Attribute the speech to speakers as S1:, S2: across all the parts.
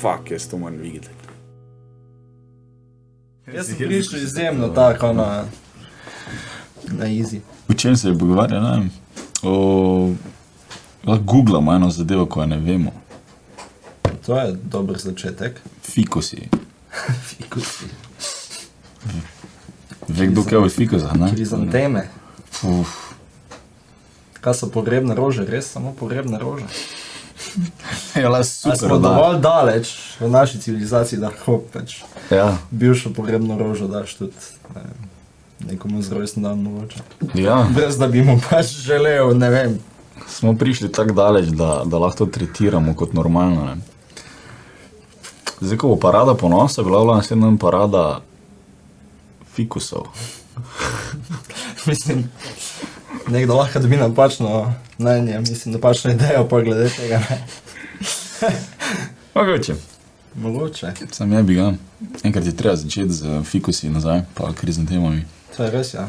S1: fuck, jaz to moram videti.
S2: Jaz sem prišel izjemno tako na, na easy.
S3: O čem se je pogovarjal? ne vem. O... Lahko googlamo eno zadevo, ko je ne vemo.
S2: To je dober začetek.
S3: Fikusi.
S2: Fikusi.
S3: Ve kdo kaj o fikusah, ne?
S2: Krizanteme.
S3: Uf,
S2: Kaj so pogrebne rože, res samo pogrebne rože.
S3: je la
S2: Ali
S3: Ja, super.
S2: smo
S3: Da.
S2: dovolj daleč v naši civilizaciji, da hop, pač
S3: Ja.
S2: bivšo pogrebno rožo daš tudi ne, vem, nekomu z rojstnim dan mogoče.
S3: ja,
S2: Brez da bi mu pač želel, ne vem.
S3: smo prišli tako daleč, da, da lahko to tretiramo kot normalno. Ne? Zdaj, ko bo parada ponosa, bila bila naslednja dan parada fikusov.
S2: Mislim, nekdo lahko dobi napačno mnenje, mislim, napačno idejo pa glede tega. Ne.
S3: Mogoče.
S2: Mogoče.
S3: Sam jaz bi ga. Enkrat je treba začeti z fikusi nazaj, pa krizantemami.
S2: To je res, ja.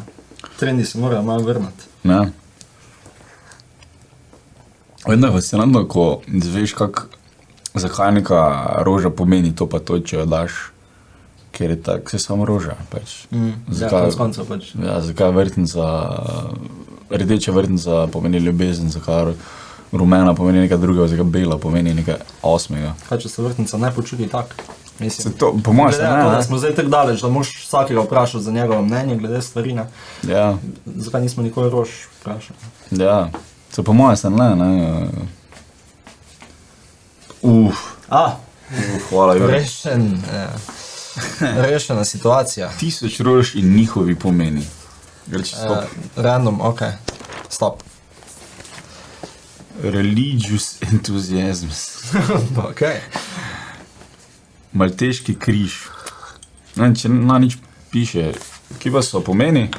S2: Trendi se morajo malo vrniti.
S3: Ne. Vedno je fascinantno, ko izveš, kak, zakaj neka roža pomeni to, pa to, če jo daš, ker je tako, se samo roža. Pač.
S2: Mm, ja,
S3: Zakaj?
S2: konec koncev pač.
S3: Ja, zakaj vrtnica, rdeča vrtnica pomeni ljubezen, zakaj ru- rumena pomeni nekaj drugega, zakaj bela pomeni nekaj osmega.
S2: Kaj če se vrtnica ne počuti tako? Mislim,
S3: Se to, po mojem, se
S2: glede na Ja, to, da
S3: ne.
S2: smo zdaj tako daleč, da moš vsakega vprašati za njegovo mnenje glede stvari. Ne.
S3: ne? Ja,
S2: Zakaj nismo nikoli rož vprašali?
S3: ja. Se po mojem, se ne. ne. Uf,
S2: A,
S3: uf, hvala, Jure.
S2: rešen, eh, rešena situacija.
S3: tisoč rož in njihovi pomeni. Reči,
S2: Eh, random, ok, stop.
S3: religious enthusiasm,
S2: okay.
S3: malteški križ. Ne, vem, če na nič piše, ki pa so pomeni.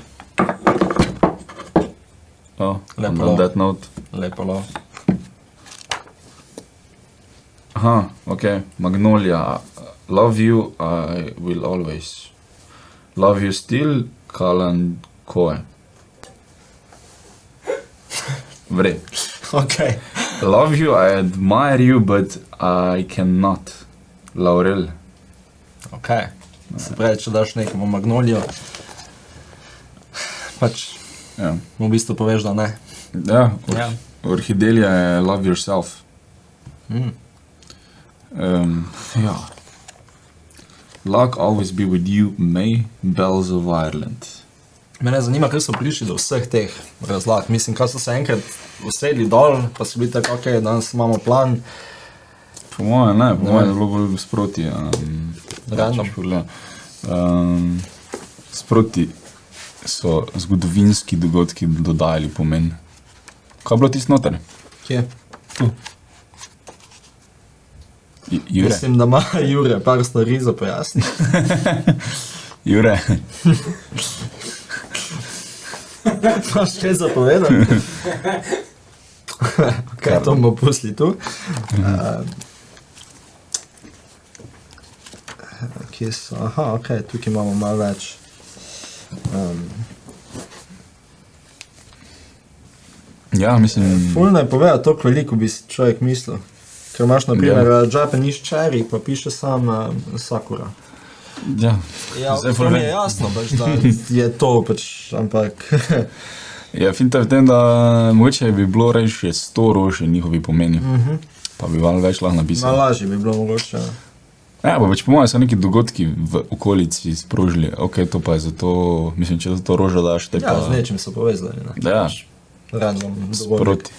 S3: Oh,
S2: Lepo.
S3: na that note.
S2: Lepo lov.
S3: Aha, ok, Magnolia, love you, I will always. Love you still, Kalan Koe. Vre.
S2: Ok,
S3: Love you, I admire you, but I cannot. Laurel.
S2: ok. Se pravi, če daš nekomu magnolijo, pač
S3: Ja.
S2: mu v bistvu poveš, da ne.
S3: Ja, or
S2: Ja.
S3: Orhidelija je love yourself.
S2: Mm.
S3: Um, ja. Luck always be with you, May, Bells of Ireland.
S2: Mene zanima, kaj so prišli do vseh teh razlag. Mislim, kaj so se enkrat usedli dol, pa so bili tako, ok, danes imamo plan,
S3: Po mojem, ne, po
S2: Ne
S3: mojem
S2: vem.
S3: je bilo bolj sproti. Um,
S2: Random.
S3: Um, sproti so zgodovinski dogodki dodajali pomen. Kaj je bilo tisto noter?
S2: kje.
S3: J- Jure.
S2: Mislim, da ima Jure par stvari za pojasniti.
S3: Jure.
S2: Imaš kaj zapovedati? kaj to bomo pustili tu? Uh, kje so? Aha, ok, tukaj imamo malo več. Um,
S3: Ja, mislim.
S2: Fulno je povedal to, koliko bi si človek mislil. Ker imaš na primer yeah. Japanese cherry, pa piše sam uh, Sakura.
S3: Ja.
S2: Ja,
S3: Zdaj
S2: to
S3: ful
S2: mi je
S3: vem.
S2: jasno, pač, da je to pač, ampak
S3: Ja, finta je v tem, da mogoče bi bilo reči še 100 rož in njihovi pomeni. Mm
S2: Mhm.
S3: -hmm. Pa bi vam več lahko
S2: malo
S3: napisal.
S2: lažje bi bilo mogoče.
S3: Ja, pa pač po mojem so neki dogodki v okolici sprožili. Ok, to pa je zato, mislim, če za to rožo daš, te
S2: Ja,
S3: pa...
S2: z nečim so povezali. Ne? Pač
S3: Ja,
S2: Random, dogodek.
S3: proti.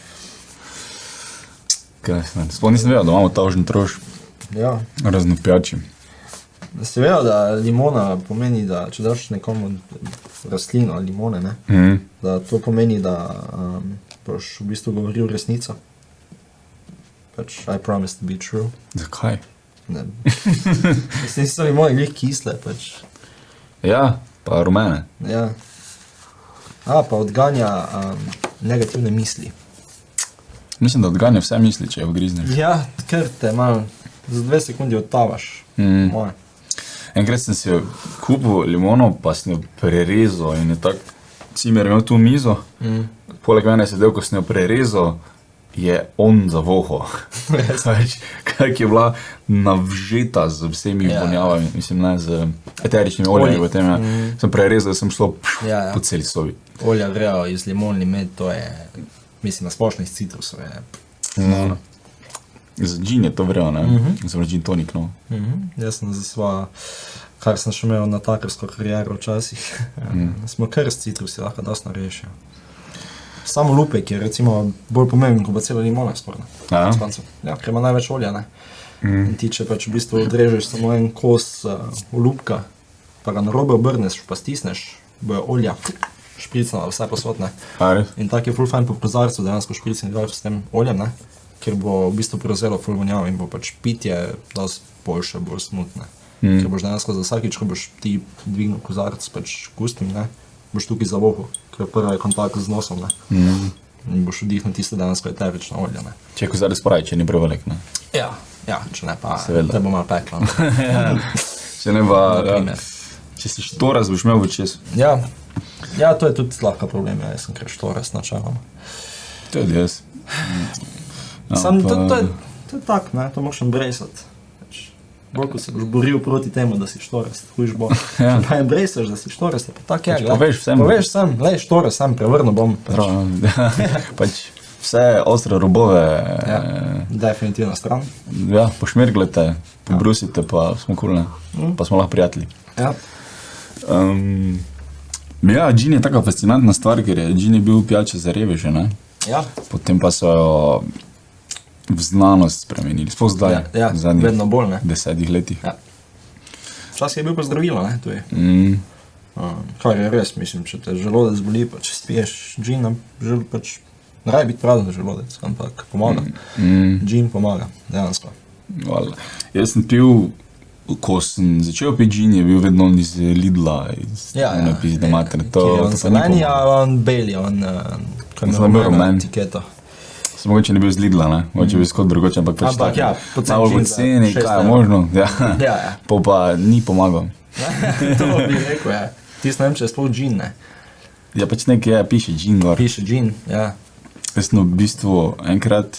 S3: Kaj, jaz ne- Sploh nisem vedel, da imamo tažen troš,
S2: Ja.
S3: razno pijači.
S2: Si vedel, da limona pomeni, da če daš nekomu rastlino limone, ne,
S3: Mhm.
S2: da to pomeni, da um, boš v bistvu govoril resnico. Pač, I promise to be true.
S3: Zakaj?
S2: Ne. Mislim, so limone glih kisle, pač.
S3: Ja, pa rumene.
S2: Ja. A, pa odganja um, negativne misli.
S3: Mislim, da odganja vse misli, če jo grizneš.
S2: Ja, ker te malo, za dve sekundi odtavaš.
S3: Mm.
S2: Moje.
S3: Enkrat sem si jo kupil limono, pa sem jo prerezal in je tako cimer imel tu mizo. Mm. Poleg mene je sedel, ko sem jo prerezal, je on zavoho. Kaj je bila navžeta z vsemi
S2: Ja.
S3: yeah. vonjavami, mislim, ne z eteričnimi olji.
S2: Olji. Mhm.
S3: Potem, ja. mm. Sem prerezal, da sem šlo pš,
S2: Ja,
S3: yeah,
S2: ja.
S3: po celi sobi.
S2: Olja grejo iz limoni med, to je, mislim, na splošnih citrusov. je.
S3: Mm. Z džin je to vrelo, ne?
S2: Mhm.
S3: Mm -hmm. Sem džin tonik, no.
S2: Jaz sem za svojo, kar sem še imel na takarsko kariero včasih, mm. smo kar s citrusi lahko dosta rešili. Samo lupek je recimo bolj pomemben kot pa cela limona. Skoraj,
S3: Ja.
S2: na koncu. ja, ker ima največ olja. ne. In ti, če pač v bistvu odrežeš samo en kos uh, lupka, pa ga narobe obrneš, pa stisneš, bojo olja, špricno, vse posodne.
S3: A res?
S2: In tako je full fajn po kozarcu, dejansko špricni dol s tem oljem, ne? ker bo v bistvu prevzelo full vonjavo in bo pač pitje dosti boljše, bolj smutne. Mm. Ker boš dejansko za vsakič, ko boš ti dvignil kozarec, pač kustim, ne? boš tukaj zavohal, ker prvi je kontakt z nosom.
S3: Mhm.
S2: Mm. In boš vdihnil tisto dejansko eterično olje. Ne?
S3: Če ko zdaj spravi, če ni prevelik, ne.
S2: Ja, ja, če ne pa,
S3: Seveda.
S2: te bo malo peklo. ne.
S3: Če ne pa,
S2: Na
S3: ja,
S2: primer.
S3: če si štoras, boš imel v čez.
S2: ja. ja, to je tudi lahko problem, ja, jaz sem kreštoras načeloma.
S3: To je jaz.
S2: Ja, Sam to, to, je, to je tak, ne, to moraš embracati. Pač, Bolj ko se boš boril proti temu, da si štorest, hujš bo.
S3: Ja.
S2: ja. Pa embracaš, da si štorest, je pa tak je.
S3: Pač
S2: glej.
S3: poveš vsem.
S2: Poveš sem, le štorest, sem prevrnil bom.
S3: Zdravo, ja. pač vse ostre robove
S2: Ja.
S3: eh,
S2: Definitivno stran.
S3: ja, pošmirglete, pobrusite, pa smo kulne,
S2: Mm.
S3: pa smo lahko prijatelji.
S2: Ja.
S3: Um, ja, Džin je taka fascinantna stvar, ker je Džin je bil pijače za reveže, ne?
S2: Ja.
S3: potem pa so jo v znanost spremenili, sploh zdaj,
S2: Ja, ja,
S3: v zadnjih
S2: vedno bolj. ne.
S3: desetih letih.
S2: Ja. Včasih je bil pa zdravilo, ne, to je.
S3: Mm,
S2: Um, kar je res, mislim, če te želodec boli, pa če spiješ džin, žel, pač ne rabi biti prazen želodec, ampak pomaga.
S3: mm,
S2: Džin pomaga, dejansko.
S3: vala. Jaz sem pil, ko sem začel piti Džin, je bil vedno iz Lidla, iz
S2: Ja,
S3: Pizda Mater. To,
S2: je
S3: to pa
S2: on ja.
S3: ni
S2: zeleni,
S3: pomagal.
S2: ali on beli, on eh, kaj
S3: Mislim, da je bil rumen.
S2: etiketo.
S3: Samo mogoče ne bi iz Lidla, ne? mogoče bi skod drugače, ampak pač
S2: Ampak
S3: tako,
S2: ja, po ceni
S3: najbolj po
S2: džin za
S3: ceni,
S2: šest
S3: kaj je
S2: evrov.
S3: možno. Ja.
S2: Ja, ja.
S3: Pa pa ni pomagal.
S2: to bi rekel, ja. Tisti ne vem, če je sploh džin, ne.
S3: Ja, pač nekaj je, piše Džin gor.
S2: Piše džin, ja.
S3: Jaz sem v bistvu enkrat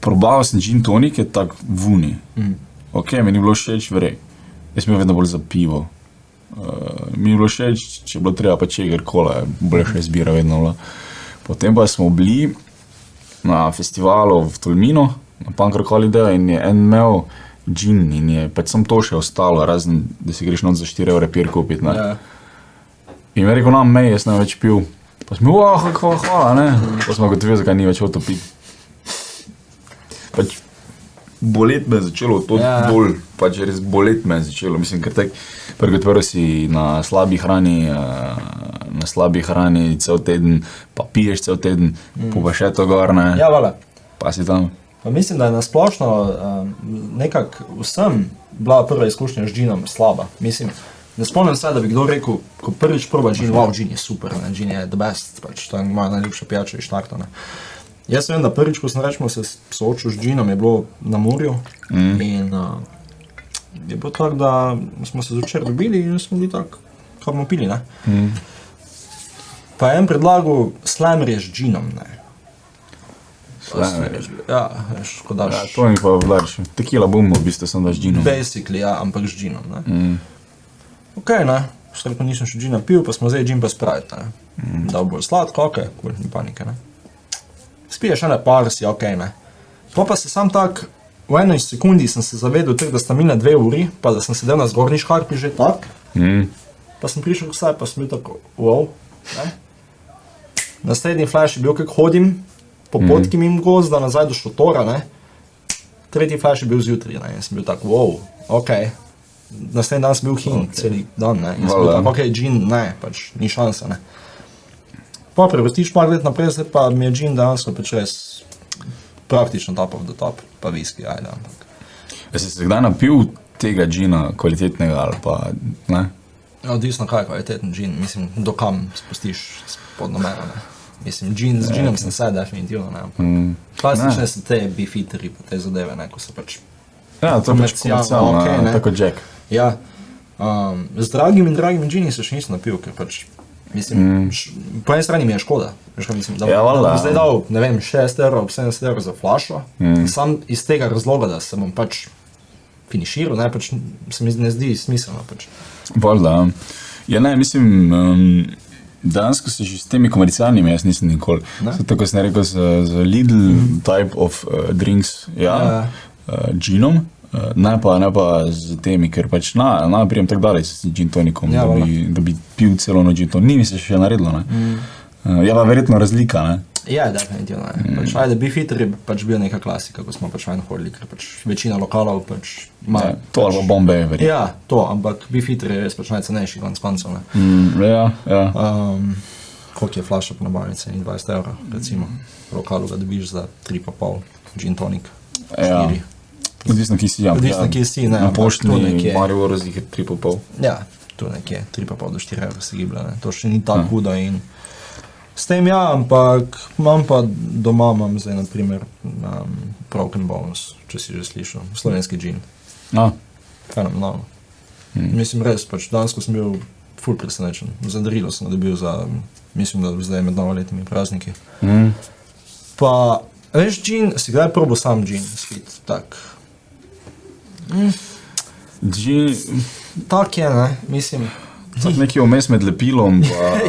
S3: probal sem gin tonik, je tak vuni. Mm. Ok, mi ni bilo všeč, vrej. Jaz sem bil vedno bolj za pivo. Uh, mi ni bilo všeč, če je bilo treba, pa če je kola, bolj še izbira vedno bila. Potem pa smo bili na festivalu v Tolminu, na Pankrokolideju in je en imel gin in je pač sem to še ostalo, razen da si greš noč za 4 evre pir kupiti. ne.
S2: ja.
S3: In je rekel, no, mej, jaz ne več pil. Pa smo, oh, kako hvala, ne. Pa smo gotovi, zakaj ni več hotel piti. Pač bolet me je začelo, to
S2: Ja.
S3: ja. dol, pač res bolet me je začelo. Mislim, ker tek, pregotovo si na slabi hrani, eh, na slabi hrani cel teden, pa piješ cel teden, mm. pa še to gor, ne.
S2: ja, vala.
S3: Pa si tam.
S2: Pa mislim, da je nasplošno um, nekako vsem bila prva izkušnja z džinom slaba. Mislim, ne spomnim se, da bi kdo rekel, ko prvič proba džin, wow, džin je super, ne, džin je the best, pač to je moja najljubša pijača iz štartane. Jaz vem, da prvič, ko sem rečemo se s- soočil z džinom, je bilo na morju mm. in uh, je bilo tako, da smo se zvečer dobili in smo bili tako, kar smo pili. Mm. Pa je en predlagal slamre z džinom, ne.
S3: Slamre.
S2: Ja, škoda.
S3: Ja, to mi pa vladaš. Tekila bom, v bistvu sem daš džino.
S2: Basically, ja, ampak z džinom. Mm. Ok, ne, vse pa nisem še džina pil, pa smo zdaj džin pa spraviti. Mm. Da bo sladko, ok, kul, ni panike. Ne. Spiješ ene par, si ok, ne. Pa pa se sam tak, v eni sekundi sem se zavedel, teh, da sta minile dve uri, pa da sem sedel na zgornji škarpi že tak,
S3: Mm.
S2: pa sem prišel vsaj, pa sem bil tako, wow. Ne. Naslednji flash je bil, kako hodim, po mm. potki mimo gozda, nazaj do šotora. Ne. Tretji flash je bil zjutraj, ne, in sem bil tako, wow, ok. Naslednji dan sem bil hin, okay. cel dan, ne, in sem bil
S3: Valjda.
S2: tako, ok, džin, ne, pač ni šanse, ne. Pa prevrstiš par let naprej, zdaj pa mi je džin dejansko pač res praktično top of the top, pa viski, ajde, ampak.
S3: Ja, si se kdaj napil tega džina, kvalitetnega ali pa ne?
S2: Ja, Odvisno kaj je kvaliteten džin, mislim, dokam spustiš pod nomero, ne. Mislim, džin, z džinom sem se definitivno, ne, ampak.
S3: Mm.
S2: Klasične
S3: Ne.
S2: so te bifiteri, pa te zadeve, ne, ko se pač
S3: Ja, to je pač
S2: Komercialno,
S3: komercialno,
S2: okej,
S3: okay,
S2: ne.
S3: tako Jack.
S2: Ja, um, z dragimi in dragimi džini se še nisem napil, ker pač Mislim, mm. š, po eni strani mi je škoda. veš, kaj Mislim, da,
S3: Ja, valjda.
S2: da bi zdaj dal ne vem, 6 evrov, 7 evrov za flašo. Mm. Sam iz tega razloga, da se bom pač finiširal, ne, pač se mi ne zdi smiselno. Pač.
S3: Valjda. Ja, ne, mislim, um, dejansko se že s temi komercialnimi, jaz nisem nikoli.
S2: Ne? Mhm.
S3: Zato, Tako sem rekel, za, za Lidl mm. type of uh, drinks, ja, uh. Uh, džinom. Uh, ne pa, ne pa z temi, ker pač na, na prijem tako dalje s džintonikom,
S2: Ja,
S3: ja, da, bi, da bi pil celo noč džinton. Ni mi se še naredilo.
S2: Mhm.
S3: Mm. Uh, je pa verjetno razlika. Ne?
S2: Ja, definitivno. Mm. Pač, ajde, bi hitri, pač bil neka klasika, ko smo pač vajn hodili, ker pač večina lokalov pač ima.
S3: Ja, to ali pa Bombay, verjetno.
S2: Ja, to, ampak bi hitri je res pač najcenejši, konec koncev. ne.
S3: Mm, ja, ja.
S2: Um, koliko je flaša po nabavni ceni? 20 evrov, recimo.
S3: Mm.
S2: V lokalu ga dobiš za 3,5, gin tonik.
S3: Ja.
S2: štiri.
S3: Odvisno, ki si jam.
S2: Odvisno, kje si, ne,
S3: Na
S2: ampak
S3: poštni
S2: tu nekje.
S3: Marijo Rozih je 3,5.
S2: Ja, tu nekje 3,5 do 4 evra se giblja, ne. to še ni tako hudo. In... S tem ja, ampak imam pa doma, imam zdaj naprimer um, Broken Bones, če si že slišal, slovenski džin,
S3: No,
S2: fenomenalno. Mm. Mislim res, pač dansko sem bil ful presenečen, za darilo sem ga dobil za, mislim, da zdaj med novoletnimi prazniki.
S3: Mm.
S2: Pa, veš, džin, si kdaj probo sam džin, spit, tak.
S3: Dži,
S2: Tak je, ne, mislim.
S3: tako nekje vmes med lepilom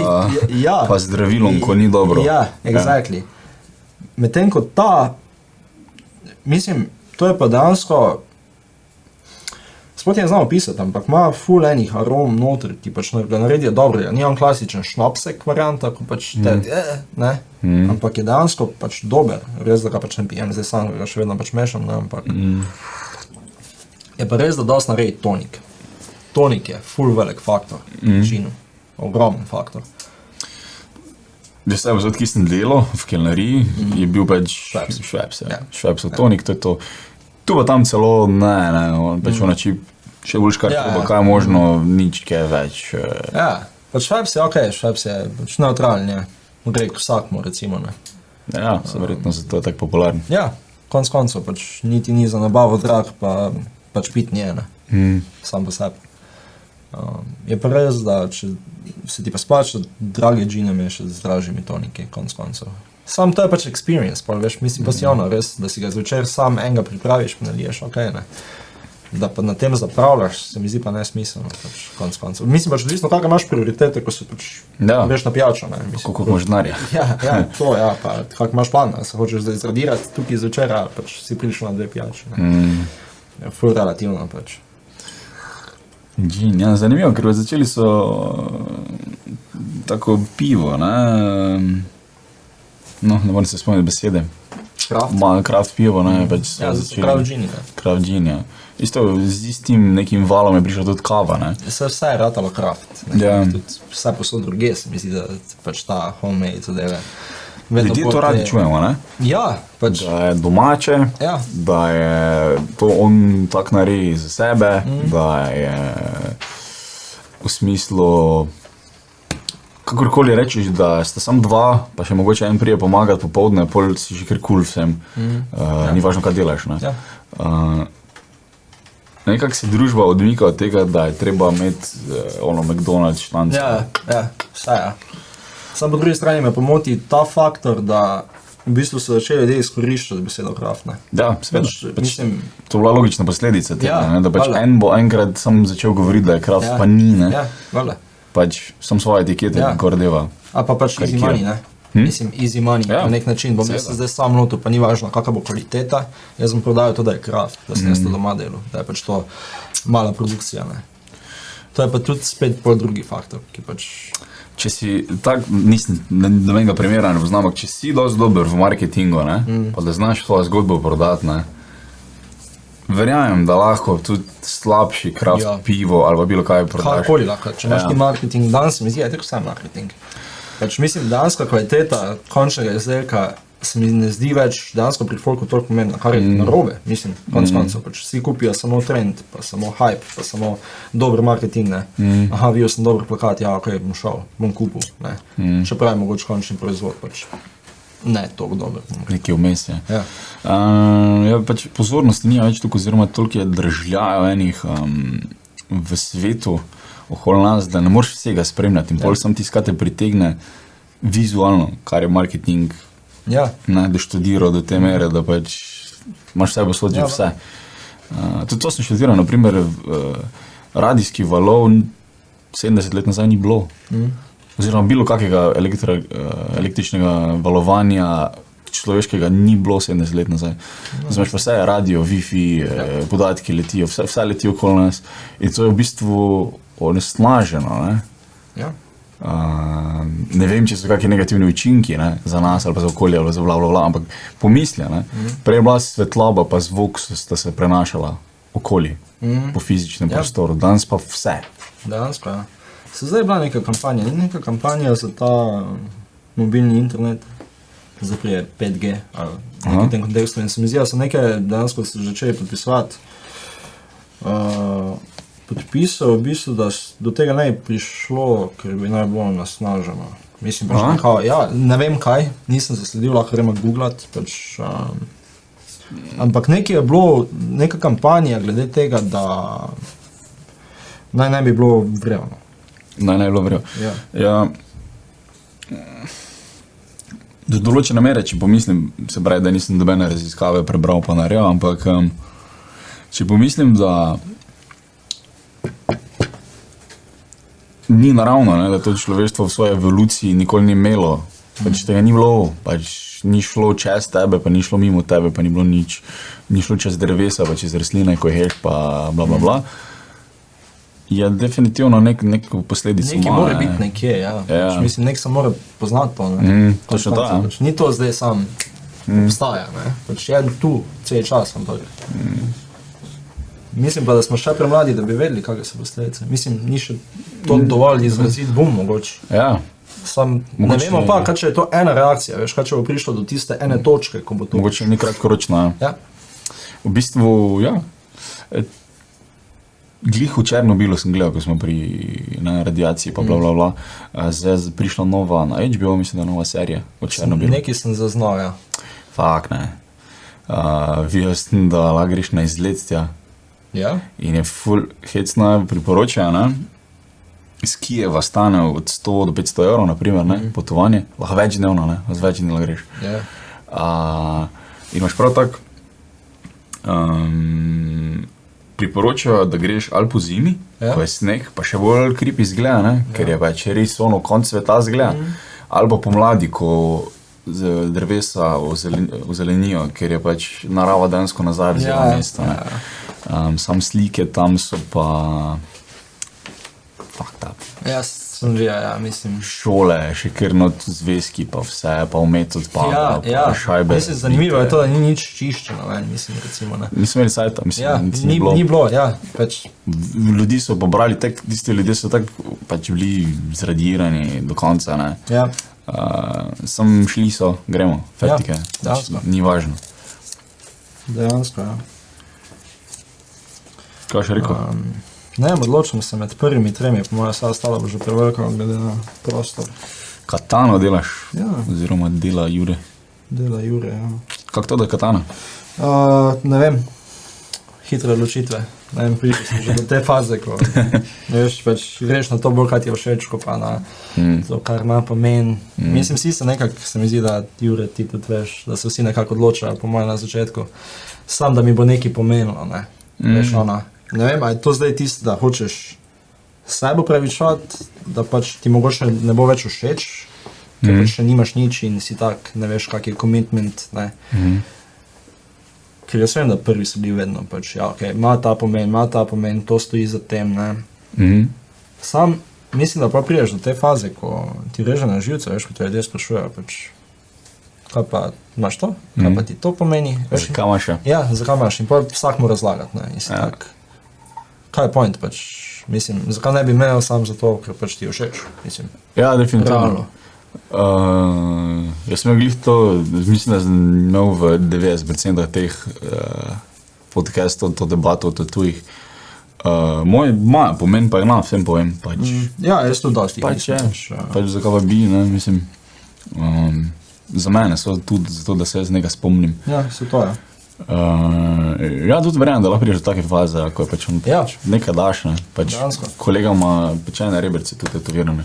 S3: pa,
S2: Ja.
S3: pa zdravilom, ko ni dobro.
S2: Ja, exactly. Ja. Medtem ko ta, mislim, to je pa dejansko. Sploh je ne znam opisati, ampak ima ful enih arom noter, ki pač nar- ga naredijo dobro. Ni on klasičen šnapsek varianta, ko pač te, mm. eh, ne, mm. ampak je dejansko pač dober. Res, da ga pač ne pijem, zdaj sam ga še vedno pač mešam, ne, ampak mm. je pa res, da dosti naredi tonik. Tonik je ful velik faktor, mm. činu, ogromen faktor.
S3: Že sem zelo kisten delo v kelneriji, mm. je bil pač šveps, šveps, ja.
S2: Mhm. Ja.
S3: šveps tonik, to je to. Tu pa tam celo ne, ne, on pač mm. onači, še boljš kar,
S2: Mhm. Ja,
S3: ja,
S2: ja.
S3: kaj je možno, nič kaj več. eh,
S2: Ja, pač Švabs je ok, Švabs je pač neutralen, je. Grek vsakmo, recimo. Ne.
S3: Ja, se verjetno zato je tako popularen.
S2: Ja, konc koncev, pač niti ni za nabavo drag, pa pač pit ni ena,
S3: Mm.
S2: sam po sebi. Um, je pa res, da če se ti pa splača, drage džine meš z dražjimi toniki, konc koncev. Sam to je pač experience, pa veš, mislim pa si ono, res, da si ga zvečer sam enega pripraviš, pa naliješ, ok, ne. Da pa na tem zapravljaš, se mi zdi pa nesmiselno, pač konc koncev. Mislim pač, odvisno, kakšne imaš prioritete, ko se pač
S3: Ja.
S2: greš na pijačo, ne. Mislim,
S3: Kako imaš denarja?
S2: Ja, ja, to je, ja, pa kak imaš plan, a se hočeš zdaj zradirati tukaj zvečer, ali pač si prišel na dve pijači.
S3: Hm.
S2: Mm. Ja, ful relativno pač.
S3: Gin, ja, zanimivo, ker začeli so eh, tako pivo. Ne, no, ne morem se spomniti besede.
S2: Kraft.
S3: Malo kraft pivo, ne pač so
S2: Ja, zato prav džini, ne.
S3: Kraft gin, ja. Isto z istim nekim valom je prišla tudi kava. Ne.
S2: Se vse je ratalo kraft.
S3: Ja.
S2: Vse posod druge, se mi zdi, da pač ta homemade zadeve. Vedno
S3: Ljudje
S2: bolj
S3: to
S2: te-
S3: radi čujemo, ne?
S2: Ja, pač.
S3: da je domače,
S2: Ja.
S3: da je to on tak naredi za sebe, mm.
S2: Mhm.
S3: da je v smislu, kakorkoli rečeš, da sta samo dva, pa še mogoče en prije pomagati popovdne, pol si že kar kul cool vsem, mm. uh, ja. ni važno, kaj delaš. Ne?
S2: Mhm. Ja.
S3: Uh, Nekako se družba odmika od tega, da je treba imeti uh, ono McDonald's članico.
S2: Ja, ja, vse je. Sam po drugi strani me pomoti ta faktor, da v bistvu so začeli ljudje izkoriščati besedo kraft. ne.
S3: ja seveda.
S2: Pač, mislim,
S3: To je bila logična posledica tega,
S2: Ja,
S3: ja, ne, da pač
S2: valjda.
S3: en bo enkrat sam začel govoriti, da je kraft, ja. pa ni, ne, ja.
S2: Ja, vale.
S3: pač sam svoje etikete
S2: Ja.
S3: ja. gordeva.
S2: A pa pač easy
S3: Karikiram.
S2: money, ne? Hm? Mislim, easy money
S3: Ja,
S2: ja, na nek način. Bom jaz se
S3: seveda.
S2: zdaj sam lotil, pa ni važno, kakšna bo kvaliteta. Jaz sem prodajal to, da je kraft, da sem mm.
S3: Hm.
S2: jaz to doma delal, da je pač to mala produkcija. Ne? To je pa tudi spet pol drugi faktor, ki pač.
S3: Če si tak, nisem ne- nobenega primera ne poznam, ampak če si dosti dober v marketingu, ne, mm. pa da znaš svojo zgodbo prodati, ne, verjamem, da lahko tudi slabši kraft ja.
S2: Ja.
S3: pivo ali pa bilo kaj prodaš.
S2: Karkoli lahko, če imaš
S3: Ja.
S2: ja. ti marketing, danes se mi zdi, da je tako sam marketing. Pač mislim, danska kvaliteta končnega izdelka se mi ne zdi več dansko pri folku toliko pomembna, kar je mm. narobe. Mislim, konec mm. koncev, pač vsi kupijo samo trend, pa samo hype, pa samo dober marketing. ne. Aha, videl sem dober plakat, ja, ok, bom šel, bom kupil. Mm. Čeprav je mogoče končni proizvod pač ne tako dober. bom rekel.
S3: Nekje vmes je.
S2: Ja.
S3: Uh, ja, pač pozornosti ni več tukaj, oziroma toliko je držljajo enih um, v ehm, svetu okoli nas, da ne moreš vsega spremljati in bolj sem tiskate pritegne vizualno, kar je marketing
S2: Ja,
S3: ne, doštudiral do te mere, da pač imaš vse posod že
S2: Ja,
S3: vse. Uh, tudi to sem študiral, naprimer, uh, radijski valov n- 70 let nazaj ni bilo.
S2: Mhm.
S3: Mm. Oziroma, bilo kakega elektra, uh, električnega valovanja človeškega ni bilo 70 let nazaj.
S2: No,
S3: Znaš, vse je radio, Wi-Fi, ja. podatki letijo, vse, vse leti okoli nas in to je v bistvu onesnaženo. Ne?
S2: ja.
S3: Uh, ne vem, če so kakšni negativni učinki ne, za nas ali pa za okolje, ali za bla, bla, bla, ampak pomisli. Mm. Prej je bila svetloba, pa zvok so- sta se prenašala okoli, mm. po fizičnem
S2: Ja.
S3: ja. prostoru, danes pa vse.
S2: Danes pa ja. Se zdaj je bila neka kampanja, ni neka kampanja za ta um, mobilni internet, za prije 5G ali nekaj
S3: Aha.
S2: v tem kontekstu. In se mi zdi, da so neke dejansko se začeli podpisovati. Uh, podpisal v bistvu, da s- do tega ne bi prišlo, ker bi naj bilo nasnaženo. Mislim, pač
S3: Aha.
S2: nekako, ja, ne vem kaj, nisem zasledil, lahko gremo googlati. Pač, um, ampak nekaj je bilo, neka kampanja glede tega, da naj ne bi bilo vrevno.
S3: Naj naj bilo verjel.
S2: Ja.
S3: Ja, do določene mere, če pomislim, se pravi, da nisem dobene raziskave prebral, pa naredil, ampak um, če pomislim, da ni naravno, ne, da to človeštvo v svoji evoluciji nikoli ni imelo. Pač tega ni bilo, pač ni šlo čez tebe, pa ni šlo mimo tebe, pa ni bilo nič, ni šlo čez drevesa, pa čez rastline, ko ješ, pa bla bla bla. Je definitivno nek, neko posledico.
S2: Nekaj
S3: ima,
S2: mora
S3: ne.
S2: biti nekje, ja.
S3: Ja.
S2: Pač, mislim, nek se mora poznati to. ne.
S3: Mm,
S2: Konstantno,
S3: točno to, ja. Mm.
S2: pač Ni to zdaj sam, obstaja, ne. Pač je tu, cel čas, ampak.
S3: Mm.
S2: Mislim pa, da smo še premladi, da bi vedeli, kakšne so posledice. Mislim, ni še to
S3: Mm.
S2: dovolj izrazit bum, mogoče.
S3: Ja,
S2: Sam, ne
S3: Mogoče
S2: vemo
S3: ne,
S2: pa,
S3: ja.
S2: kaj če je to ena reakcija, veš, kaj če bo prišlo do tiste ene točke, ko bo to.
S3: mogoče ni kratkoročno. Ja.
S2: Ja,
S3: V bistvu, ja. E, Glih v Černobilu sem gledal, ko smo pri ne, radiaciji, pa bla bla bla. E, Zdaj je prišla nova na HBO, mislim, da nova serija o Černobilu.
S2: nekaj sem zaznal, ja.
S3: Fak ne. Uh, Videl sem, da lahko greš na izlet tja
S2: Ja?
S3: in je full hecna priporočena. Iz Kijeva stane od 100 do 500 evrov, naprimer, ne, mm. potovanje, lahko večdnevno, ne, z večdnevno greš.
S2: Ja.
S3: Uh, in imaš prav tako, um, priporočajo, da greš ali po zimi,
S2: Ja.
S3: ja. ko je sneg, pa še bolj krip izgleda, ne? ker je pač res ono konc sveta zgleda.
S2: Mhm.
S3: Mm. Ali pa pomladi, ko z- drevesa ozelen- ozelenijo, ker je pač narava dejansko nazaj vzela
S2: Ja,
S3: ja, mesto. Ja. Um, sam slike tam so pa. Fakt up
S2: Jaz sem že, ja, mislim.
S3: šole, še kar not zvezki, pa vse, pa umet odpada,
S2: Ja, ja.
S3: pa šajbe.
S2: Mislim, zanimivo je to, da ni nič čiščeno, ne, mislim, recimo, ne.
S3: Nismo imeli sajta, mislim,
S2: Ja,
S3: niti
S2: ni, ni bilo, ja, pač,
S3: Ljudi so pobrali, tek, tisti ljudje so tako pač bili zradirani do konca. Ne.
S2: ja.
S3: Uh, sem šli so, gremo, fertike.
S2: Ja,
S3: Pač
S2: dejansko.
S3: ni važno.
S2: dejansko. Ja.
S3: Kaj še rekel?
S2: Um, ne vem, odločim se med prvimi tremi, po mojem, vse ostalo bo že preveliko, glede na prostor.
S3: Katano delaš,
S2: Ja.
S3: oziroma dela Jure.
S2: Dela Jure. Ja.
S3: Kako to, da je katana?
S2: Uh, ne vem, hitre odločitve. Ne vem, prišel sem že do te faze, ko ne veš, pač greš na to bolj, kaj ti je všeč, kot pa na
S3: Mm.
S2: to, kar ima pomen. Mm. Mislim, vsi se nekako, se mi zdi, da Jure ti tudi veš, da se vsi nekako odločajo, po mojem, na začetku. Sam, da mi bo nekaj pomenilo, ne. Mm. Veš, ona. Ne vem, ali je to zdaj tisto, da hočeš sebe upravičevati, da pač ti mogoče ne bo več všeč, ker mm. še nimaš nič in si tak, ne veš, kak je commitment, ne.
S3: Mhm.
S2: Ker jaz vem, da prvi so bili vedno pač, ja, okay, ima ta pomen, ima ta pomen, to stoji za tem. Ne.
S3: Mhm.
S2: Sam mislim, da pa priješ do te faze, ko ti reže na živce, veš, ko te ljudje sprašujejo, pač, kaj pa imaš to, kaj mm. pa ti to pomeni. Veš,
S3: Mhm. Zakaj imaš še?
S2: ja, zakaj imaš in pa vsak mu razlagati. Ne, in si
S3: Ja.
S2: tak, kaj je point, pač, mislim, zakaj ne bi imel sam zato, ker pač ti je všeč. Mislim,
S3: Ja, definitivno.
S2: Realno.
S3: Uh, jaz sem glih to, mislim, da sem imel v 90% teh uh, podcastov to debato o tujih. Uh, moj ma, pomen pa je na, vsem povem. Pač, mm,
S2: ja, jaz tudi dosti.
S3: pač je,
S2: mislim, pač, ja.
S3: pač zakaj pa bi, ne, mislim. ehm, Um, za mene so tudi zato, da se jaz nekaj spomnim.
S2: ja, se to je.
S3: Uh, ja, tudi verjamem, da lahko prideš do take faze, ko je pač on,
S2: Ja.
S3: pač nekaj daš. Ne? Pač
S2: Dejansko.
S3: kolega ima pečene rebrce, tudi tetovirane.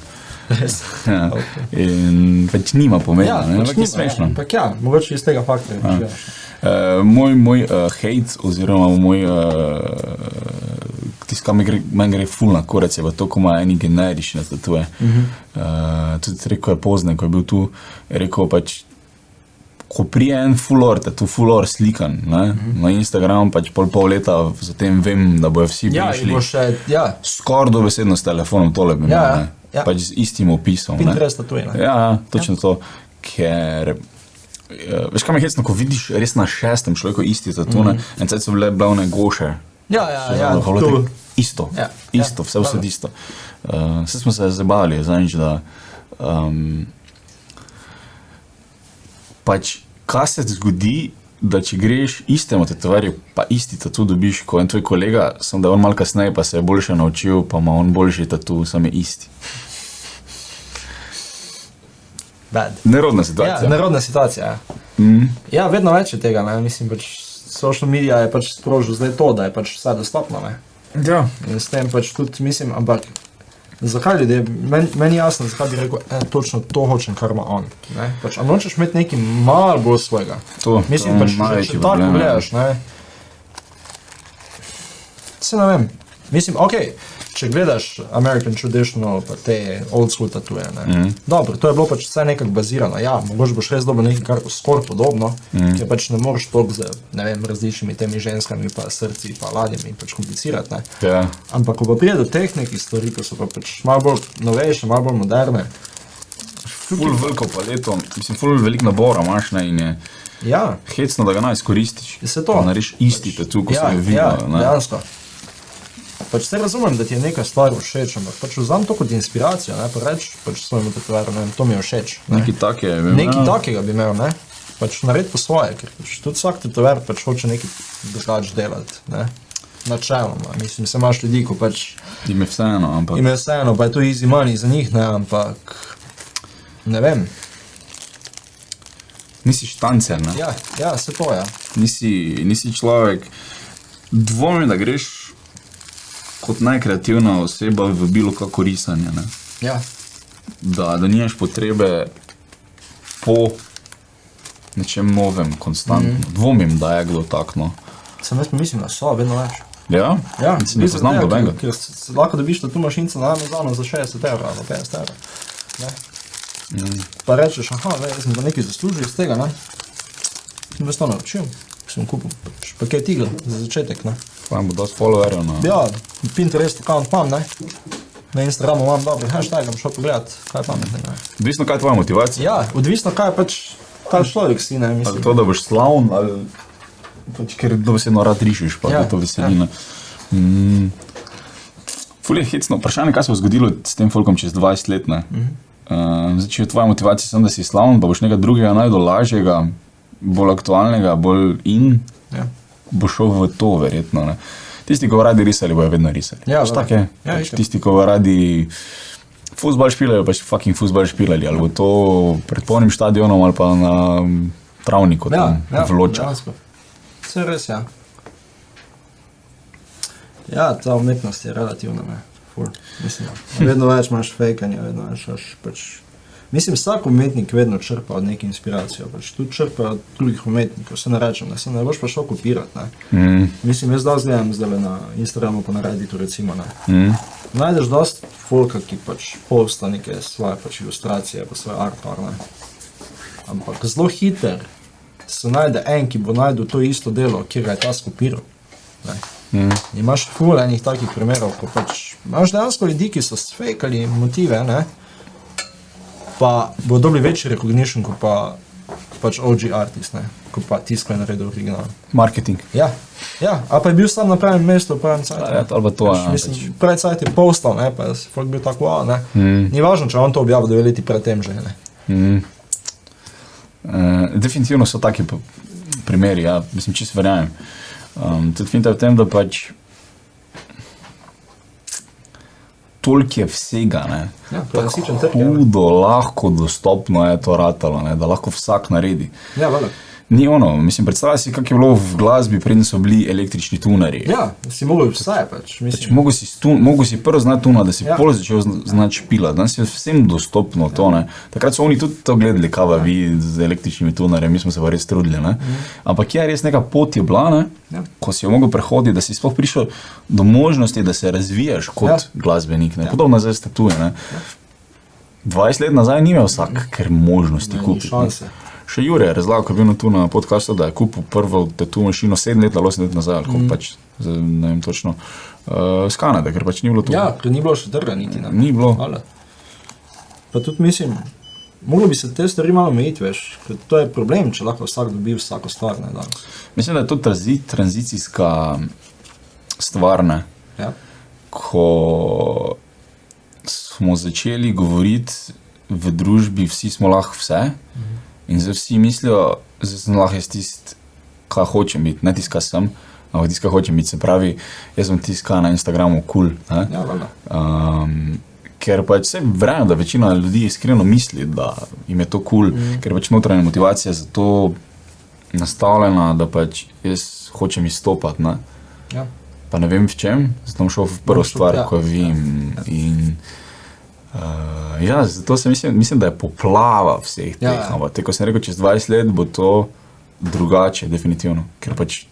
S2: Res.
S3: Ja. In pač nima
S2: Ja,
S3: pomena, ne, ampak je
S2: nima,
S3: smešno. Ja.
S2: Ampak ja, mogoče iz tega ja. faktorja. preživljaš.
S3: Uh, moj moj uh, hate, oziroma moj, uh, tisto, kar mi gre, meni gre ful na korec, je pa to, ko ima eni generične statue. Uh
S2: Mhm.
S3: -huh. uh, tudi rekel je pozne, ko je bil tu, je rekel pač. Ko prije en fulor, da je tu fulor slikan ne, uh
S2: Mhm.
S3: -huh. na Instagramu, pač pol pol leta, zatem vem, da bojo vsi
S2: Ja, in
S3: prišli.
S2: bo še, ja,
S3: Skoraj dobesedno s telefonom tole bi
S2: Ja,
S3: imel,
S2: ja,
S3: ne,
S2: ja.
S3: pač z istim opisom. ne.
S2: Pinterest tatuje.
S3: Ja, Ja, točno ja. to. Ker, eh, veš, kaj me hecno, ko vidiš res na šestem človeku isti tatune,
S2: Mhm.
S3: mm -hmm. in zdaj so bile blavne goše.
S2: Ja, ja,
S3: So
S2: ja,
S3: zelo hvala,
S2: to-
S3: tako Isto,
S2: Ja,
S3: ja, isto,
S2: ja,
S3: vse vse
S2: hvala.
S3: isto. Uh, vse smo se zabavali, zanič, da um, pač, kaj se zgodi, da če greš istemu tetovarju, pa isti tatu dobiš, kot en tvoj kolega, sem da je on malo kasneje, pa se je boljše naučil, pa ima on boljši tatu, sam je isti.
S2: Bad.
S3: Nerodna
S2: Ja,
S3: situacija.
S2: nerodna situacija. ja.
S3: Mhm.
S2: Ja, vedno več je tega, ne? mislim, pač social media je pač sprožil zdaj to, da je pač vse dostopno. Ne?
S3: Ja.
S2: In s tem pač tudi mislim, ampak zakaj ljudje, meni men je jasno, zakaj bi rekel, e, točno to hočem, kar ima on. ne. Pač, ampak nočeš imeti nekaj malo bolj svojega.
S3: To,
S2: Mislim,
S3: to
S2: pač,
S3: je
S2: že,
S3: največji
S2: če tako
S3: problem, ja.
S2: gledaš, ne. Se ne vem. Mislim, ok, če gledaš American traditional, pa te old school tatuje, ne. Mm. Dobro, to je bilo pač vse nekako bazirano. Ja, mogoče boš res dobil nekaj, kar bo skoraj podobno, mm. ker pač ne moreš toliko z, ne vem, različnimi temi ženskami, pa srci, pa ladjami, pač komplicirati, ne.
S3: Ja.
S2: Ampak, ko pa pride do tehnike stvari, ki so pa pač malo bolj novejše, malo bolj moderne,
S3: Ful veliko paleto, mislim, ful veliko nabora imaš ne, in je
S2: ja,
S3: hecno, da ga naj izkoristiš.
S2: Se to.
S3: Da Narediš isti tatu, kot
S2: ja,
S3: sem ga
S2: ja,
S3: videl. Ja,
S2: dejansko. Pač se razumem, da ti je neka stvar všeč, ampak pač vzam to kot inspiracijo, ne pa reč, pač svojemu tetovaru, ne vem, to mi je všeč. Ne.
S3: Nekaj ja. take. bi imel.
S2: Nekaj takega bi imel, ne? Pač naredi po svoje, ker pač tudi vsak tetovar pač hoče nekaj drugače delati, ne? Načeloma, mislim, se imaš ljudi, ko pač
S3: Jim je vseeno, ampak.
S2: jim je vseeno, pa je to easy money za njih, ne, ampak ne vem.
S3: Nisi štancer, ne?
S2: Ja, ja, se to je. Ja.
S3: nisi, nisi človek. Dvomim, da greš kot najkreativna oseba v bilo kako risanje. Ne?
S2: Ja,
S3: Da, da nimaš potrebe po nečem novem, konstantno.
S2: Mhm.
S3: Mm -hmm. Dvomim, da je kdo takno.
S2: sem jaz pa mislim, da so, vedno več.
S3: Ja,
S2: Ja,
S3: Mislim, ne poznam nobenega.
S2: Ker s- s- lahko dobiš to mašinco na Amazonu za 60 evrov ali 50 evrov. ne. ja.
S3: Mm.
S2: Pa rečeš, aha, le, jaz sem pa nekaj zaslužil iz tega, ne? Sem vas to naučil, sem kupil pač paket igel za začetek, ne?
S3: Imam dosti followerjev no. na
S2: Ja, Pinterest account imam, ne? Na Instagramu imam dobre hashtag, bom šel pogledat, kaj je pametnega. ne.
S3: Odvisno, kaj je tvoja motivacija.
S2: Ja, odvisno kaj pač ta človek si, ne,
S3: Ali
S2: mislim.
S3: to, da boš slaven, ali pač, ker dobesedno rad rišiš, pa
S2: Ja,
S3: ja, to veseli. Ja. Mm. Fulje je hecno. Vprašanje, kaj se bo zgodilo s tem folkom čez 20 let. Mm -hmm. uh, zdaj, če je tvoja motivacija samo, da si slaven, pa boš nekaj drugega najdel lažjega, bolj aktualnega, bolj in,
S2: Ja,
S3: boš šel v to, verjetno. Ne? Tisti, ki bodo radi risali, bojo vedno risali.
S2: Ja,
S3: pač
S2: verjetno.
S3: tako je.
S2: Ja,
S3: pač
S2: itak.
S3: tisti, ki bodo radi fusbal špilali, pač fucking fusbal špilali. Ali bo to pred polnim stadionom ali pa na travniku,
S2: ja,
S3: tam
S2: ja
S3: v Ločah.
S2: dejansko. Saj res, ja. Ja, ta umetnost je relativna, ne. Ful, mislim. Vedno več imaš fejkanja, vedno več imaš pač... Mislim, vsak umetnik vedno črpa od neke inspiracije, pač tudi črpa od drugih umetnikov, se ne rečem, da se ne boš pa šel kopirati, ne.
S3: Mm,
S2: Mislim, jaz dosti gledam zdaj na Instagramu pa na Redditu recimo, ne.
S3: mm.
S2: Najdeš dosti folka, ki pač posta neke svoje pač ilustracije, pa svoje artwork. Ampak zelo hiter se najde en, ki bo najdel to isto delo, ki ga je ta skopiral. Ne.
S3: Mm.
S2: In Imaš ful enih takih primerov, ko pač imaš dejansko ljudi, ki so sfekali motive, ne? pa bodo dobili večji recognition kot pa, pač OG artist, ne? kot pa tisto, kar je naredil original.
S3: Marketing.
S2: Ja, ja, a pa je bil sam na pravem mestu, v pravem času.
S3: Ja, ali pa to
S2: Pač,
S3: je.
S2: Mislim, pred sajti je postal, ne, pa je folk bil tako, wow, ne.
S3: Mm.
S2: Ni važno, če on to objavi dve leti predtem že, ne.
S3: Mm. Uh, definitivno so taki p- primeri, ja, mislim, če se verjamem. Um, tudi finta je v tem, da pač toliko je vsega. Ne,
S2: Ja,
S3: Tako
S2: prelasičen trg, ja.
S3: Hudo, lahko dostopno je to ratalo, ne, da lahko vsak naredi.
S2: Ja, valjda.
S3: Ni ono, mislim, predstavljaj si, kako je bilo v glasbi, preden so bili električni tunari.
S2: Ja, si mogel vse, pač.
S3: Pač
S2: Mislim,
S3: Mogo si, stu- mogel si prvo znati tuno, da si
S2: Ja.
S3: ja. pol začel zn- znati špila, danes je vsem dostopno ja. to. Ne? Takrat so oni tudi to gledali,
S2: Ja.
S3: kava vi z električnimi tunarji, mi smo se pa res trudili. Ne? Ampak je res neka pot je bila, ne?
S2: Mhm. Ja.
S3: ko si jo mogel prehoditi, da si sploh prišel do možnosti, da se razvijaš kot
S2: Ja.
S3: ja. glasbenik. Ne? Podobno zdaj statuje. Ne? 20 let nazaj ni imel vsak, ker možnosti
S2: Ne, Mhm. ni
S3: kupiti. ne.
S2: šanse.
S3: Še Jure je razlagal, ko je bil na tu na podkastu, da je kupil prvo tatu mašino 7 let ali 8 let nazaj, ali mm. pač, zdaj ne vem točno, uh, s Kanade, ker pač ni bilo tu.
S2: ja, ker ni bilo še trga, niti ne.
S3: Ni bilo.
S2: Hvala. Pa tudi mislim, moglo bi se te stvari malo omejiti, veš, ker to je problem, če lahko vsak dobi vsako stvar, ne danes.
S3: Mislim, da je to tranzi, tranzicijska stvar, ne?
S2: Ja,
S3: ko smo začeli govoriti v družbi, vsi smo lahko vse mm. in zdaj vsi mislijo, da sem lahko jaz tisti, kaj hočem biti, ne tisti, kaj sem. Ampak tiskaj hočem biti, se pravi, jaz sem tiskal na Instagramu, kul. Cool, ne?
S2: ja, valjda.
S3: Um, ker pač se verjamem, da večina ljudi iskreno misli, da jim je to kul, cool,
S2: Mhm.
S3: mm. ker pač notranja motivacija za to nastavljena, da pač jaz hočem izstopati. Ne?
S2: Ja.
S3: Pa ne vem v čem, zato bom šel v prvo
S2: Bom šel,
S3: stvar,
S2: ja.
S3: ko vem. In, uh, ja, zato se mislim, mislim, da je poplava vseh
S2: Ja,
S3: teh.
S2: ja.
S3: Ja. Ampak, te, ko sem rekel, čez 20 let bo to drugače, definitivno, ker pač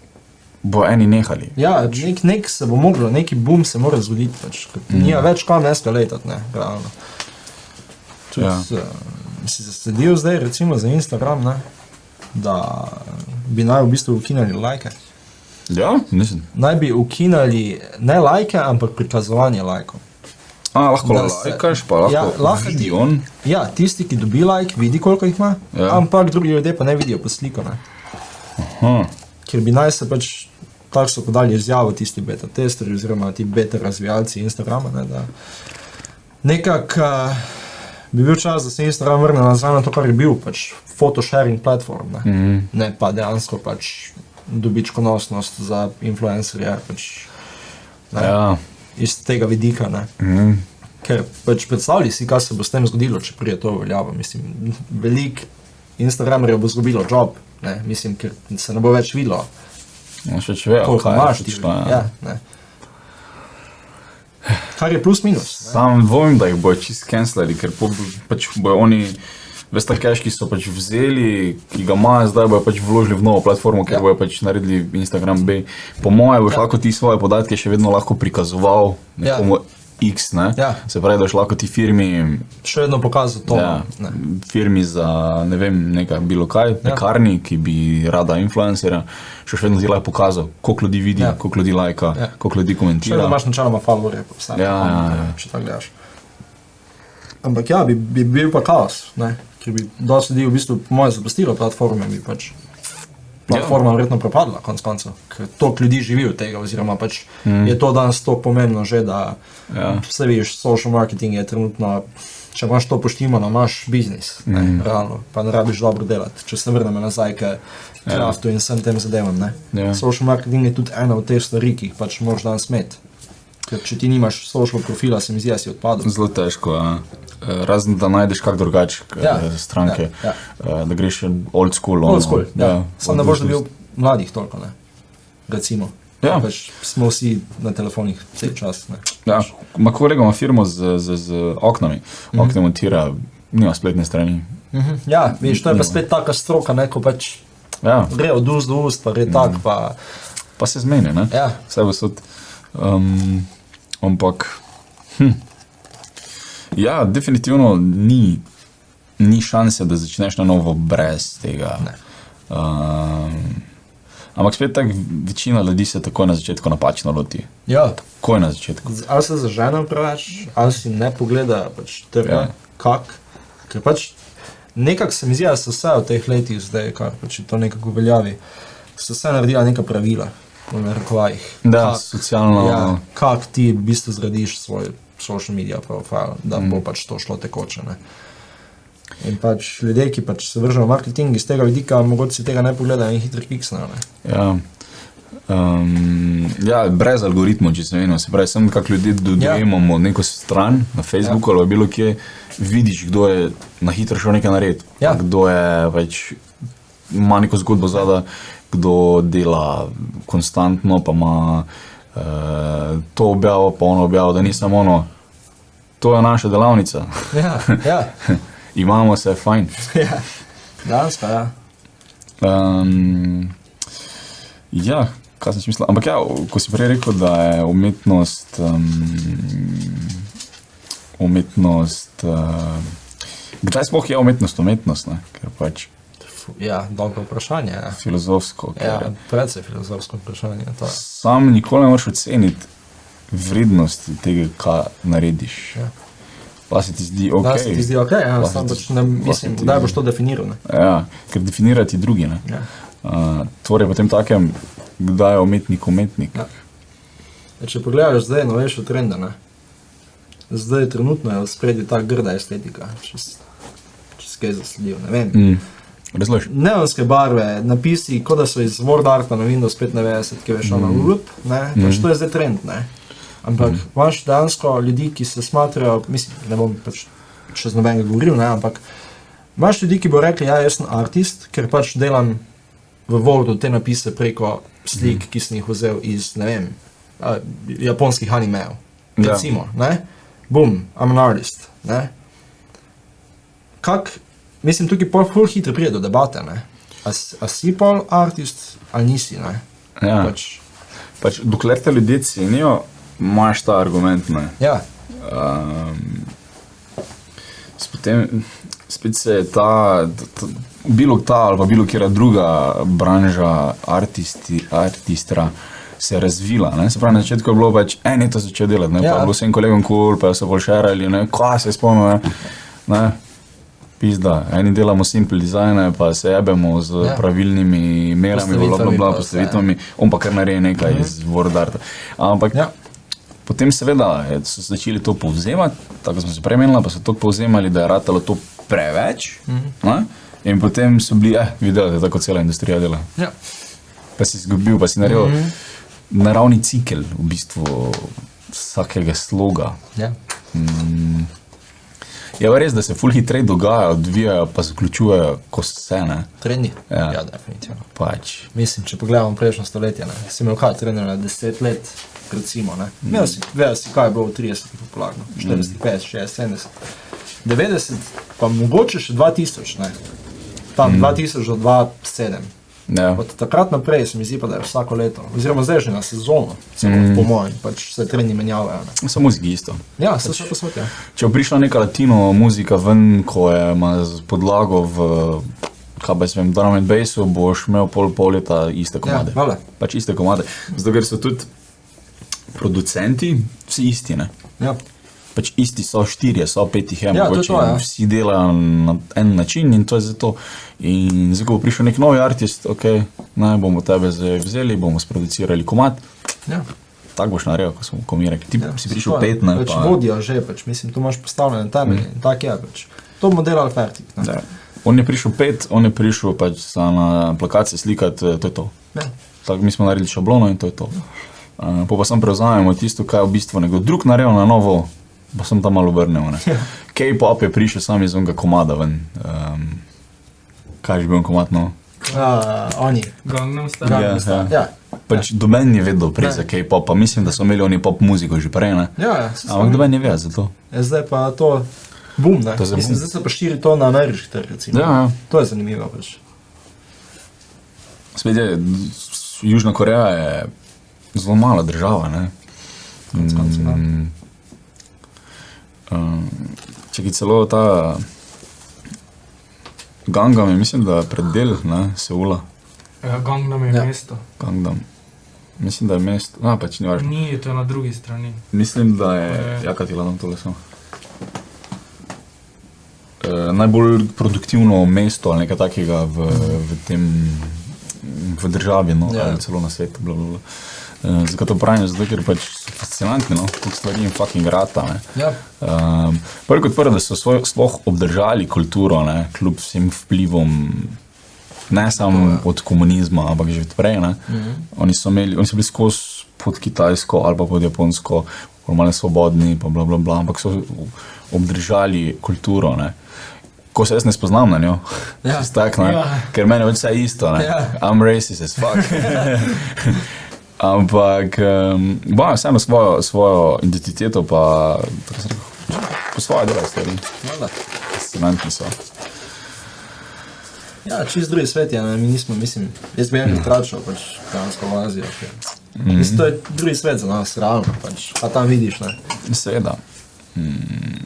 S3: bo eni nehali.
S2: Ja, nek, nek se bo moglo, neki boom se mora zgoditi. Pač. Mm. Ni več kam eskaletati, ne, realno. Tudi,
S3: Ja.
S2: ja. Si zasledil zdaj, recimo za Instagram, ne, da bi naj v bistvu ukinjali lajke.
S3: Ja, mislim.
S2: Naj bi ukinjali ne lajke, ampak prikazovanje lajkov.
S3: A, lahko
S2: Da se-
S3: lajkaš, pa lahko,
S2: Ja, lahko ti-
S3: vidi on.
S2: Ja, tisti, ki dobi lajk, vidi, koliko jih ima, ja.
S3: Ja.
S2: ampak drugi ljudje pa ne vidijo poslikane.
S3: Hm.
S2: Ker bi naj se pač, tako so podali izjavo tisti beta testerji oziroma ti beta razvijalci Instagrama, ne, da nekako uh, bi bil čas, da se Instagram vrne nazaj na to, kar je bil, pač photosharing platform, ne, mm. ne pa dejansko pač dobičkonosnost za influencerje, pač ne,
S3: Ja.
S2: iz tega vidika. Ne.
S3: Mm.
S2: Ker pač predstavljaj si, kaj se bo s tem zgodilo, če prije to uveljavo. Mislim, veliko Instagramerjev bo izgubilo job, ne? mislim, ker se ne bo več videlo,
S3: No, še če vejo,
S2: koliko
S3: kaj
S2: imaš
S3: je pač,
S2: ti.
S3: šlo.
S2: Ja, ne. Kar je plus minus.
S3: Sam vem, da jih bojo čist cancelali, ker po, pač bojo oni, veš, ta cache, ki so pač vzeli, ki ga imajo, zdaj bojo pač vložili v novo platformo, ker
S2: Ja.
S3: ja. bojo pač naredili Instagram B. Po mojem, boš
S2: Ja.
S3: ja. lahko ti svoje podatke še vedno lahko prikazoval
S2: Ja.
S3: nekomu X, ne?
S2: Ja.
S3: Se pravi, da boš lahko ti firmi
S2: Še vedno pokazal to.
S3: ja,
S2: ne.
S3: firmi za ne vem, nekaj, bilo kaj,
S2: Ja.
S3: lekarni, ki bi rada influencerja, še vedno ti lahko pokazal, koliko ljudi vidi,
S2: Ja.
S3: ja. koliko ljudi lajka,
S2: Ja.
S3: ja. koliko ljudi
S2: Še vedno
S3: komentira.
S2: imaš načeloma favorite, pa vse.
S3: Ja, ja, ja.
S2: Če tako gledaš. Ampak ja, bi, bi bil pa kaos, ne? ker bi dosti ljudi v bistvu, po mojem, zapustilo platforme, bi pač platforma
S3: Ja.
S2: verjetno propadla, konc koncev. Ker toliko ljudi živi od tega, oziroma pač mm. je to danes tako pomembno že, da
S3: Ja.
S2: vse veš, social marketing je trenutno, če imaš to poštimano, imaš biznis, mm. realno, pa ne rabiš dobro delati. Če se vrnemo nazaj k kraftu in vsem tem zadevam, ne.
S3: Ja.
S2: Social marketing je tudi ena od teh stvari, ki jih pač moraš danes imeti. Ker če ti nimaš social profila, se mi zdi, da si odpadel.
S3: Zelo težko. Ja. Eh, Razen da najdeš kak drugačne
S2: Ja,
S3: ja, stranke,
S2: ja,
S3: ja, ja. da greš old school. ono,
S2: Old school, ja. ja. Sam ne boš dobil
S3: odvisnost.
S2: mladih toliko, ne. Recimo.
S3: Ja.
S2: Pač smo vsi na telefonih vse čas, ne.
S3: Ja, ma kolega ima firmo z, z, z oknami, mm -hmm. okne montira, nima spletne strani.
S2: Mhm, Ja, veš, to je pa
S3: Nima.
S2: spet taka stroka, ne, ko pač
S3: Ja,
S2: gre od ust do ust, pa gre tak, pa
S3: pa se zmeni, ne?
S2: Ja.
S3: Vse vsod. Um, ampak. Hm. Ja, definitivno ni, ni šanse, da začneš na novo brez tega.
S2: Ne.
S3: Um, ampak spet tako večina ljudi se takoj na začetku napačno loti.
S2: ja,
S3: Takoj na začetku.
S2: z- ali se zažene preveč, ali si ne pogleda, pač trga,
S3: Ja.
S2: kak, ker pač nekako se mi zdi, da so vse v teh letih zdaj, kar pač je to nekako uveljavi, so vse naredila neka pravila, v narekovajih.
S3: Da,
S2: Kak-
S3: socialno-
S2: Ja, kak ti v bistvu zgradiš svoj social media profil, da
S3: Mhm.
S2: mm. bo pač to šlo tekoče, ne. In pač ljudje, ki pač se vržejo v marketing iz tega vidika, mogoče si tega ne pogledajo in hitro kiksnajo, ne.
S3: Ja. Um, ja, brez algoritmov, če se vemo, se pravi, samo kako ljudje do-
S2: Ja.
S3: dojemamo ja. neko stran na Facebooku ja. ali bilo kje, vidiš, kdo je na hitro šel nekaj narediti,
S2: Ja.
S3: pa kdo je pač ima neko zgodbo zadaj, kdo dela konstantno, pa ima uh, to objavo, pa ono objavo, da ni samo ono. To je naša delavnica,
S2: Ja, ja,
S3: imamo se fajn.
S2: ja. Dejansko, ja.
S3: Um, ja, kaj sem si mislil. Ampak ja, ko si prej rekel, da je umetnost, um, umetnost, uh, kdaj sploh je umetnost umetnost, ne? ker pač
S2: Fu- Ja, dobro vprašanje. Ja.
S3: filozofsko.
S2: Ja,
S3: Ker,
S2: predvsej filozofsko vprašanje. To. je.
S3: Sam nikoli ne moreš oceniti vrednosti tega, kar narediš.
S2: Ja.
S3: Pa se ti zdi ok.
S2: Da se ti zdi ok, ja,
S3: Pa se
S2: sam
S3: ti-
S2: pač ne
S3: pa se
S2: mislim,
S3: ti
S2: kdaj
S3: zdi.
S2: boš to definiral. ne.
S3: Ja, ker definirati drugi. Ne?
S2: Ja.
S3: Uh, torej, potem takem, kdaj je umetnik umetnik.
S2: Ja. E, Če pogledaš zdaj novejše trende, ne? zdaj trenutno je v spredju ta grda estetika, če s- če si kaj zasledil. Ne vem.
S3: Mm. Razloži.
S2: Neonske barve, napisi, kot da so iz Word Arta na Windows 95, ki veš, ono,
S3: Mm.
S2: lup, ne, pač to je zdaj trend, ne. Ampak imaš dejansko ljudi, ki se smatrajo, mislim, ne bom pač čez nobenega govoril, ne, ampak imaš ljudi, ki bo rekli, ja, jaz sem artist, ker pač delam v Wordu te napise preko
S3: Mhm.
S2: slik, ki sem jih vzel iz, ne vem, a, japonskih animejev.
S3: Ja.
S2: Recimo, ne, bum, I'm an artist, ne kak, mislim, tukaj pol ful hitro pride do debate, ne. A, s- a si pol artist ali nisi, ne.
S3: Ja.
S2: Pač,
S3: Pač, dokler te ljudje cenijo, imaš ta argument. Ne.
S2: ja,
S3: S Potem, spet se je ta, ta, bilo ta ali pa bilo kera druga branža artisti, artistra se je razvila. Ne. Se pravi, na začetku je bilo pač eno to začel delati, ne,
S2: Ja.
S3: pa je bilo vsem kolegom kul, cool, pa so bolj šerali, ne, kva se spomnim. Ne. Pizda, eni delamo simple dizajne, pa se jebemo z
S2: Ja.
S3: ja. pravilnimi merami, bla, bla,
S2: Postavitvami
S3: bla,
S2: pa vse.
S3: postavitvami, on pa kar naredi nekaj iz Vordarta. Ampak
S2: Mhm. ja,
S3: Potem, seveda, je- so začeli to povzemati, tako kot smo se prej menili, pa so to povzemali, da je ratalo to preveč. Mm -hmm. In potem so bili, eh, videli, da je tako cela industrija dela.
S2: ja.
S3: Pa si izgubil, pa si naredil mm -hmm. naravni cikel v bistvu vsakega sloga.
S2: ja.
S3: Je pa res, da se fulhi hitreje dogajajo, odvijajo, pa zaključujejo, ko se ne.
S2: Trendi.
S3: Ja.
S2: ja, definitivno.
S3: Pač.
S2: Mislim, če pogledamo prejšnjo stoletje, ne. si imel kaj trener na 10 let, recimo, ne. Imel si, vedel si, kaj je bilo v 30-ih popularno,
S3: Mm.
S2: 40, 50, 60, 70. 90, pa mogoče še 2000, ne.
S3: Mm.
S2: Tam 2000 do 2007.
S3: Ja.
S2: Od takrat naprej se mi zdi, pa, da je vsako leto, oziroma zdaj že na sezono, celo, mm. po mojem, pač se trendi menjavajo. Ne?
S3: Samo z isto.
S2: Ja, se
S3: Pač
S2: vse posvetja.
S3: Če bo prišla neka latino muzika ven, ko je ima z- podlago v, kaj pa jaz vem, drum and bassu, boš imel pol pol leta iste
S2: Ja,
S3: komade.
S2: vale.
S3: pač iste komade. Zato ker so tudi producenti, vsi isti, ne.
S2: Ja.
S3: Pač isti so štirje, so petih, je
S2: Ja, to je
S3: mogoče.
S2: to, ja.
S3: in Vsi delajo na en način in to je zato. In zdaj, ko bo prišel nek novi artist, ok, naj bomo tebe zdaj vzeli, bomo sproducirali komad,
S2: Ja.
S3: tako boš naredil, ko smo komirek. Ti
S2: Ja,
S3: ja, si
S2: se
S3: prišel
S2: to je.
S3: pet, ne
S2: Pač
S3: pa.
S2: vodijo že, pač, mislim, tu imaš postavljene temelje mm. in tako je. Pač. To bomo delali fertik. ne.
S3: Da. On je prišel pet, on je prišel pač sa na plakate slikati, eh, to je to.
S2: Ja.
S3: Tako mi smo naredili šablono in to je to. Uh, pa sem prevzamemo tisto, kar je v bistvu nekdo drug naredil na novo, pa sem tam malo obrnil. ne. K-pop je prišel sam iz onega komada ven. Um, kaj je že bil on komad no?
S2: Uh, oni.
S1: Gangnam Style.
S3: Ja, ja.
S2: Ja,
S3: Pač domen je vedel prej za
S2: Ne.
S3: K-pop, pa mislim, da so imeli oni pop muziko že prej. Ne?
S2: ja, ja
S3: Ampak
S2: se spomnim.
S3: domen je vedel za to.
S2: Ja, zdaj pa to bum. ne.
S3: To je za
S2: Mislim,
S3: bum.
S2: zdaj se pa širi to na ameriški trg. recimo.
S3: Ja, ja.
S2: To je zanimivo. Pač.
S3: Spet je, s- Južna Koreja je zelo mala država. Ne?
S2: Konec koncev, ja.
S3: Mm. Um, če ki celo ta Gangam je, mislim, da je predel ne, Seula,
S1: Ja, Gangnam je
S2: Ja.
S1: ja. mesto.
S3: Gangam. Mislim, da je mesto, no pač ni važno.
S1: Ni, to je na drugi strani.
S3: Mislim, da je,
S1: Ne.
S3: ja, kaj ti ladam tole samo. E, najbolj produktivno mesto ali nekaj takega v, v tem, v državi, no,
S2: Ja.
S3: ali celo na svetu. Bla, bla, bla. E, zakaj to pravim? Zato, ker pač so fascinantni, no, kot stvari jim fucking rata. Ne.
S2: Ja.
S3: Um, prvo kot prvo, da so svoj, sploh obdržali kulturo, ne, kljub vsem vplivom, ne samo ja. od komunizma, ampak že od prej. Mm -hmm. oni, so imeli, oni so bili skozi pod Kitajsko ali pa pod Japonsko, formalno svobodni, pa bla, bla, bla, ampak so obdržali kulturo. Ne. ko se jaz ne spoznam na njo,
S2: Ja.
S3: ja. tak, ne,
S1: Ja.
S3: ja. ker meni je vse isto, ne.
S2: Ja.
S3: I'm racist as fuck. Ampak um, imam vseeno svojo, svojo identiteto, pa tako sem rekel, po svoje delo stvari,
S2: Valjda.
S3: cementni so.
S2: Ja, čist drugi svet je, ne, mi nismo, mislim, jaz bi enkrat tračal, pač dejansko v Azijo. Ker,
S3: Mhm.
S2: mm. Mislim, to je drugi svet za nas, realno, pač, pa tam vidiš, ne.
S3: Seveda. Mm.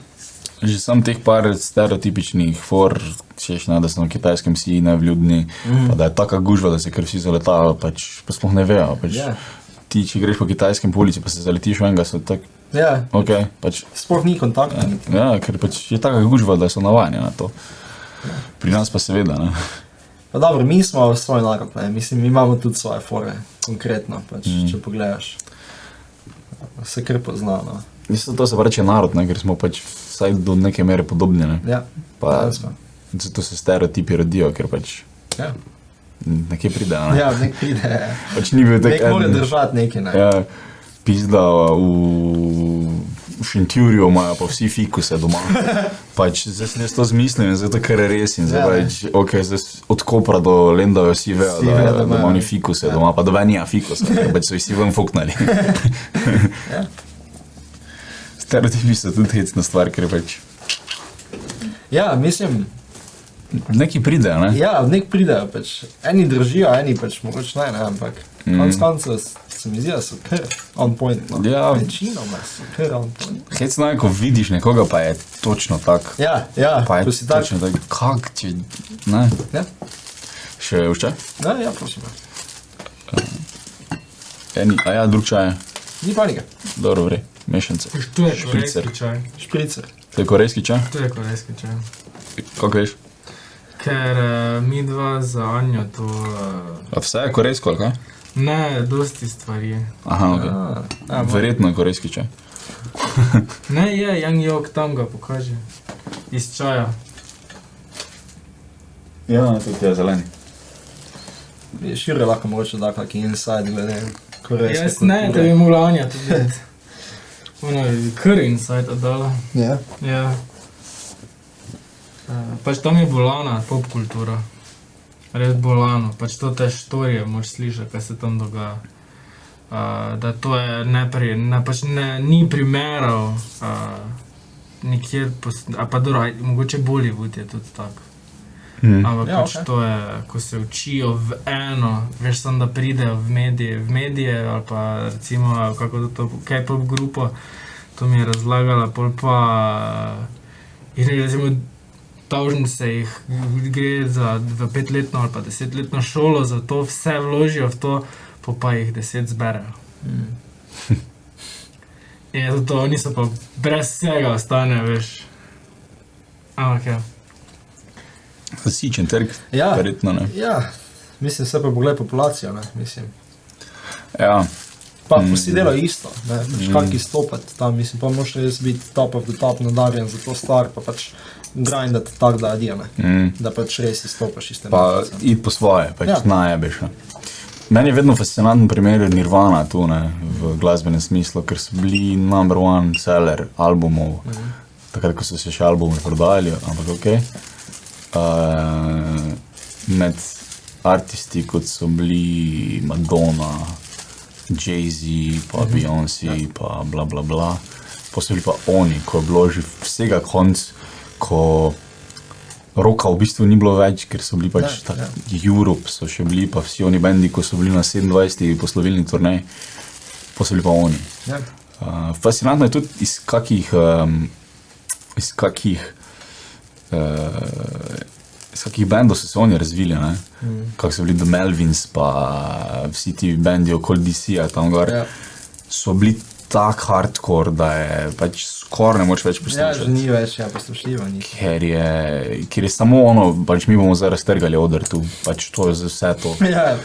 S3: Že sam teh par stereotipičnih for, češ ne, da so na kitajskem vsi nevljudni, mm. pa da je taka gužva, da se kar vsi zaletajo, pač pa sploh ne vejo. Pač,
S2: Ja.
S3: yeah. Ti, če greš po kitajskem po ulici, pa se zaletiš v enega, so tako,
S2: Ja,
S3: ok, pač,
S2: sploh ni kontakta. Ja.
S3: ja, ker pač je taka gužva, da so navajeni na to. Pri nas pa seveda, ne.
S2: Pa dobro, mi smo svoj narod, ne, mislim, mi imamo tudi svoje fore, konkretno, pač,
S3: Mhm.
S2: mm. če pogledaš. Se kar no. poznano.
S3: Mislim, to se pa reče narod, ne, ker smo pač vsaj do neke mere podobni, ne.
S2: Ja,
S3: Pa,
S2: dejansko.
S3: zato se stereotipi rodijo, ker pač
S2: Ja,
S3: nekje pride, ne.
S2: ja nek pride.
S3: Pač ni bil
S2: Nek
S3: tak
S2: mora
S3: eden.
S2: držati nekaj, ne.
S3: Ja, pizda v Šentjurju imajo pa vsi fikuse doma. Pač zdaj sem jaz to zmislil in zato ker je res in zdaj
S2: Ja.
S3: pač, ok, zdaj s- od Kopra do Lendave vsi vejo,
S2: Vsi
S3: da,
S2: vejo,
S3: da
S2: da imajo.
S3: imajo oni fikuse doma, pa da venja fikuse, ker pač so jih vsi ven fuknali.
S2: Ja.
S3: Stereotipi so tudi hecna stvar, ker pač
S2: ja, mislim.
S3: neki pride, ne?
S2: Ja, nek pridejo, pač. eni držijo, eni pač mogoče ne, ne ampak mm. konec koncev s- se mi zdi, da so kar on point. No.
S3: Ja.
S2: Večinoma so kar on point.
S3: Hecna je, ko vidiš nekoga, pa je točno tak.
S2: Ja, ja,
S3: Pa
S2: ko
S3: je
S2: si tak.
S3: točno tak, kak če, ne,
S2: Ja,
S3: še vse?
S2: ja, ja prosim.
S3: Eni, a ja, drug čaj je.
S2: Ni panike,
S3: Dobro, vre, mešanice.
S1: To je korejski
S3: Špricer.
S1: čaj.
S2: špricer.
S3: To je korejski čaj?
S1: To je korejski čaj.
S3: Kako veš?
S1: Ker uh, mi dva za Anjo to... Uh,
S3: A vse je korejsko, ali kaj?
S1: ne, dosti stvari.
S3: Aha, ok.
S2: A,
S3: Ja, Verjetno je korejski čaj.
S1: Ne, je, Yang Jok tam ga pokaže. Iz čaja.
S3: Ja, tudi je zeleni.
S2: Širje lahko mogoče da kak inside glede korejske
S1: Jaz ne, da
S2: kulture.
S1: bi mogla Anja to videti. Ona je kar inside oddala.
S2: Ja.
S1: Ja. Eh, Pač tam je bolana pop kultura. Res bolano, pač to te štorije moraš slišati, kaj se tam dogaja. Uh, da to je nepri, ne, pač ne, ni primerov, uh, nikjer, pos, a pa dobro, aj- mogoče Bollywood je tudi tako.
S3: Mm.
S1: Ampak
S2: Ja,
S1: ja, pač
S2: okej.
S1: okay. to je, ko se učijo v eno, veš, samo da pridejo v medije, v medije ali pa recimo kako to- to K-pop grupo, to mi je razlagala, pol pa eh, in recimo. Tožen se jih gre za v petletno ali pa desetletno šolo, zato vse vložijo v to, po pa jih deset zberejo.
S2: Mm.
S1: In zato to niso pa brez vsega ostane, veš. Ampak ja.
S3: Zasičen trg,
S2: Ja.
S3: verjetno ne.
S2: ja, mislim, se pa pogled populacijo, ne, mislim.
S3: Ja,
S2: Pa
S3: Mm.
S2: vsi delajo isto, ne veš,
S3: Mm.
S2: kako izstopati tam, mislim, pa moraš res biti top of the top nadarjen za to stvar, pa pač grindati tako, da adija, ne.
S3: mm.
S2: Da pač res izstopaš iz tega.
S3: pa id po svoje, pač
S2: Ja.
S3: ja. najebeš. ne. Meni je vedno fascinanten primer Nirvana tu ne, v glasbenem smislu, ker so bili number one seller albumov.
S2: Mhm.
S3: Takrat, ko so se še albumi prodajali, ampak ok. Uh, med artisti, kot so bili Madonna, Jay-Z, pa mhm. Beyoncé, pa bla bla bla. Posebej pa oni, ko je bilo že vsega konc, ko roka v bistvu ni bilo več, ker so bili pač
S2: Ja,
S3: ja,
S2: ja.
S3: ja. Europe, so še bili pa vsi oni bendi, ko so bili na 27. poslovilni turnej, posebej pa oni.
S2: Ja.
S3: Uh, fascinantno je tudi iz kakih, um, iz kakih, uh, iz kakih bendov so se oni razvili. Mm. Kako so bili The Melvins, pa eh, vsi ti bendi okoli DC-ja tam gor.
S2: Ja.
S3: Yeah. So bili tako hardcore, da je pač skoraj ne moreš več
S2: ja, že
S3: poslušati.
S2: ni več, ja, poslušljivo ni.
S3: Ker je, ker je samo ono, pač mi bomo zdaj raztrgali odr tu, pač to je za vse to
S2: Ja,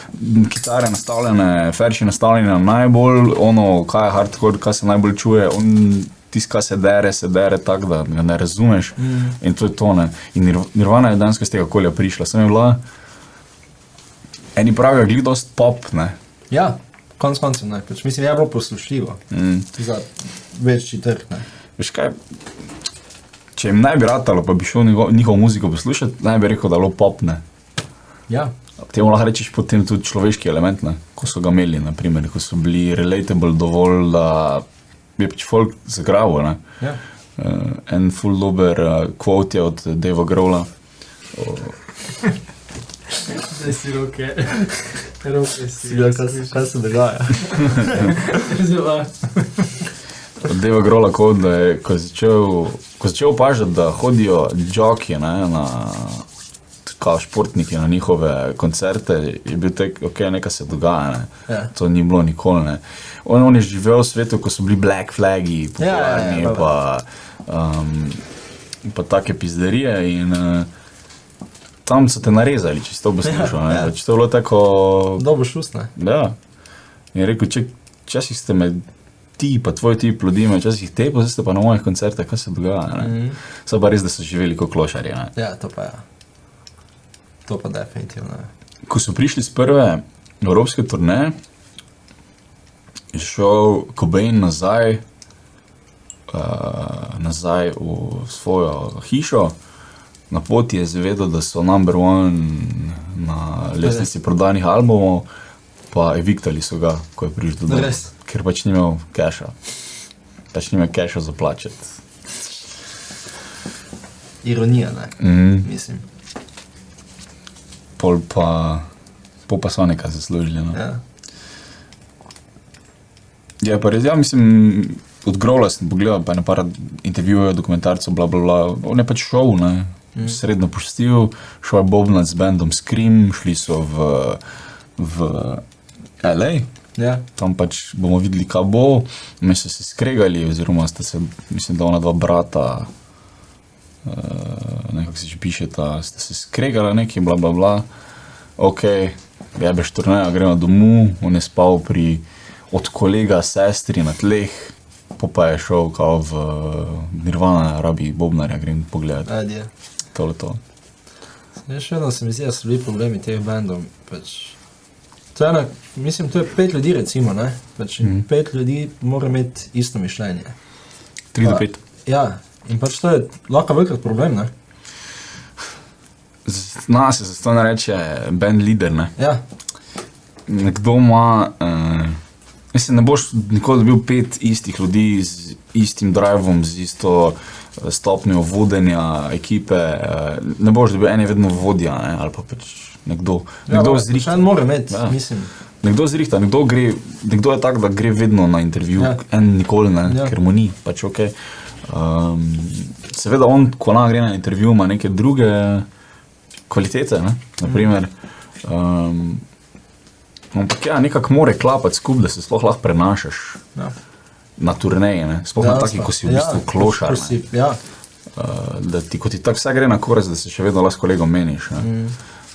S3: kitare nastavljene, ferši nastavljene najbolj, ono, kaj je hardcore, kaj se najbolj čuje, on tiska, kaj se dere, se dere tako, da ga ne razumeš. Mm. In to je tone. In Nir- Nirvana je danes iz tega okolja prišla, sem je bila. Eni pravijo, gledost pop, ne.
S2: ja konc koncev ne, pač mislim, je bilo poslušljivo
S3: Mm.
S2: za večji trg, ne.
S3: Veš kaj, Če jim ne bi ratalo, pa bi šel njegov, njihovo muziko poslušati, naj bi rekel, da lo popne.
S2: Ja.
S3: Temu lahko rečeš potem tudi človeški element, ne? ko so ga imeli, naprimer, ko so bili relatable dovolj, da je pač folk zagravil. ne.
S2: Ja.
S3: Uh, en full dober uh, quote je od Deva Growla.
S1: Zdaj si roke. Roke si.
S2: Ja, kaj se dogaja.
S1: Zelo.
S3: Deva Grola kot da je, ko je začel, ko je začel opažati, da hodijo joki ne, na kao športniki na njihove koncerte, je bil tek, ok, nekaj se dogaja, ne.
S2: Ja.
S3: to ni bilo nikoli. Ne. On, on je živel v svetu, ko so bili black flagi,
S2: Ja, ja, ja,
S3: popularni, ja, ja, ja,
S2: dobro.
S3: pa, um, pa take pizderije in uh, tam so te narezali, če si to poslušal,
S2: Ja, ja.
S3: ja, ja. če to je bilo tako
S2: Dobro šustne.
S3: Ja. In je rekel, če včasih ste me ti, pa tvoj tip ljudi, me včasih te, pa zdaj ste pa na mojih koncertih, kaj se dogaja.
S2: Mhm.
S3: Mm. So pa res, da so živeli kot klošarji. Ne?
S2: Ja, to pa je. Ja. To pa definitivno je.
S3: Ko so prišli z prve evropske turneje, je šel Kobain nazaj, uh, nazaj v svojo hišo. Na poti je zvedel, da so number one na lestvici prodanih albumov, pa eviktali so ga, ko je prišel do
S2: Res?
S3: ker pač ni imel keša. Pač ni imel keša za plačati.
S2: Ironija, ne?
S3: Mm,
S2: Mislim.
S3: pol pa, pol pa so nekaj zaslužili. No.
S2: Ja.
S3: Je pa res, ja, mislim, od Grola sem pogledal, pa je na par intervjujev, dokumentarcev, bla, bla, bla. On je pač šel, ne, mm. srednjo pustil, šel je Bobnac z bandom Scream, šli so v, v L.A.,
S2: Ja.
S3: tam pač bomo videli, kaj bo. Mi so se skregali, oziroma sta se, mislim, da ona dva brata, uh, nekako se že piše, da sta se skregala neki, bla, bla, bla. Ok, jebeš turnejo, gremo domov, on je spal pri od kolega sestri na tleh, po pa je šel kao v eh, Nirvana, rabi Bobnarja, grem pogledat,
S2: Adje.
S3: tole to.
S2: Ja, še vedno se mi zdi, da so bili problemi teh bendov. Pač. To je ena, mislim, to je pet ljudi, recimo, ne? Pač
S3: Mhm.
S2: mm. Pet ljudi mora imeti isto mišljenje.
S3: 3 do
S2: Ja.
S3: 5.
S2: Ja, in pač to je lahko velik problem, ne?
S3: Zna se, zato ne reče, band leader, ne.
S2: Ja,
S3: nekdo ima. Uh, mislim, ne boš nikoli dobil pet istih ljudi z istim drivom, z isto eh, stopnjo vodenja ekipe. eh, Ne boš dobil ene vedno vodja ne, ali pa pač nekdo. Nekdo,
S2: ja,
S3: zrihta,
S2: Še en mora imeti, ja.
S3: Ja.
S2: mislim.
S3: nekdo zrihta, nekdo, gre, nekdo je tak, da gre vedno na intervju,
S2: Ja.
S3: ja. en nikoli ne,
S2: Ja.
S3: ja. ker mu ni, pač ok. Um, seveda on, ko ona gre na intervju, ima neke druge kvalitete, ne?
S2: Mm.
S3: naprimer. Um, ampak ja, nekako more klapati skupaj, da se sploh lahko prenašaš
S2: Ja.
S3: na turneji, ne? sploh
S2: Ja,
S3: na taki,
S2: sva-
S3: ko si v bistvu
S2: ja,
S3: klošar.
S2: ko
S3: ne.
S2: si- Ja,
S3: Uh, da ti kot ti tako vse gre na korist, da se še vedno lahko s kolegom meniš. Mm.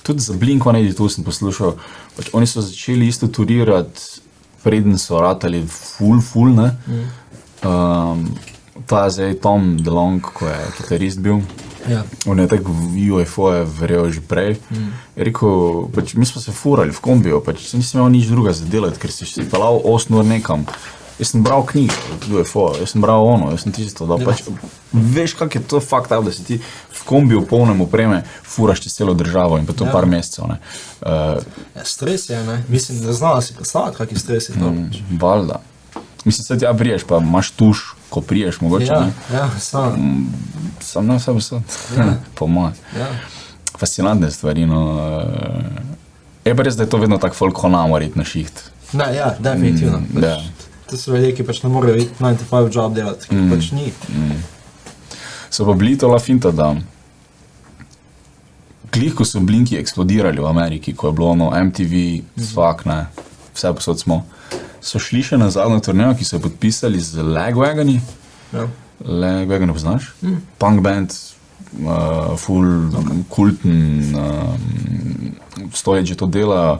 S3: Tudi za Blinko ne, tu sem poslušal. Pač oni so začeli isto turirati, preden so ratali full, full. Ne. Um, ta je zdaj Tom DeLong, ko je kitarist bil.
S2: ja.
S3: On je tako v UFO je verjel že prej. Mm. Je rekel, pač, mi smo se furali v kombijo, pač, saj nisem imel nič druga za delati, ker si se pelal 8 ur nekam. Jaz sem bral knjige od UFO, jaz sem bral ono, jaz sem tisto. Da, pač, veš, kak je to fakt, da si ti v kombijo polnem opreme furaš čez celo državo in pa to
S2: Ja.
S3: ja. par mesecev. ne. Eh,
S2: ja stres je, ne? Mislim, da znala si predstavljati, kak je stres je to.
S3: Mhm.
S2: Mm.
S3: Valjda. Mislim, da ti ja priješ, pa imaš tuš, ko priješ, mogoče.
S2: Ja,
S3: Ja.
S2: ja, samo.
S3: Sam ne vse vse,
S2: Ja.
S3: po mojem.
S2: Ja.
S3: fascinantne stvari. No, eh. je pa res, da je to vedno tako folk honamorit na šiht.
S2: Ne, ja, definitivno. Mm, pač,
S3: ja.
S2: To so ljudje, ki pač ne morejo iti 9-5 job delati, ki mm. pač ni.
S3: So pa bili to lafinta, da klih, ko so blinki eksplodirali v Ameriki, ko je bilo no, ono MTV, svak ne, vse posod smo. So šli še na zadnjo turnejo, ki so jo podpisali z Legwagoni,
S2: Ja.
S3: Legwagoni poznaš, mm. punk band, uh, full, okay. kulten, um, stoječe to dela,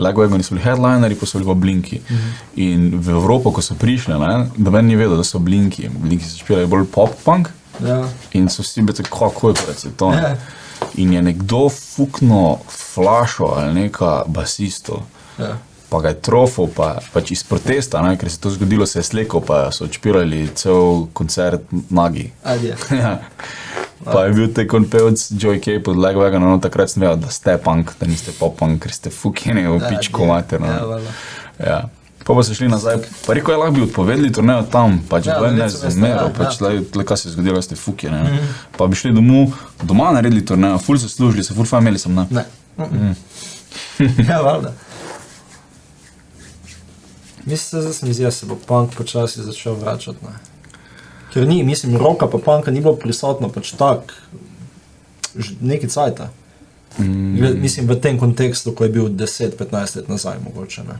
S3: Legwagoni so bili headlineri, pa so bili pa blinki. Mm -hmm. In v Evropo, ko so prišli, ne, noben ni vedel, da so blinki. Blinki so špijali bolj pop-punk.
S2: Ja.
S3: In so vsi bili tako, kako je pač to.
S2: Ja.
S3: Ne? In je nekdo fuknil flašo ali neka basisto.
S2: Ja.
S3: Pa ga je trofil, pa, pač iz protesta, ne? ker se je to zgodilo, se je slekel, pa so odpirali cel koncert nagi.
S2: Adje.
S3: Ja. Pa je bil tekon pevc Joy K pod Legwagon, no takrat sem vedel, da ste punk, da niste pop-punk, ker ste fukini v pičko materno.
S2: Ja, valjda.
S3: Ja. Pa pa so šli nazaj, pa rekel je, lahko bi odpovedali turnejo tam, pač
S2: Ja,
S3: ja, ne
S2: verjetno veste, ja,
S3: zmeraj,
S2: ja. Mhm.
S3: pač le, le kaj se je zgodilo, ste fuki, ne. Mm. Pa bi šli domov, doma naredili turnejo, ful so služili, se ful fajn imeli sem na.
S2: Ne. Mm. ja, valjda. Mislim, da se mi zdi, da se bo punk počasi začel vračati. Ne? Ker ni, mislim, roka pa punka ni bilo prisotno pač tako, že neki cajt. Mm. Mislim, v tem kontekstu, ko je bil 10-15 let nazaj, mogoče. Ne?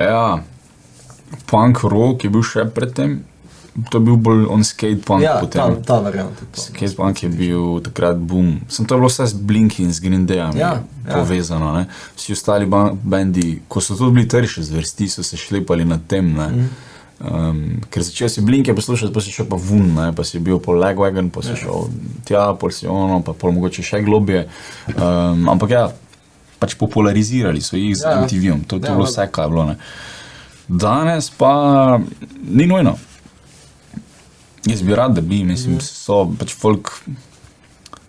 S3: Ja, punk rock je bil še predtem, to je bil bolj on skate punk
S2: Ja,
S3: potem.
S2: ta, ta varianta. je to, no.
S3: Skate punk je bil takrat boom. Sem to je bilo vse z Blinki in z Green Dayom
S2: Ja, ja.
S3: povezano. Ne? Vsi ostali ban- bendi, ko so to bili trši zvrsti, so se šlepali na tem.
S2: Mhm.
S3: Mm. Um, ker začel si Blinke poslušati, pa si šel pa vun, ne? pa si bil po Legwagon, pa si ja. šel tja, pol si ono, pa pol mogoče še globje. Um, ampak ja, pač popularizirali so jih z
S2: Ja, ja.
S3: ja. MTV-om, to, to
S2: Ja,
S3: ja, je bilo
S2: valjda.
S3: vse, kaj je bilo. Ne? Danes pa ni nujno. Jaz bi rad, da bi,
S2: Ja.
S3: mislim, so pač folk.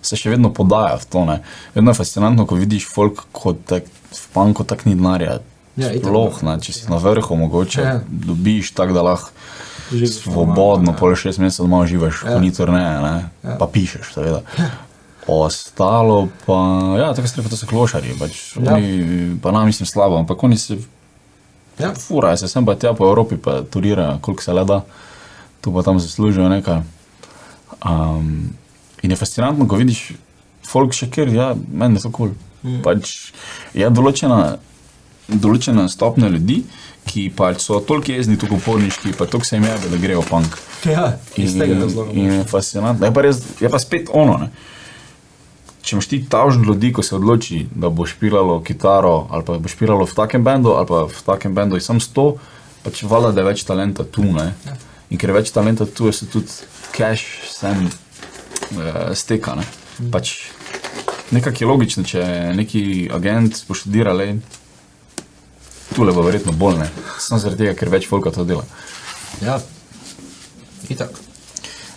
S3: Se še vedno podaja v to. Ne? Vedno je fascinantno, ko vidiš folk kot tak, v panku tak ni denarja.
S2: Ja, itak,
S3: Sploh, ne, če si na vrhu, mogoče
S2: Ja.
S3: ja. dobiš tako, da lahko
S2: Živiš
S3: svobodno,
S2: normalno, ja.
S3: pol šest mesecev doma živiš,
S2: Ja.
S3: ko ni turneje, ne,
S2: Ja.
S3: pa pišeš, seveda. Ostalo pa, ja, tako se reče, to so klošari, pač,
S2: Ja.
S3: ja. oni, pa nam mislim slabo, ampak oni se
S2: Ja.
S3: Fura se sem pa tja po Evropi, pa turira, koliko se le da, tu pa tam zaslužijo nekaj. Um, in je fascinantno, ko vidiš folk še kjer, ja, meni so kul. Cool. Pač je določena, določena stopnja ljudi, ki pač so toliko jezni, toliko uporniški, pa toliko se jim jebe, da grejo pank.
S2: Ja, iz tega razloga.
S3: In je fascinantno. Je pa, res, je pa spet ono. Ne? Če imaš ti tažen ljudi, ko se odloči, da boš pilalo kitaro ali pa boš pilalo v takem bendu ali pa v takem bendu, je sam sto, pač vala, da je več talenta tu. Ne?
S2: Ja.
S3: In ker je več talenta tu, se tudi cash sem uh, steka. Ne?
S2: Mm.
S3: Pač nekako je logično, če neki agent poštudira le. Tu le bo verjetno bolj ne, samo zaradi tega, ker več folka to dela.
S2: Ja, itak.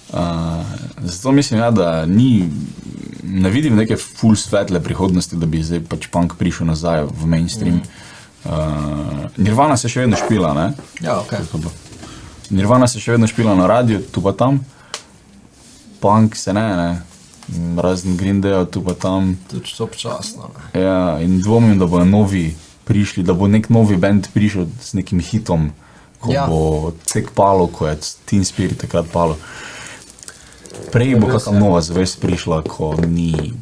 S3: Uh, zato mislim, ja, da ni, ne vidim neke full svetle prihodnosti, da bi zdaj pač punk prišel nazaj v mainstream. Mm. Uh, Nirvana se še vedno špila, ne?
S2: Ja, ok.
S3: To bo- Nirvana se še vedno špila na radiju, tu pa tam, punk se ne, ne. Mm, razen Green Day, tu pa tam.
S2: Tudi to občasno. ne.
S3: Ja, in dvomim, da bodo novi prišli, da bo nek novi bend prišel z nekim hitom, ko
S2: Ja.
S3: ja. bo tek palo, ko je Teen Spirit takrat palo. Prej bo kakšna nova zvest prišla, ko ni,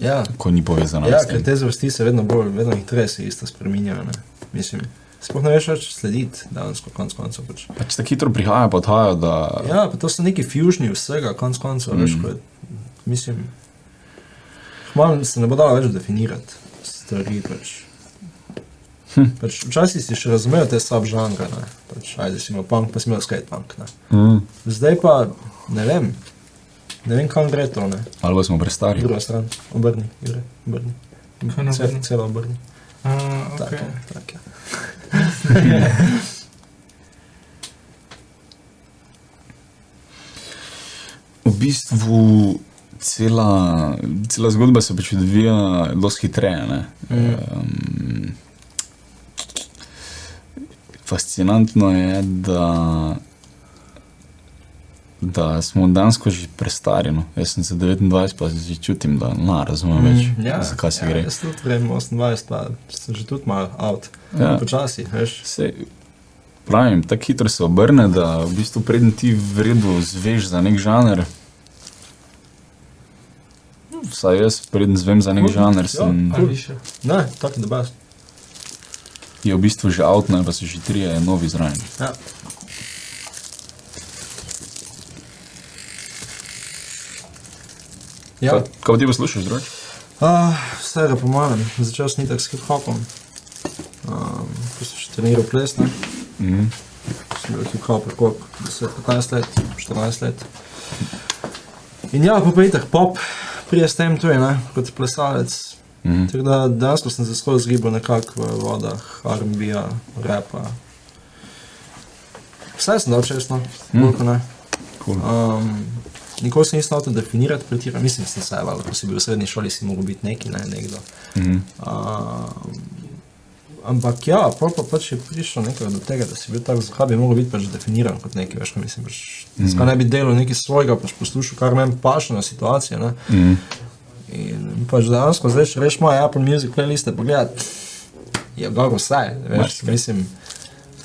S2: Ja,
S3: ko ni povezana
S2: ja
S3: s tem.
S2: ker te zvrsti se vedno bolj, vedno hitreje se isto spreminjajo. ne. Mislim, sploh ne veš več slediti danes, ko konc koncev. Pač.
S3: Pač tako hitro prihaja, pa odhaja, da
S2: Ja, pa to so neki fužni vsega, konc koncev, mm. veš,
S3: Mhm.
S2: ko je, mislim. Malo se ne bo dalo več definirati stvari. Pač. Hm. Pač, včasih si še razumel te subžanre, ne. pač, ajde si imel punk, pa si imel skate punk. Ne.
S3: mm.
S2: Zdaj pa ne vem, ne vem kam gre to, ne.
S3: ali pa smo prestari.
S2: druga stran, obrni, Jure, obrni.
S1: Kaj na
S2: Cel,
S1: obrni?
S2: celo obrni.
S1: A,
S2: Tako,
S1: okay.
S2: je, tako. je.
S3: V bistvu cela, cela zgodba se pač odvija dosti hitreje. ne.
S2: Ja.
S3: Um, fascinantno je, da, da smo dansko že prestari. No. Jaz sem se 29, pa že čutim, da ne razumem več,
S2: Mm,
S3: ja, zakaj se
S2: ja,
S3: ja, gre.
S2: Jaz tudi vrem 28, pa sem že tudi malo out. Ja.
S3: Ja.
S2: Počasi, veš.
S3: Se, pravim, tako hitro se obrne, da v bistvu preden ti v redu zveš za nek žanr. Vsaj jaz, preden zvem za nek
S2: ja,
S3: žanr, sem,
S1: Ali še?
S2: Ne, tako da baš.
S3: je v bistvu že avt, ne pa so že trije novi zraven.
S2: Ja. Ja, Ja.
S3: Kaj, kaj pa ti poslušaš, drugač?
S2: uh, vse je po malem, začel sem tako s hip-hopom. Um, ko sem še treniral ples, ne?
S3: Mhm.
S2: sem bil hip-hop, koliko 10-15 let, 14 let. In ja, pa pa je tako pop, prije s tem tudi, ne, kot plesalec.
S3: Mhm.
S2: Tako da dejansko sem se skozi zgibal nekako v vodah R&B-ja, repa. Vse sem dal čestno, koliko no. ne.
S3: Cool.
S2: Um, nikoli se nisem hotel definirati, pretirano. Mislim, da sem se, ali ko si bil v srednji šoli, si mogel biti neki, ne nekdo.
S3: Mhm.
S2: Uh, ampak ja, pol pa pač je prišlo nekaj do tega, da si bil tako, zakaj bi mogel biti pač definiran kot nekaj, veš, kaj mislim, pač, mm. zakaj ne bi delal nekaj svojega, pač poslušal, kar meni paše na situacijo. Ne?
S3: Mhm.
S2: In pač dejansko zdaj, če reš moje Apple Music playliste, pogledaj, je dobro vsaj, veš,
S3: Marsikaj.
S2: mislim.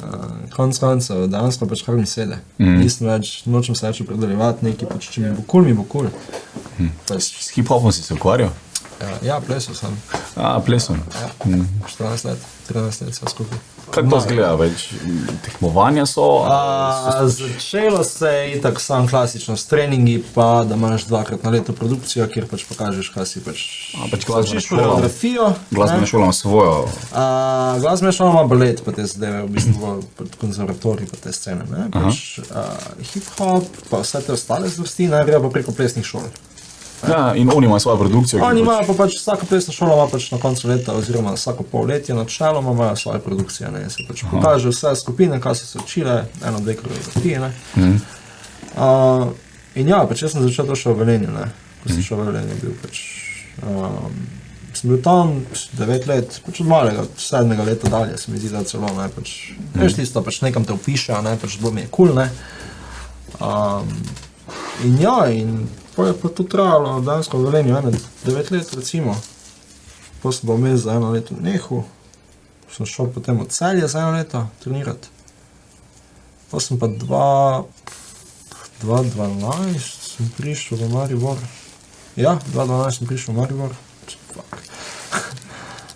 S2: Uh, konc koncev, dejansko pač kar mi sedi. Mm.
S3: Mhm.
S2: Nisem več, nočem se več opredeljevati, nekaj pač, če mi bo kul, cool, mi bo kul. Cool.
S3: Mhm.
S2: Mm. Pač,
S3: S hip-hopom si se ukvarjal?
S2: ja, ja, plesal sem.
S3: A, plesom. Mhm.
S2: 14 let, 13 let, vse skupaj.
S3: Kako to zgleda? Več tekmovanja so? ali
S2: A, začelo se je tako samo klasično s treningi, pa da imaš dvakrat na leto produkcijo, kjer pač pokažeš, kaj si pač.
S3: A, pač glasbena
S2: Začneš
S3: šola.
S2: koreografijo.
S3: Glasbena
S2: ne.
S3: šola ima svojo.
S2: A, Glasbena šola ima balet, pa te zadeve, v bistvu bolj pod konzervatorij, pa te scene. ne. Pač, a, Hip-hop, pa vse te ostale zvrsti, naj grejo pa preko plesnih šol.
S3: Ja, in oni imajo svojo produkcijo. ki
S2: Oni
S3: pač-
S2: imajo pa pač vsako plesno šolo, ima pač na koncu leta, oziroma vsako polletje načeloma imajo svoje produkcije. Ne, se pač pokaže vse skupine, kaj so se učile, eno, dve koreografije. ne.
S3: Mm,
S2: Uh, in ja, pač jaz sem začel to še v Velenju, ne. ko sem šel v Velenju, bil pač. Um, Sem bil tam 9 let, pač od malega, od 7 leta dalje, se mi zdi, da celo ne. Pač, Veš, tisto pač nekam te upiše, a ne pač bilo mi je kul. Cool, um, In ja, in pa je pa to trajalo dejansko v Velenju, ene 9 let recimo. Potem sem pa vmes za eno leto nehal, sem šel potem od celja za eno leto trenirati. Potem sem pa dva- 2012 sem prišel v Maribor. Ja, 2012 sem prišel v Maribor. Fuck.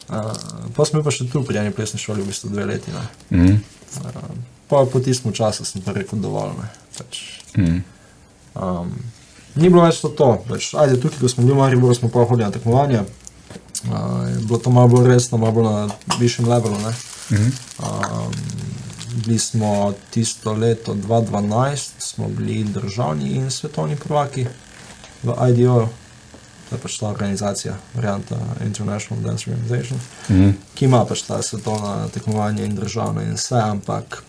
S2: Uh, pa sem bil pa še tu pri eni plesni šoli, v bistvu dve leti. Ne.
S3: Mhm.
S2: Pa po tistem času sem pa rekel dovolj. Ne. Pač,
S3: Mhm.
S2: Um, ni bilo več to, to. Pač, ajde, tukaj, ko smo bili v Mariboru, smo pa hodili na tekmovanja. Uh, je bilo to malo bolj resno, malo bolj na višjem levelu. ne.
S3: mm,
S2: Um, bili smo tisto leto 2012, smo bili državni in svetovni prvaki v IDO, to je pač ta organizacija, varianta International Dance Organization
S3: Mhm.
S2: ki ima pač ta svetovna tekmovanja in državna in vse, ampak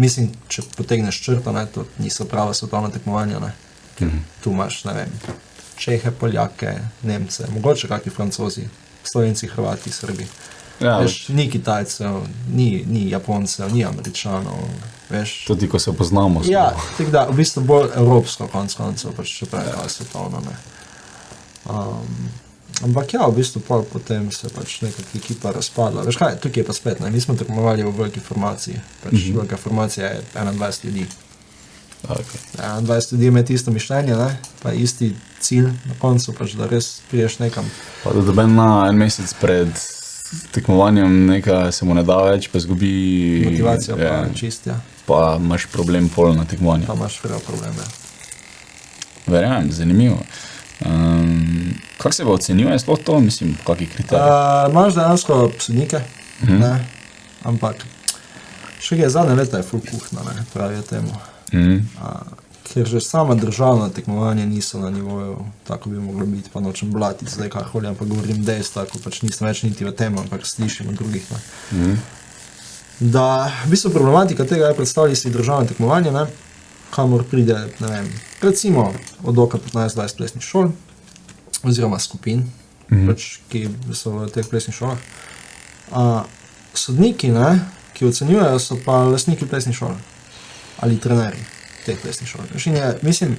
S2: mislim, če potegneš črto, ne, to niso prava svetovna tekmovanja. Ne. Ker
S3: mm.
S2: Tu imaš, ne vem, Čehe, Poljake, Nemce, mogoče kakšni Francozi, Slovenci, Hrvati, Srbi.
S3: Ja,
S2: Veš, ni Kitajcev, ni, ni Japoncev, ni Američanov, veš.
S3: Tudi ko se poznamo. smo-
S2: Ja, tako da, v bistvu bolj evropsko, konec koncev, pač če pravi, kaj svetovno. Ne. Um, ampak ja, v bistvu pol potem se je pač nekako ekipa razpadla. Veš kaj, tukaj je pa spet, ne? mi smo tekmovali v veliki formaciji. Pač
S3: Mhm.
S2: mm -hmm. Velika formacija je 21 ljudi.
S3: Okay.
S2: 21 ljudi ima isto mišljenje, ne? pa isti cilj na koncu, pač, da res priješ nekam.
S3: Pa da doben na en mesec pred tekmovanjem nekaj se mu ne da več, pa izgubi
S2: Motivacija pa
S3: ja,
S2: je čistja,
S3: pa imaš problem pol na tekmovanju.
S2: pa imaš prav probleme.
S3: Verjamem, zanimivo. Um, kako se pa ocenjuje sploh to, mislim, kakšni kriteriji?
S2: Uh, Imáš dejansko sodnike, mm -hmm. ne? ampak še kaj zadnje leta je full kuhna, ne? pravijo temu.
S3: Mm,
S2: A, Ker že sama državna tekmovanja niso na nivoju, tako bi moglo biti, pa nočem blati zdaj kar holim, ampak govorim dejstva, ko pač nisem več niti v tem, ampak slišim od drugih. Ne.
S3: mm,
S2: Da, v bistvu problematika tega je predstavljati si državne tekmovanje, ne, kamor pride, ne vem, recimo od oka 15-20 plesnih šol oziroma skupin,
S3: Mhm.
S2: mhm. pač, ki so v teh plesnih šolah. A, sodniki, ne, ki ocenjujejo, so pa lastniki plesnih šol ali trenerji teh plesnih šol. Veš, in je, mislim,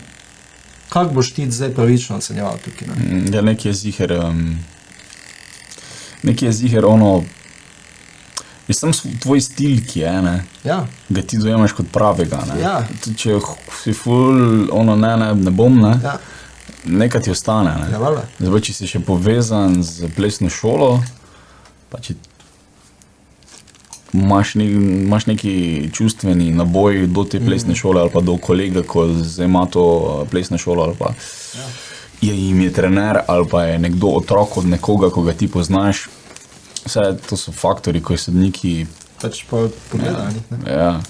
S2: kako boš ti zdaj pravično ocenjeval tukaj? Ne?
S3: mm, ja, nekje je ziger. Um, nekje je ziger ono. Je samo s- tvoj stil, ki je ena.
S2: Ja,
S3: Ga ti dojemaš kot pravega. Ne?
S2: Ja.
S3: Tudi Če h- si ful, ono ne, ne, ne bom, ne,
S2: ja,
S3: nekaj ti ostane. Ne?
S2: ja, valjda.
S3: Zdaj, če si še povezan z plesno šolo, pa če imaš, nek, imaš neki čustveni naboj do te plesne šole ali pa do kolega, ko zdaj ima to eh, plesno šolo ali pa je jim je trener ali pa je nekdo otrok od nekoga, ko ga ti poznaš. Vse to so faktori, ko sodniki.
S2: Pač pa pogledaj, ne.
S3: Ja,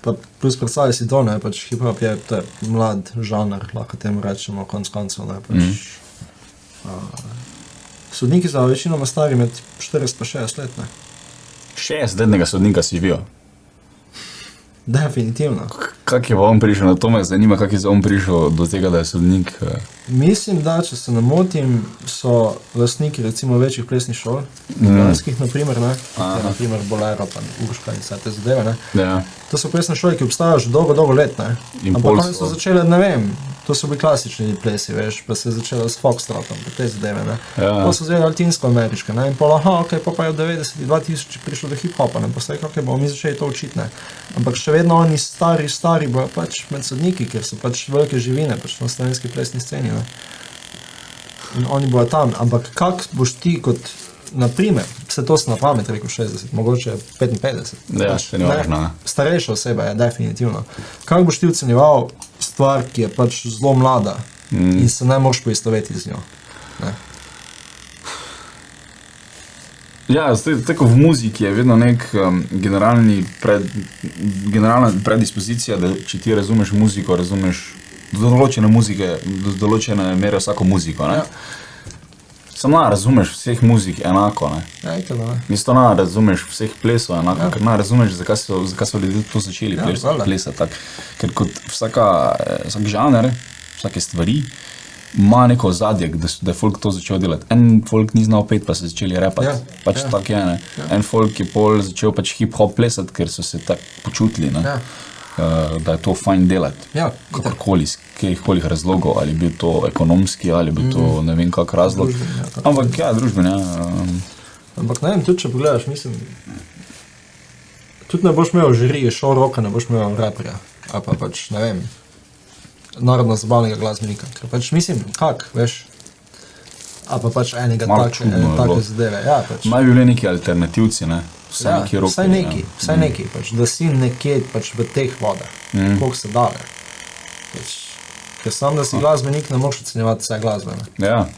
S2: Pa plus predstavljaj si to, ne pač hip-hop je to je mlad žanr, lahko temu rečemo, konc koncev. Ne, pač, mm. uh, sodniki so večinoma stari med 40 in 60 let. Ne.
S3: šestdnevnega sodnika si vijo.
S2: Definitivno.
S3: Kako je pa on prišel na to, me zanima, kako je zdaj on prišel do tega, da je sodnik. eh,
S2: Mislim, da če se ne motim, so lastniki recimo večjih plesnih šol,
S3: Mm.
S2: ljubljanskih naprimer, ne, kot je naprimer Bolero, pa Urška in vse te zadeve. Ne.
S3: Ja,
S2: To so plesne šole, ki obstajajo že dolgo, dolgo let. Ne.
S3: In pol
S2: Ampak oni so
S3: so-
S2: začeli, ne vem, to so bili klasični plesi, veš, pa se je začelo s Foxtrotom, pa te zadeve. Ne.
S3: Ja.
S2: Pa so zdaj latinsko-ameriške, ne, in pol, aha, ok, pa, pa je v 90-ih, 2000 prišlo do hip-hopa, ne, pa se je, kako bomo mi začeli to učiti, ne. Ampak še vedno oni stari, stari bojo pač med sodniki, ker so pač velike živine, pač na slovenski plesni sceni, ne. In oni bojo tam, ampak kak boš ti kot, naprimer, se to sem na pamet rekel 60, mogoče 55.
S3: Ja,
S2: pač,
S3: saj ni važno, ne.
S2: Starejša oseba je, definitivno. Kako boš ti ocenjeval stvar, ki je pač zelo mlada mm. in se ne moreš poistovetiti z njo? Ne.
S3: ja zdaj, tako v muziki je vedno nek um, generalni pred, generalna predispozicija, da če ti razumeš muziko, razumeš do določene muzike, do določene mere vsako muziko. Ja.
S2: Ja.
S3: Samo ne razumeš vseh muzik enako. Ne?
S2: Ja, itak, ne.
S3: Isto ne no, razumeš vseh plesov, enako, ja. ker ne razumeš, zakaj so, zakaj so ljudje to začeli
S2: Ja,
S3: ja, ples,
S2: valjda.
S3: plesati. Tak. Ker kot vsaka, eh, vsak žanr, vsake stvari ima neko zadje, da, s- da je folk to začel delati. En folk ni znal pet, pa so začeli repati.
S2: Ja,
S3: Ja, pač
S2: ja.
S3: ja, tako je. Ne? En folk je pol začel pač hip-hop plesati, ker so se tako počutili, ne,
S2: Ja.
S3: eh, da je to fajn delati.
S2: Ja, itak.
S3: Kakorkoli, iz katerihkoli razlogov, ali je bil to ekonomski, ali je bil to ne vem kak razlog.
S2: Mm. Družbeni, ja, tako.
S3: Ampak ja, družbeni. Ja, um,
S2: Ampak ne vem, tudi če pogledaš, mislim. Tudi ne boš imel žirije, šel roka, ne boš imel raperja. Ali pa pač ne vem, narodno zabavnega glasbenika. Ker pač mislim, kak, veš. Ali pa pač enega
S3: Malo
S2: take,
S3: čudno
S2: ene
S3: je bilo.
S2: take zadeve. Ja, pač.
S3: Naj bi bili neki alternativci, ne? vsaj ja, neki roki.
S2: vsaj neki,
S3: Ja.
S2: vsaj neki pač, da si nekje pač v teh vodah, mm. koliko se da. ne. Pač, ker sam, da
S3: Ah.
S2: si glasbenik, ne moreš ocenjevati vse glasbene.
S3: Ja.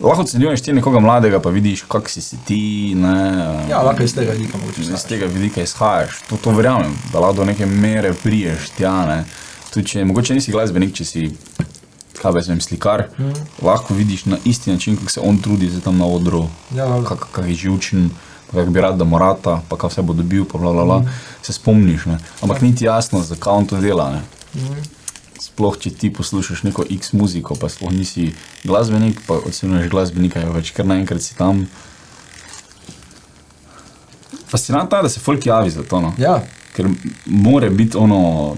S3: Lahko ocenjuješ ti nekoga mladega, pa vidiš, kak si, si ti. Ne,
S2: Ja, lahko iz tega vidika mogoče
S3: iz
S2: izhajaš.
S3: tega vidika izhajaš. To, to verjamem, da lahko do neke mere priješ tja. Ne? Tudi če mogoče nisi glasbenik, če si. Kaj pa jaz vem, slikar,
S2: Mhm.
S3: mm. lahko vidiš na isti način, kako se on trudi za tam na odru,
S2: Ja, valjda.
S3: kako kak je živčen, kako bi rad, da mora ta, pa kaj vse bo dobil, pa bla, bla,
S2: Mhm.
S3: bla. Mm. se spomniš. Ne? Ampak ja. ni ti jasno, zakaj on to dela. Ne?
S2: Mhm.
S3: Sploh če ti poslušaš neko X muziko, pa sploh nisi glasbenik, pa ocenjuješ glasbenika, je več kar naenkrat si tam. Fascinantno je, da se folk javi za to. No?
S2: Ja,
S3: Ker m- more biti ono.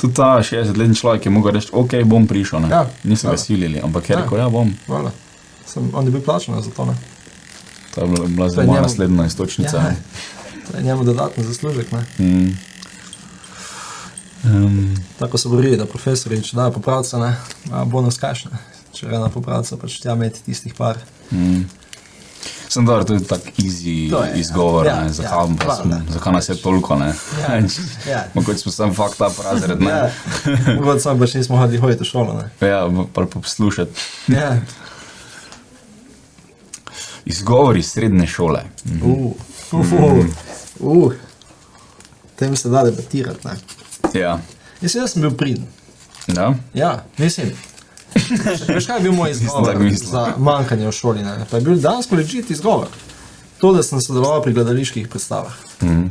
S3: Tudi ta 60-letni človek je mogel reči, ok, bom prišel.
S2: Ja,
S3: Ja, Niso ga
S2: ja.
S3: silili, ampak je
S2: Ja.
S3: rekel, ja, bom.
S2: Hvala. Sem, on je bil plačen za to. Ne?
S3: To je bila- bila zdaj
S2: je
S3: moja
S2: njemu-
S3: naslednja istočnica.
S2: Ja.
S3: Ja.
S2: To je njemu dodatni zaslužek. Ne?
S3: Mm. Um,
S2: Tako so borili, da profesori, če dajo popravca, ne, a bonus kašne. Če ena popravca, pač tja imeti tistih par.
S3: Mm. Sem dobro, to je tako easy
S2: To je,
S3: je, izgovor,
S2: ja,
S3: ja,
S2: ja,
S3: ne, zakaj, ja, pa,
S2: valjda.
S3: smo, zakaj nas je toliko. ne.
S2: Ja, ja.
S3: Mogoče smo sam fakt up razred,
S2: Ja,
S3: ne.
S2: mogoče sam pač nismo hodili hoditi v šolo. Ne?
S3: Ja, pa pa poslušati.
S2: Ja,
S3: Izgovori iz srednje šole. Mhm.
S2: uf, uf, uf. uf. Tem se da debatirati. Ne?
S3: Ja.
S2: Jaz, jaz sem bil pridn.
S3: Ja.
S2: Ja, mislim. Veš, kaj je bil moj izgovor
S3: tako mislil.
S2: za manjkanje v šoli? Ne? Pa je bil dejansko ležit izgovor. To, da sem sodeloval pri gledaliških predstavah.
S3: Mhm.
S2: Mm.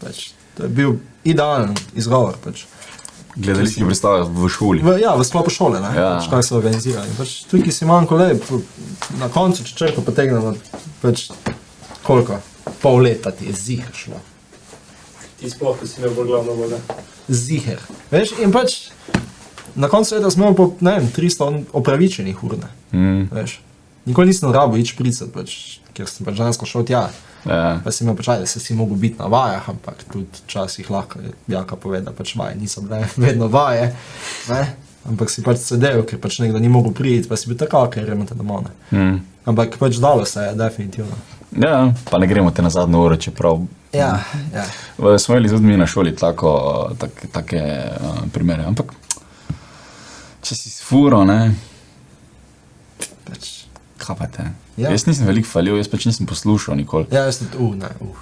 S2: Pač, to je bil idealen izgovor. Pač.
S3: Gledališki predstave v šoli.
S2: V, ja, v sklopu šole, ne,
S3: Ja.
S2: pač, kaj so organizirali. Pač, tukaj si manjko le, po- na koncu če črko potegnemo, pač, koliko? Pol leta ti je zihar šlo.
S4: Ti sploh nisi imel v glavno voda.
S2: Zihar. Veš, in pač na koncu leta smo imeli po, ne vem, 300 opravičenih urne.
S3: Mm.
S2: Veš, nikoli nisem rabo več pricati, pač, ker sem pač dejansko šel tja.
S3: Ja.
S2: Pa si me počasi, pač da se si mogel biti na vajah, ampak tudi včasih lahko je jaka pove, da pač vaje niso bile vedno vaje. Ne? Ampak si pač sedel, ker pač nekdo ni mogel priti, pa si bil tako, ker gremo te domov. ne."
S3: Mm.
S2: Ampak pač dalo se je, definitivno.
S3: ja, pa ne gremo te na zadnjo uro, čeprav
S2: Ja, ja.
S3: V- Smo imeli tudi mi na šoli tako, tak, take uh, primere. Ampak, če si s furo, ne,
S2: Pač,
S3: kaj pa te.
S2: Ja.
S3: Ja. Jaz nisem veliko falil, jaz pač nisem poslušal nikoli.
S2: ja, jaz sem tu, uh, ne, uh,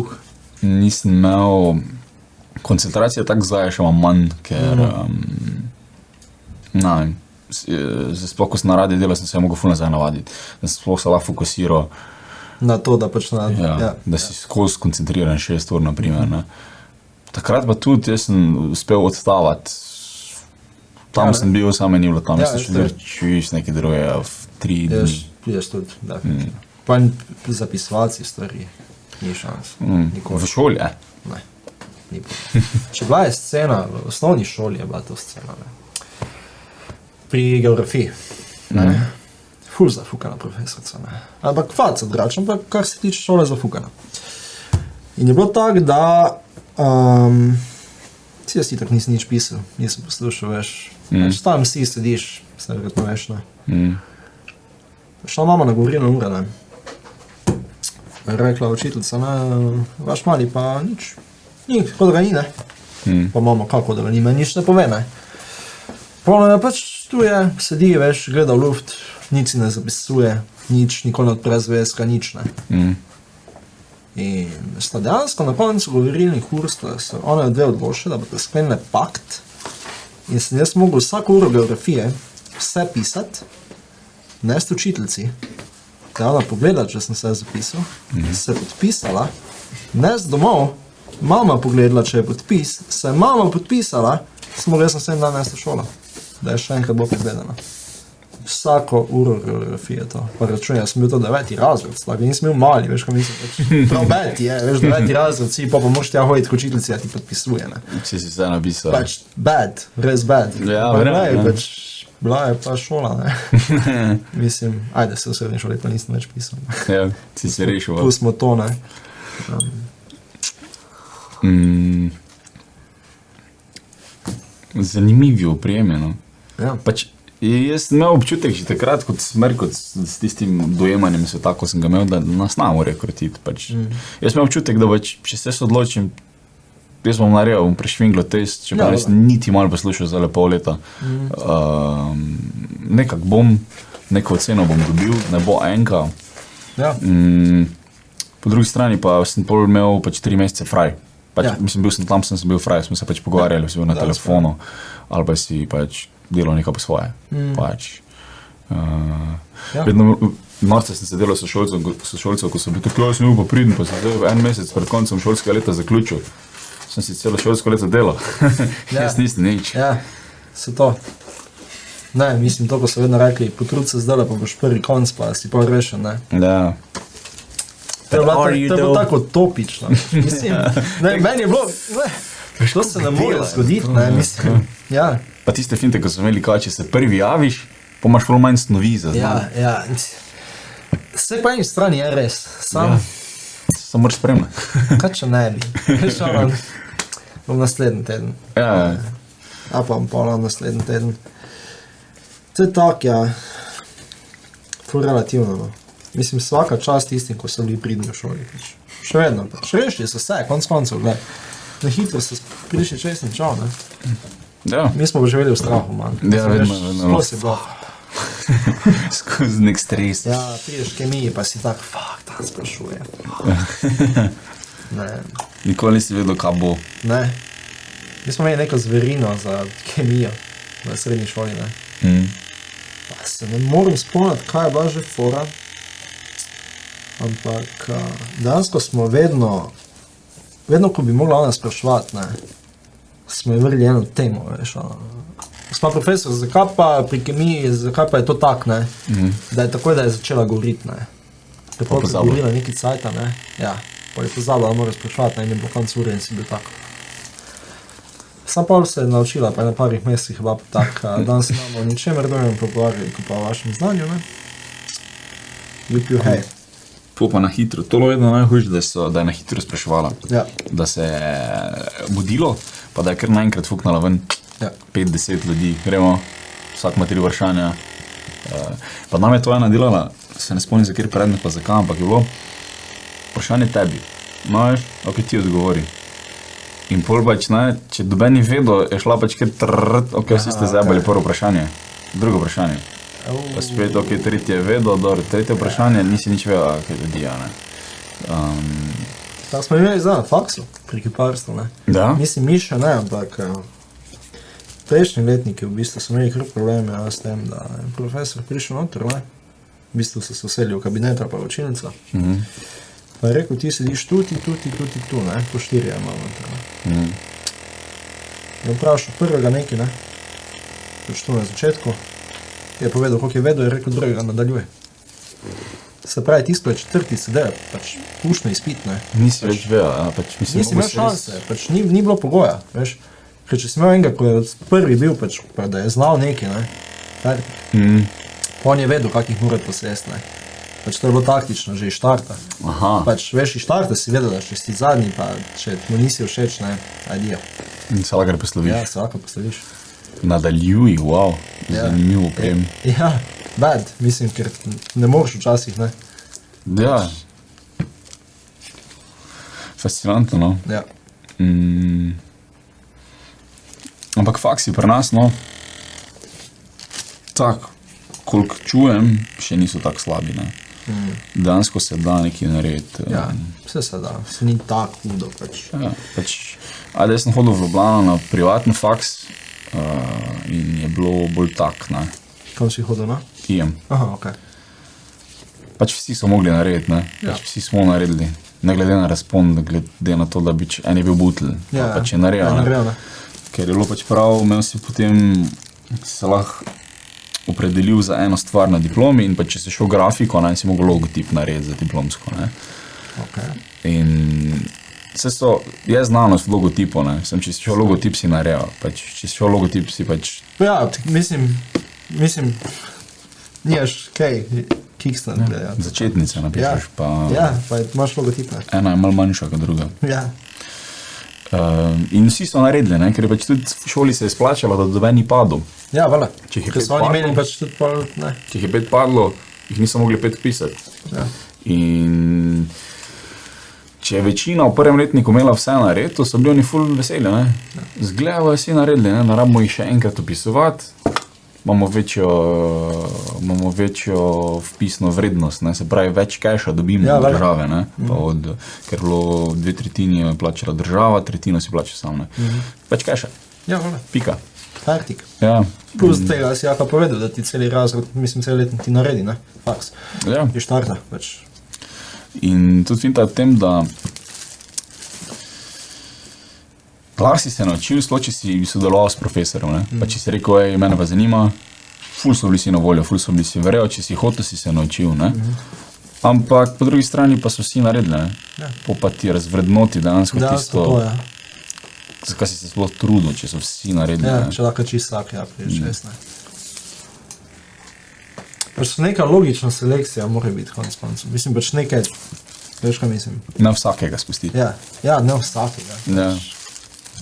S2: uh.
S3: Nisem imel koncentracije tako zdaj, še imam manj, ker. Um,
S2: Mm.
S3: na, sploh, ko sem na radi delal, sem se mogel fulno zdaj navaditi. Sem Sploh se lahko fokusiral.
S2: Na to, da pač na.
S3: Ja,
S2: ja.
S3: da si skozi koncentriran šest ur, naprimer, ne. Takrat pa tudi jaz sem uspel odstavati. Tam
S2: Ja,
S3: ja,
S2: ne.
S3: sem bil, samo meni je bilo tam,
S2: Ja,
S3: ja, sem
S2: jaz
S3: šel
S2: tudi.
S3: čuješ nekaj drugega, v tri
S2: Jaz,
S3: dni.
S2: jaz tudi, da.
S3: Mm.
S2: Pa zapisovati stvari, ni šans.
S3: Mm.
S2: Nikoli.
S3: V šoli, eh?
S2: Ne, ni bilo. Če bila je scena, v osnovni šoli je bila to scena. Ne. Pri geografiji. Mm. Ful zafukana profesorica. Ne. Ampak faca drugačna, ampak kar se tiče šole zafukana. In je bilo tako, da um, si jaz itak nisem nič pisal, nisem poslušal več.
S3: Mm.
S2: Mm. Tam si sediš, se verjetno veš. Ne.
S3: Mm.
S2: Šla mama na govorilno uro, ne. Je Rekla učiteljica, ne, vaš mali pa nič. Nič, kot da ga ni, ne.
S3: Mm.
S2: Pa mama, kako da ga ni, meni nič ne pove, ne. Polno je pač tu je, sedi, veš, gleda v luft, nič si ne zapisuje, nič, nikoli ne odpre zvezka, nič ne.
S3: Mm.
S2: In sta dejansko na koncu govorilnih ur, sta se ona dve odločila, da boste sklenili pakt. In sem jaz mogel vsako uro geografije vse pisati, ne s učiteljci. Da je ona pogledala, če sem se zapisal, mhm. se podpisala, ne z domov, mama pogledala, če je podpis, se je mama podpisala, smo jaz sem se en dan nesla šola, da je še enkrat bo pregledana. Vsako uro geografije to. Pa računaj, jaz sem bil to deveti razred, tako da nisem bil mali, veš, kaj mislim. več. Prav beti je, veš, deveti razred, si pa pa moš tja hoditi, kot učiteljica ti podpisuje. Ne
S3: Če si zdaj napisal.
S2: pač bad, res bad.
S3: Ja,
S2: Pa
S3: verjamem,
S2: glej,
S3: ja.
S2: pač bila je pa šola. ne. Mislim, ajde se v srednji šoli, pa nisem več pisal.
S3: Ja, si si rešil.
S2: Tu smo to, ne. Um,
S3: Mm. Zanimivo opremljeno.
S2: Ja.
S3: Pač, jaz sem imel občutek že takrat, kot smer, kot s, s tistim dojemanjem sveta, ko sem ga imel, da nas ne more krotiti. Pač. Mm. Jaz sem imel občutek, da pač, če se jaz odločim, jaz bom naredil, bom prešvinglo test, če
S2: Ja,
S3: pa res
S2: dobro.
S3: niti malo poslušal za le pol leta. Mm. Uh, nekak bom, neko oceno bom dobil, ne bo enka.
S2: Ja.
S3: Mm, po drugi strani pa sem pol imel pač tri mesece fraj. Pač,
S2: Ja.
S3: ja. Mislim, bil sem tam, sem, sem bil fraj, smo se pač pogovarjali, ja. si bil na
S2: Da,
S3: da, telefonu ali pa si pač delal nekaj po svoje. Mm. Pač, uh,
S2: Ja.
S3: ja. Norce sem se delal s sošolcem, ko- sošolcev, ko sem bil tako, jaz sem bil pa pridn, pa sem zdaj en mesec pred koncem šolskega leta zaključil. Sem si celo šolsko leto delal,
S2: Ja.
S3: ja. jaz nisem nič. Ja.
S2: ja, se to. Ne, mislim, to, ko so vedno rekli, potrud se zdaj, pa boš prvi konc, pa si pa rešen. Ne.
S3: Da.
S2: To je
S3: But
S2: bila
S3: are
S2: ta-
S3: you
S2: to je bilo
S3: though?
S2: tako topično. Mislim, ne, meni je bilo, ne, to se ne more
S3: delajo.
S2: zgoditi, ne, mislim. Ja,
S3: Pa tiste finte, ko so imeli, kaj, če se prvi javiš, pa imaš ful manj snovi za znanje.
S2: ja, ja. Vse po eni strani je res, sam. Ja.
S3: Ja. Samo moraš spremljati.
S2: Kaj če ne bi? Veš, ono, Bom naslednji teden,
S3: Ja,
S2: a pa bom polno naslednji teden. To je tako, ja, ful relativno. No. Mislim, vsaka čast tistim, ko so bili pridni v šoli. pač. Še vedno, pač. rešili so se, konc koncev, gledaj. Na hitro so prišli čez in čau, ne.
S3: ja.
S2: Mi smo pa živeli v strahu, man.
S3: Ja, vedno, vedno.
S2: Skozi je bilo.
S3: skozi nek stres. Ja.
S2: Ja, prideš kemiji, pa si tak, fakt, tam sprašuje. Ne,
S3: Nikoli si vedel, kaj bo.
S2: Ne. Mi smo imeli neko zverino za kemijo v srednji šoli. Ne?
S3: Mm.
S2: Pa se ne morem spomniti, kaj je bila že fora. Ampak a, dejansko smo vedno, vedno, ko bi mogla ona sprašovati, ne, smo ji vrli eno temo. Veš, ono. Smo profesor, zakaj pa pri kemiji, zakaj pa je to tako, ne?
S3: Mm.
S2: da je takoj, da je začela goriti. Ne? Lepo je
S3: pozabila.
S2: pozabila neki cajt, ne? ja, pa je pozabila, da mora sprašovati, ne, in je bilo konc ure in si bil tako. Sam pa se je naučila, pa je na parih mestih pa tako, a danes se imamo o ničemer, drugem pogovarjali, kot pa o vašem znanju, ne? Ljubijo, hej.
S3: Po pa na hitro. To je vedno najhujše, da, so- da je na hitro spraševala.
S2: Ja,
S3: Da se je budilo, pa da je kar naenkrat fuknila ven
S2: ja.
S3: 50 ljudi, gremo, vsak ima tri vprašanja. Eh, Pa nam je to ena delala, se ne spomnim, za kjer predmet, pa zakaj, ampak je bilo vprašanje tebi. No, veš, ok, ti odgovori. In pol pač, ne, če doben ni vedel, je šla pač kjer trrrt, ok, vsi ste zabali prvo vprašanje, drugo vprašanje. Pa spet, ok, tretje je vedel, dobro, tretje vprašanje, nisi nič vedel, ok, ljudi, a ne. Um,
S2: Tam smo imeli zdaj na faksu, pri kiparstvu, ne?
S3: da?
S2: Mislim, mi še ne, ampak eh, prejšnji letniki v bistvu so imeli kar probleme ja, s tem, da je profesor prišel noter, ne? v bistvu so se usedli v kabinet ali pa v učilnico.
S3: Mhm.
S2: Pa je rekel, ti sediš tu, ti tu, ti tu, ti tu, ne, po štirje imamo.
S3: Mm.
S2: Je vprašal prvega nekaj, ne, pač tu na začetku, je povedal, koliko je vedel, je rekel, drugega nadaljuje. Se pravi, tisto, ko je četrti sedel, pač pušno izpit, ne.
S3: Nisi več vedel, a, pač mislim,
S2: Nisi imel šanse, pač ni, ni bilo pogoja, veš. Ker če si imel enega, ko je od prvi bil, pač, pa da je znal nekaj, ne. Fertik.
S3: Mm.
S2: On je vedel, kak jih mora posesti, ne. Pač to je bilo taktično, že iz štarta.
S3: Aha,
S2: Pač veš, iz štarta si vedel, da če si zadnji, pa če mu nisi všeč, ne, adijo.
S3: in se lagar posloviš.
S2: Ja,
S3: Yes.
S2: se lahko posloviš.
S3: Nadaljuj, wow,
S2: Ja.
S3: zanimivo prem.
S2: Ja, bad, mislim, ker ne moreš včasih, ne.
S3: Ja. Fascinantno, no.
S2: Ja.
S3: Mm. Ampak faksi pri nas, no, tako, koliko čujem, še niso tako slabi. Ne.
S2: Mm.
S3: Dejansko se da nekaj narediti. eh,
S2: ja, vse se da, vse ni tako hudo, pač.
S3: Ja, pač, ajde, jaz sem hodil v Ljubljano na privatni faks uh, in je bilo bolj tak, ne,
S2: Kam si hodil, no?
S3: tijem.
S2: Aha, ok.
S3: Pač vsi so mogli narediti, ne,
S2: Ja.
S3: pač vsi smo naredili. Ne glede na razpon, ne glede na to, da bi če, en je bil butel, ja, pa če je naredil.
S2: Ja,
S3: ne.
S2: narejo, ne.
S3: Ker je bilo pač prav, imel si potem se lahko opredelil za eno stvar na diplomi in pa če si šel grafiko, naj si mogel logotip narediti za diplomsko. Ne?
S2: Okay.
S3: In vse so, je znanost logotipo, ne? sem če si šel logotip, si naredil, pač, če si šel logotip, si pač
S2: Ja, t- mislim, mislim, nimaš kaj, kikstan. Ja,
S3: začetnice napišeš,
S2: Ja.
S3: pa
S2: ja, pa je- imaš logotipe.
S3: ena je malo manjša kot druga.
S2: Ja,
S3: Uh, in vsi so naredili, ne? ker je pač tudi v šoli se je splačalo, da doben ni padel.
S2: ja vala.
S3: Če jih je
S2: Ker
S3: pet
S2: so oni
S3: padlo?
S2: meni pač tudi pol, ne.
S3: Če jih je pet padlo, jih niso mogli pet pisati.
S2: Ja.
S3: In če je večina v prvem letniku imela vse na redu, so bili oni ful veseli. ne. Zgledajo vsi naredili, ne, ne rabimo jih še enkrat opisovati. Imamo večjo, imamo večjo vpisno vrednost, ne? se pravi, več keša dobimo
S2: Ja,
S3: ja, od
S2: velja.
S3: države. ne, pa Od, ker je bilo dve tretjini je plačala država, tretjino si plača sam. Mm. Več keša,
S2: Ja, vala.
S3: pika.
S2: Taktik.
S3: Ja,
S2: Plus tega si jaka povedal, da ti celi razred, mislim, cel letni ti naredi, ne. Faks.
S3: ja.
S2: Je štarta, pač.
S3: In tudi finta je v tem, da lahko si se naučil, sploh če si sodeloval s profesorjem. Mm. Pa če si rekel, hej, mene pa zanima, ful so bili si na voljo, ful so bili si verjel, če si hotel, si se naučil. Mm. Ampak po drugi strani pa so vsi naredili, ne?
S2: Ja.
S3: Po pa ti razvrednoti dejansko
S2: Da,
S3: tisto,
S2: to ja. je.
S3: zakaj si se sploh trudil, če so vsi naredili.
S2: Ja,
S3: ne.
S2: če lahko čist vsak, ja, pri 16. Pač neka logična selekcija mora biti konec koncev. Mislim, pač nekaj, veš kaj mislim.
S3: Na vsakega spustiti.
S2: Ja, ja ne vsakega,
S3: Ja.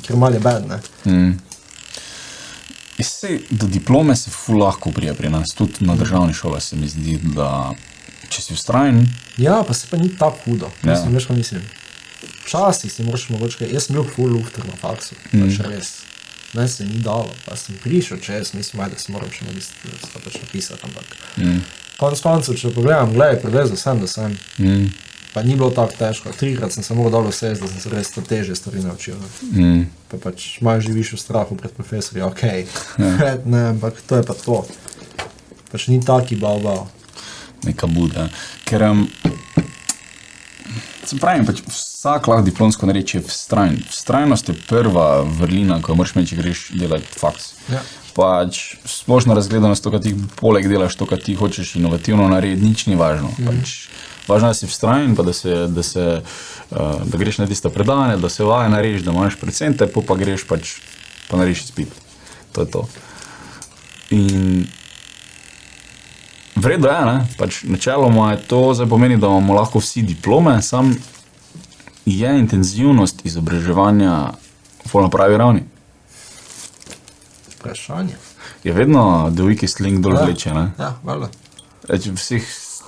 S2: ker mal je bed, ne.
S3: Mm. Se, do diplome se ful lahko prije pri nas, tudi na državni šoli se mi zdi, da če si ustrajen,
S2: Ja, pa se pa ni tako hudo.
S3: Ja.
S2: Mislim, veš kaj mislim. Včasih si moraš mogoče, kaj- jaz sem bil full lufter na faksu, mm. pač res. Meni se ni dalo, pa sem prišel čez, mislim, ajde, da se moram še magistrati, pač napisati, ampak.
S3: mm.
S2: Konec koncev, če pogledam, gledaj, prevezel sem, da sem.
S3: Mm.
S2: Pa ni bilo tako težko. Trikrat sem se moral dobro sesti, da sem se res te težje stvari naučil. Ne.
S3: Mm.
S2: Pa pač malo živiš v strahu pred profesorji, ok.
S3: Ja.
S2: ne, ampak to je pa to. Pač ni taki bal bal.
S3: neka buda. Ker, um, se pravi, pač vsak lahko diplomsko reče vztrajen. Vztrajnost je prva vrlina, ko jo moraš imeti, če greš delati faks.
S2: Ja.
S3: Pač splošna razgledanost, to, kar ti poleg delaš, to, kar ti hočeš inovativno narediti, nič ni važno. Mm. Pač, važno je, da si vztrajen, pa da, se, da, se, uh, da greš na tiste predavanja, da se vaje narediš, da imaš procente, pa pa greš pač, pa narediš spit. To je to. In Vredno je, ne? pač načeloma je to, zdaj pomeni, da imamo lahko vsi diplome, sam je intenzivnost izobraževanja ful na pravi ravni.
S2: Vprašanje.
S3: Je vedno deviki sling dol
S2: Ja.
S3: vleče. ne.
S2: Ja, valjda.
S3: Pač V vseh s-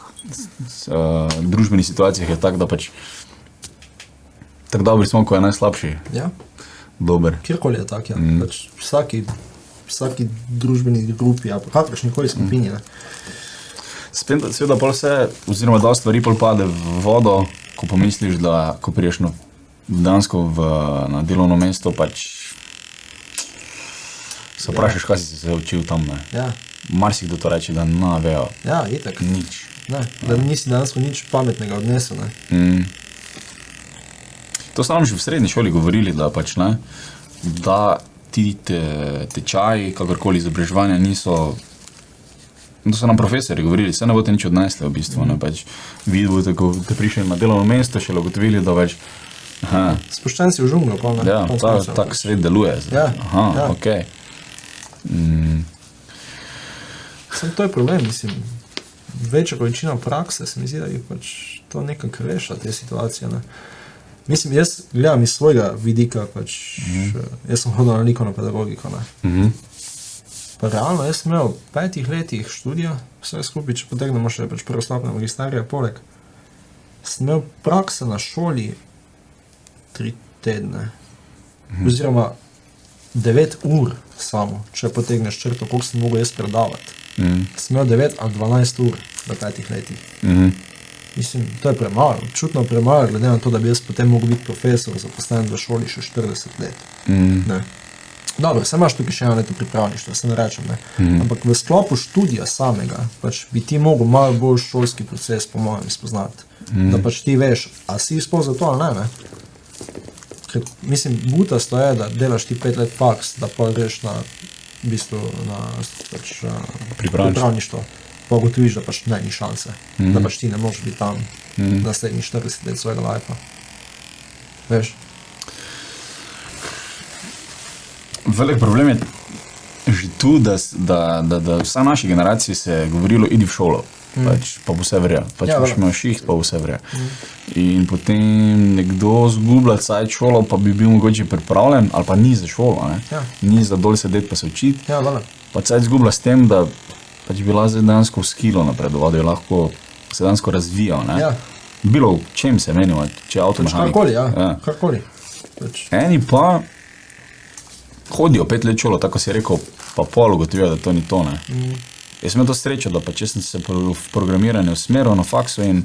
S3: s- eh, družbenih situacijah je tako, da pač tako dobri smo, ko je najslabši,
S2: Ja,
S3: dober.
S2: kjerkoli je tak, ja. Mm. Pač vsaki, vsaki družbeni grupi, ali kakršni koli skupini. Mm.
S3: Spet, seveda, pa vse, oziroma da stvari pol pade v vodo, ko pomisliš, da ko priješ na, dejansko v, na delovno mesto, pač se vprašaš, kaj si se učil tam. Ne.
S2: Ja,
S3: Marsikdo to reče, da ne vejo
S2: ja, itak.
S3: nič.
S2: Ne, da nisi danes nič pametnega odnesel. Ne.
S3: Mm. To smo nam že v srednji šoli govorili, da, pač, ne, da ti te, tečaji, kakorkoli izobraževanja niso. To so nam profesori govorili, se ne boste nič odnesli, v bistvu.
S2: Mm.
S3: Ne, pač, vi boste, ko boste prišli na delovno mesto, še ugotovili, da več. Aha,
S2: Spuščen si v žunglo, pa ne.
S3: ja,
S2: konec
S3: ta,
S2: koncev. pač.
S3: tak svet deluje. Zdaj.
S2: Ja,
S3: Aha,
S2: ja.
S3: ok. Mm,
S2: Sem to je problem, mislim. Večja količina prakse se mi zdi, da jih pač to nekako reša te situacije. Ne. Mislim, jaz gledam iz svojega vidika, pač, mm. jaz sem hodil na likovno pedagogiko. Ne.
S3: mm,
S2: Pa realno, jaz sem imel v petih letih študija, vse skupaj, če potegnemo še pač pravoslavne magisterije, poleg. Sem imel prakse na šoli tri tedne, mhm. oziroma devet ur samo, če potegneš črto, koliko sem mogel jaz predavati.
S3: mm,
S2: Sem imel devet ali dvanajst ur v petih letih.
S3: mm,
S2: Mislim, to je premalo, čutno premalo, glede na to, da bi jaz potem mogel biti profesor, zaposlen v šoli še 40 let.
S3: mm,
S2: Ne. Dobro, se imaš tukaj še eno leto pripravništva, se ne rečem. Ne?
S3: Mhm.
S2: Mm. Ampak v sklopu študija samega pač bi ti mogel malo bolj šolski proces, po mojem, spoznati.
S3: Mhm.
S2: Mm. Da pač ti veš, a si sploh za to ali ne. ne? Ker, mislim, butasto je, da delaš ti pet let faks, da pa greš na, v bistvu, na pač, a,
S3: Pripravništvo. Mhm.
S2: pripravništvo. Pa ugotoviš, da pač ne, ni šanse, mm. da pač ti ne moreš biti tam mm. naslednjih 40 let svojega lajfa. Veš?
S3: Velik problem je že tu, da, s- da, da, da vsa naša generacija se je govorila, idi v šolo. Mm. Pač, pa bo vse vrja, pač
S2: Ja,
S3: ja,
S2: verjamem.
S3: imaš šiht, pa bo vse vrja. Mm. In potem nekdo zgublja caj šolo, pa bi bil mogoče pripravljen, ali pa ni za šolo, ne?
S2: Ja.
S3: ni za dol sedeti pa se učiti.
S2: Ja, vale.
S3: Pa caj zgublja s tem, da pač bi lahko zdaj dejansko skilo napredoval, da je lahko se dejansko razvijal. ne.
S2: Ja.
S3: Bilo v čem se menimo, če avto
S2: Pač
S3: mehanik.
S2: karkoli, ja. ja.
S3: Ja.
S2: karkoli. Pač,
S3: Eni pa hodijo pet let šolo, tako si rekel, pa pol ugotovijo, da to ni to. Ne. Jaz sem imel to srečo, da pa če sem se pro- v programiranje usmeril na faksu in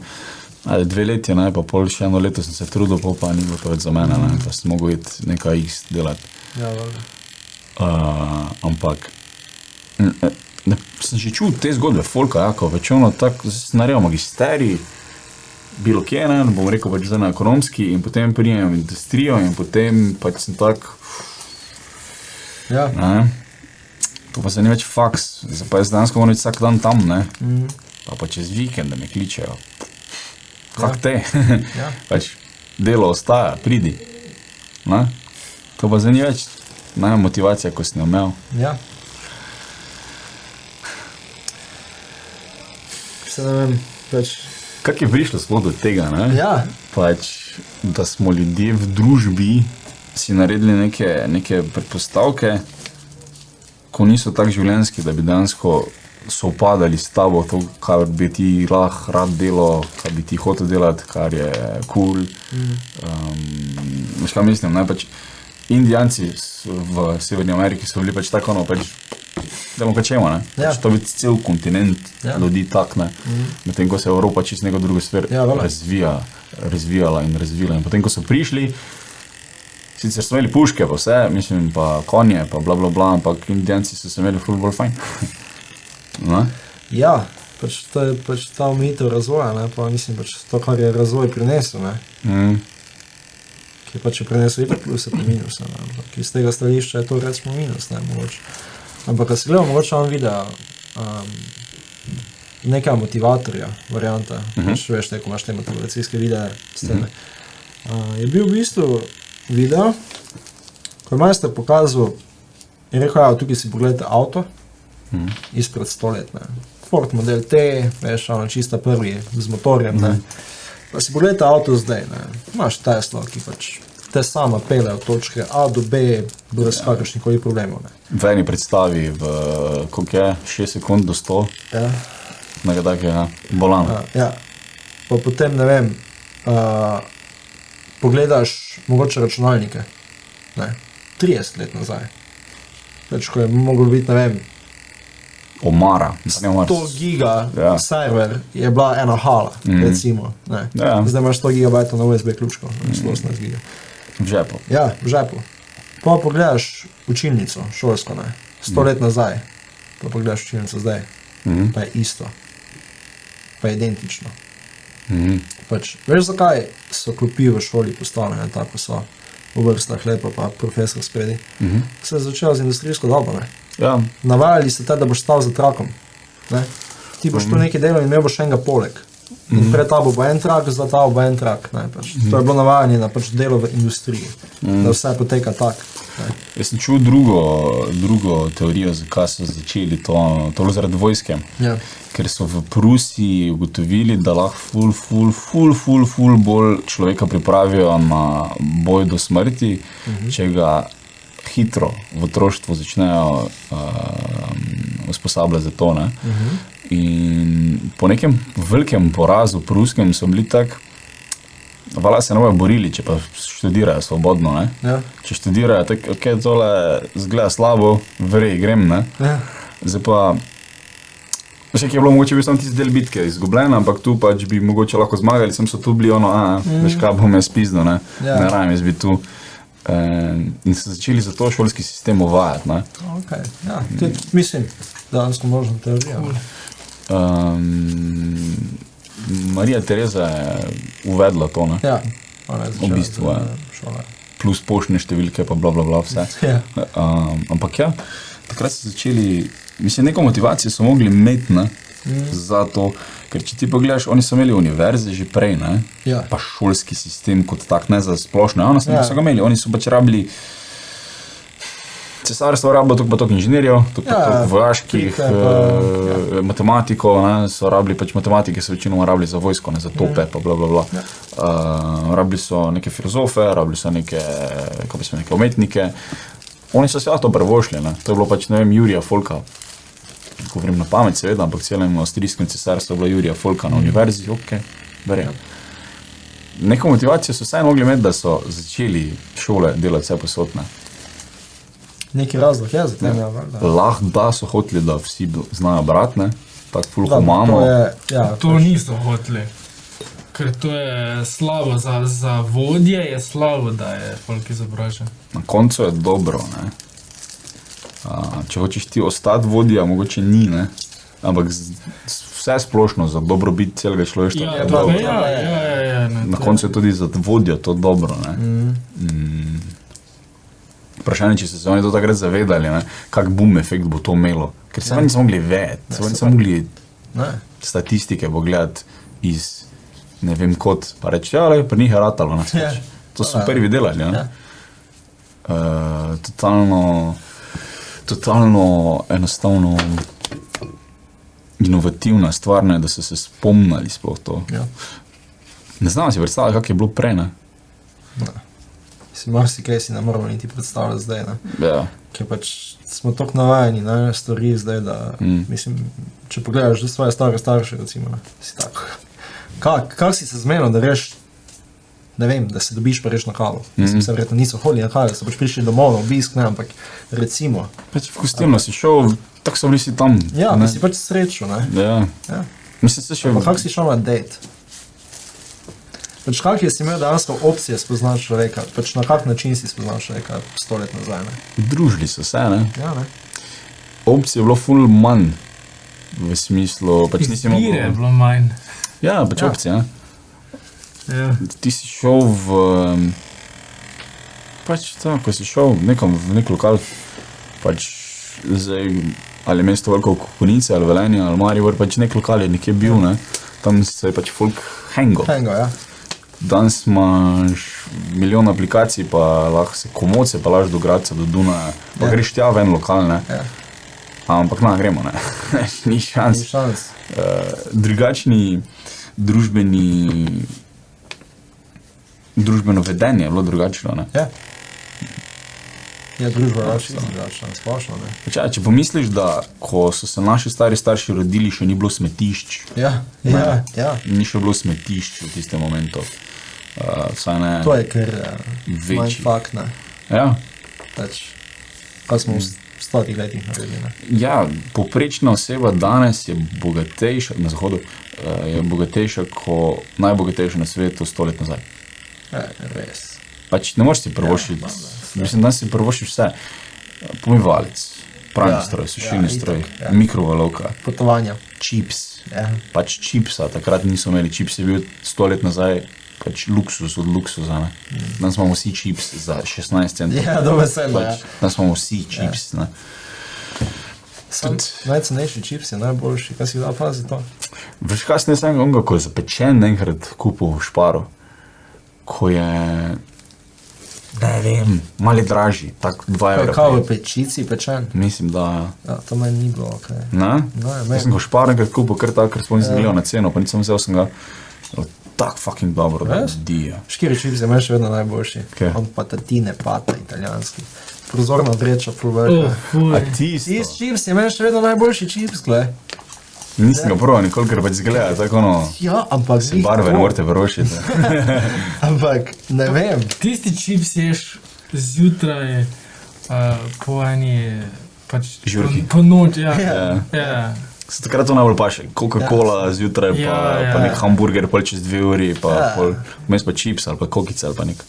S3: ali dve leti, ne, pa pol še eno leto sem se trudil, pol pa ni bilo to več za mene, ne, pa sem mogel iti nekaj X delati.
S2: ja, valjda.
S3: Uh, ampak n- eh, ne, sem že čutil te zgodbe, Folka, jako večino tako zdaj sem naredil magisterij, bilo kje ne, bom rekel pač zdaj na ekonomski in potem prijem v industrijo in potem pač sem tak,
S2: ja.
S3: ne, to pa se ni več faks, zdaj pa jaz danes moram biti vsak dan tam, ne,
S2: Mm,
S3: pa, pa čez vikend me kličejo. Kak te,
S2: ja.
S3: pač delo ostaja, pridi. Ne? To pa zdaj ni več, ne, motivacija, ko sem jo imel.
S2: ja. Se ne vem, pač.
S3: Kako je prišlo sploh do tega? Ne?
S2: Ja,
S3: Pač, da smo ljudje v družbi si naredili neke, neke predpostavke, ko niso tako življenjski, da bi dejansko sovpadali s tabo, to, kar bi ti lahko rad delal, kar bi ti hotel delati, kar je kul. Cool. Um, veš, kaj mislim? Ne? Pač, Indijanci s- v Severni Ameriki so bili pač tako, no, pač, da mu kačemo. Ne?
S2: Ja.
S3: Pač, to bi cel kontinent
S2: Ja.
S3: ja. ljudi takne, mm. medtem ko se je Evropa čist neko drugo sfer
S2: Ja, voilà.
S3: razvija, razvijala in razvila. In potem, ko so prišli, sicer so imeli puške, pa vse, mislim, pa konje, pa bla bla bla, ampak Indijanci so se imeli ful bolj fajn. No? Ne?
S2: ja, pač to je pač ta omejitev razvoja, ne, pa mislim pač to, kar je razvoj prinesel, ne,
S3: Mm.
S2: ki je pač je prinesel itak pluse pa minuse, ne, ampak iz tega stališča je to recimo minus, ne, mogoče. Ampak, ko si gledal, mogoče on video, um, nekaj motivatorja, varianta, uh -huh. če veš, neko imaš te motivacijske videe. Uh -huh. uh, je bil v bistvu video, ko je majster pokazal in rekel, da tukaj si pogledate avto uh -huh. izpred stoletja. Ford model T, veš, ono čista prvi z motorjem. Uh -huh. Pa si pogledate avto zdaj, ne. imaš Tesla, ki pač te sama pele od točke A do B, brez ja. kakršnih koli problemov. ne.
S3: V eni predstavi, v, koliko je 6 sekund do 100,
S2: Ja.
S3: nekaj takega, bolan. Ja.
S2: Ja. Pa potem ne vem, uh, pogledaš mogoče računalnike. Ne, 30 let nazaj. Več, ko je moglo biti, ne vem,
S3: Omara, ne omara.
S2: 100 giga ja.
S3: Ja. Mhm.
S2: server je bila ena hala, mm. recimo. ne.
S3: Ja. Mhm.
S2: Zdaj imaš 100 gigabajtov na USB ključko, mm. 118 giga.
S3: V žepu.
S2: Ja, v žepu. Pa pogledaš učilnico, šolsko, ne,
S3: Mhm.
S2: 100 mm. let nazaj, pa pogledaš učilnico zdaj,
S3: Mhm.
S2: pa je isto. pa je identično.
S3: Mhm.
S2: Pač, veš, zakaj so klopi v šoli postavljene tako, so v vrstah lepo, pa profesor spredi.
S3: Mhm.
S2: Se je začelo z industrijsko dobo. Ne?
S3: Ja,
S2: Navajali ste te, da boš stal za trakom. Ne? Ti boš tu nekaj delal in imel boš enega poleg. In pred tabo bo en trak, za tabo bo en trak. Ne, pač. To je bilo navajanje na pač delo v industriji, da vse poteka tako. ne.
S3: jaz sem čutil drugo, drugo teorijo, zakaj so začeli to, to je bilo zaradi vojske.
S2: Ja.
S3: Ker so v Prusiji ugotovili, da lahko ful, ful, ful, ful, ful bolj človeka pripravijo na boj do smrti, mhm. če ga hitro v otroštvu začnejo uh, usposabljati za to. Ne? Mhm. In po nekem velikem porazu, pruskem, so bili tako, vala se ne bojo borili, če pa študirajo svobodno. Ne?
S2: Ja.
S3: Če študirajo, tako okay, tole zgleda slabo, verjej grem. Ne?
S2: Ja.
S3: Zdaj pa, še kaj je bilo mogoče, bil sem tisti del bitke izgubljen, ampak tu pač bi mogoče lahko zmagali, sem so tu bili, ono, a, mm. veš kaj bom jaz pizdo, ne,
S2: Ja.
S3: ja. ne rajem jaz bi tu. E, in so začeli za to šolski sistem uvajati. ne.
S2: Okay. Ja. Tudi, mislim, da je to možno teorija. ne.
S3: Um, Marija Tereza je uvedla to, ne?
S2: Ja. Ona je začela
S3: bistvu,
S2: z,
S3: ja.
S2: eh, šola.
S3: plus poštne številke, pa bla bla bla vse.
S2: Ja.
S3: Um, ampak ja, takrat so začeli, mislim, neko motivacijo so mogli imeti ne, mm. za to, ker če ti pogledaš, oni so imeli univerze že prej, ne,
S2: Ja.
S3: pa šolski sistem kot tak, ne za splošno, oni
S2: Ja.
S3: ja. so ga imeli, oni so pač rabili. Cesarstvo je rabilo tako pa toliko inženirjev, tako
S2: Ja,
S3: ja, toliko vojaških,
S2: pike,
S3: pa,
S2: pa-
S3: ja. matematiko, ne, so rabili pač matematike, so večinoma rabili za vojsko, ne za tope, pa bla bla bla. Ja. Uh, rabili so neke filozofe, rabili so neke, kako bi se neke umetnike. Oni so se ja to prevošli, ne. to je bilo pač, ne vem, Jurija Folka. Govorim na pamet, seveda, ampak celem avstrijskem cesarstvu je bila Jurija Folka na univerzi, ok, verjamem. Neko motivacijo so vseeno mogli imeti, da so začeli šole delati vse posodne.
S2: Neki razlog je za to. Ja, valjda.
S3: Lahko da so hoteli, da vsi do- znajo bratne, tako
S2: Da,
S3: fulho
S2: to
S3: imamo.
S2: je- Ja,
S1: To niso hoteli. Ker to je slabo za, za vodje, je slabo, da je folk izobražen.
S3: Na koncu je dobro. ne. A, če hočeš ti ostati vodja, mogoče ni, ne? ampak z, z, vse splošno za dobrobit celega človeštva.
S1: Ja,
S3: je
S1: to
S3: dobro.
S1: je. Ja, ja, ja, ja, ne,
S3: Na
S1: to je-
S3: koncu je tudi za vodjo to dobro. ne.
S2: mhm,
S3: Mm. Vprašanje je, če so se oni to takrat zavedali, ne, kak boom efekt bo to imelo. Ker
S2: Ja.
S3: se oni niso mogli vedeti, se oni niso mogli
S2: Ne.
S3: statistike pogledati iz ne vem kot, pa reči, ja, le, pri njih je ratalo nas.
S2: Ja.
S3: Yeah. To so
S2: Ja.
S3: prvi delali. Ja.
S2: Ja.
S3: Yeah. Uh, totalno, totalno enostavno inovativna stvar, ne, da so se spomnili sploh to.
S2: Ja.
S3: Ne znam si predstavljati, kako je bilo prej. Ne?
S2: Si marsikaj si ne moremo niti predstavljati zdaj. Ne?
S3: Ja.
S2: Ker pač smo tako navajeni na stvari zdaj, da mm.
S3: Mm.
S2: mislim, če pogledaš že svoje stare starše, recimo, ne, si tako. Kak, kak si se zmenil, da reš, ne vem, da se dobiš pa reš na kavo? Mm. Mislim, se verjetno niso hodili na kavo, so pač prišli domov na obisk, ne, ampak recimo,
S3: Pač v gostilno si šel, tako so bili si tam.
S2: ja,
S3: ne.
S2: da si pač srečo, ne.
S3: Ja.
S2: Ja.
S3: Mislim, se še
S2: Pa kak si šel na dejt? Pač kak je si imel dejansko opcije spoznati človeka, pač na kak način si spoznal človeka sto let nazaj, ne.
S3: družili so se, ne?
S2: Ja, ne.
S3: opcij je bilo ful manj. V smislu, pač nisi
S1: Izbire je
S3: mogel.
S1: bilo manj.
S3: Ja, pač
S2: Ja.
S3: ja. opcija. Ne?
S1: Ja.
S3: Ti si šel v. em, Pač tam, ko si šel nekam v nek lokal, pač zdaj, ali mesto veliko Kunice, ali Velenje, ali Maribor, pač nek lokal je nekje bil, ne? tam se je pač folk hango.
S2: Hengo, ja.
S3: Danes imaš milijon aplikacij, pa lahko se komoce, pa laž do Graca, do Dunaja, pa
S2: Ja.
S3: greš tja ven lokalne.
S2: Ja.
S3: Ampak na gremo, ne. ni šans.
S2: Ni šans.
S3: Eh, drugačni družbeni, družbeno vedenje je bilo drugačno. ne.
S2: Ja. Ja, družba je čisto drugačna, splošno. Ne?
S3: Pač, ja, če pomisliš, da ko so se naši stari starši rodili, še ni bilo smetišč,
S2: Ja,
S3: Ne.
S2: ja, ja.
S3: ni še bilo smetišč v tistem momentu. Uh, vsaj ne.
S2: To je kar
S3: Večji.
S2: manj fakt, ne.
S3: Ja,
S2: Pač, kaj smo
S3: Mm.
S2: v stotih letih naredili. Ne?
S3: ja, poprečna oseba danes je bogatejša na zahodu, eh, je bogatejša kot najbogatejša na svetu sto let nazaj.
S2: Ja, res.
S3: Pač ne moreš si privoščiti.
S2: Ja,
S3: Ja, mislim, da si privoščiš vse. Pomivalec, pralni
S2: Ja,
S3: ja, stroj,
S2: ja,
S3: sušilni ja,
S2: itak,
S3: stroj,
S2: ja.
S3: ja. mikrovalovka,
S2: Potovanja.
S3: čips,
S2: Ja.
S3: pač čipsa, takrat niso imeli čips, je bil sto let nazaj pač luksus od luksusa. Ne? Danes imamo vsi čips za 16 centov.
S2: Mm. Ja, dobesedno, ja.
S3: Pač, danes imamo vsi čips. Ja.
S2: Sam Najcenejši čips je najboljši, kaj si da pazi to.
S3: Veš, kaj sem jaz enega onega, ko je zapečen enkrat kupil v šparu, ko je, ne vem, malo dražji, tako 2
S2: Kaj je
S3: evra.
S2: kao v pečici pečen?
S3: Mislim, da ja.
S2: Ja, to meni ni bilo, kaj.
S3: Ne?
S2: No, ja, ne. Ja.
S3: Jaz sem ga šparil, ker kupil kar tako, ker sploh nisem gledal na ceno, pa nisem vzel sem ga. Ali Tako fucking dobro, da
S2: Res?
S3: dija.
S2: Škiri čips je meni še vedno najboljši.
S3: Kaj?
S2: On patatine, pata italijanski. Prozorna vreča, proverka.
S1: Oh,
S2: Uh.
S1: fuj.
S3: Ti
S2: Tisti čips je meni še vedno najboljši čips, gled.
S3: Nisem ga proval nikoli, ker pač zgleda tako ono,
S2: Ja, ampak
S3: si
S2: glih
S3: barve
S2: to.
S3: ne morete verošiti.
S2: Ampak ne vem.
S1: Tisti čips ješ zjutraj uh, po eni. Pač
S3: Žurki.
S1: Po, po noč, ja.
S2: Ja.
S1: ja.
S3: Se takrat to najbolj paše, Coca-Cola zjutraj, pa,
S1: Ja, ja.
S3: pa nek hamburger, pa čez dve uri, pa
S2: Ja.
S3: ja. vmes pa čips ali pa kokice ali pa nek.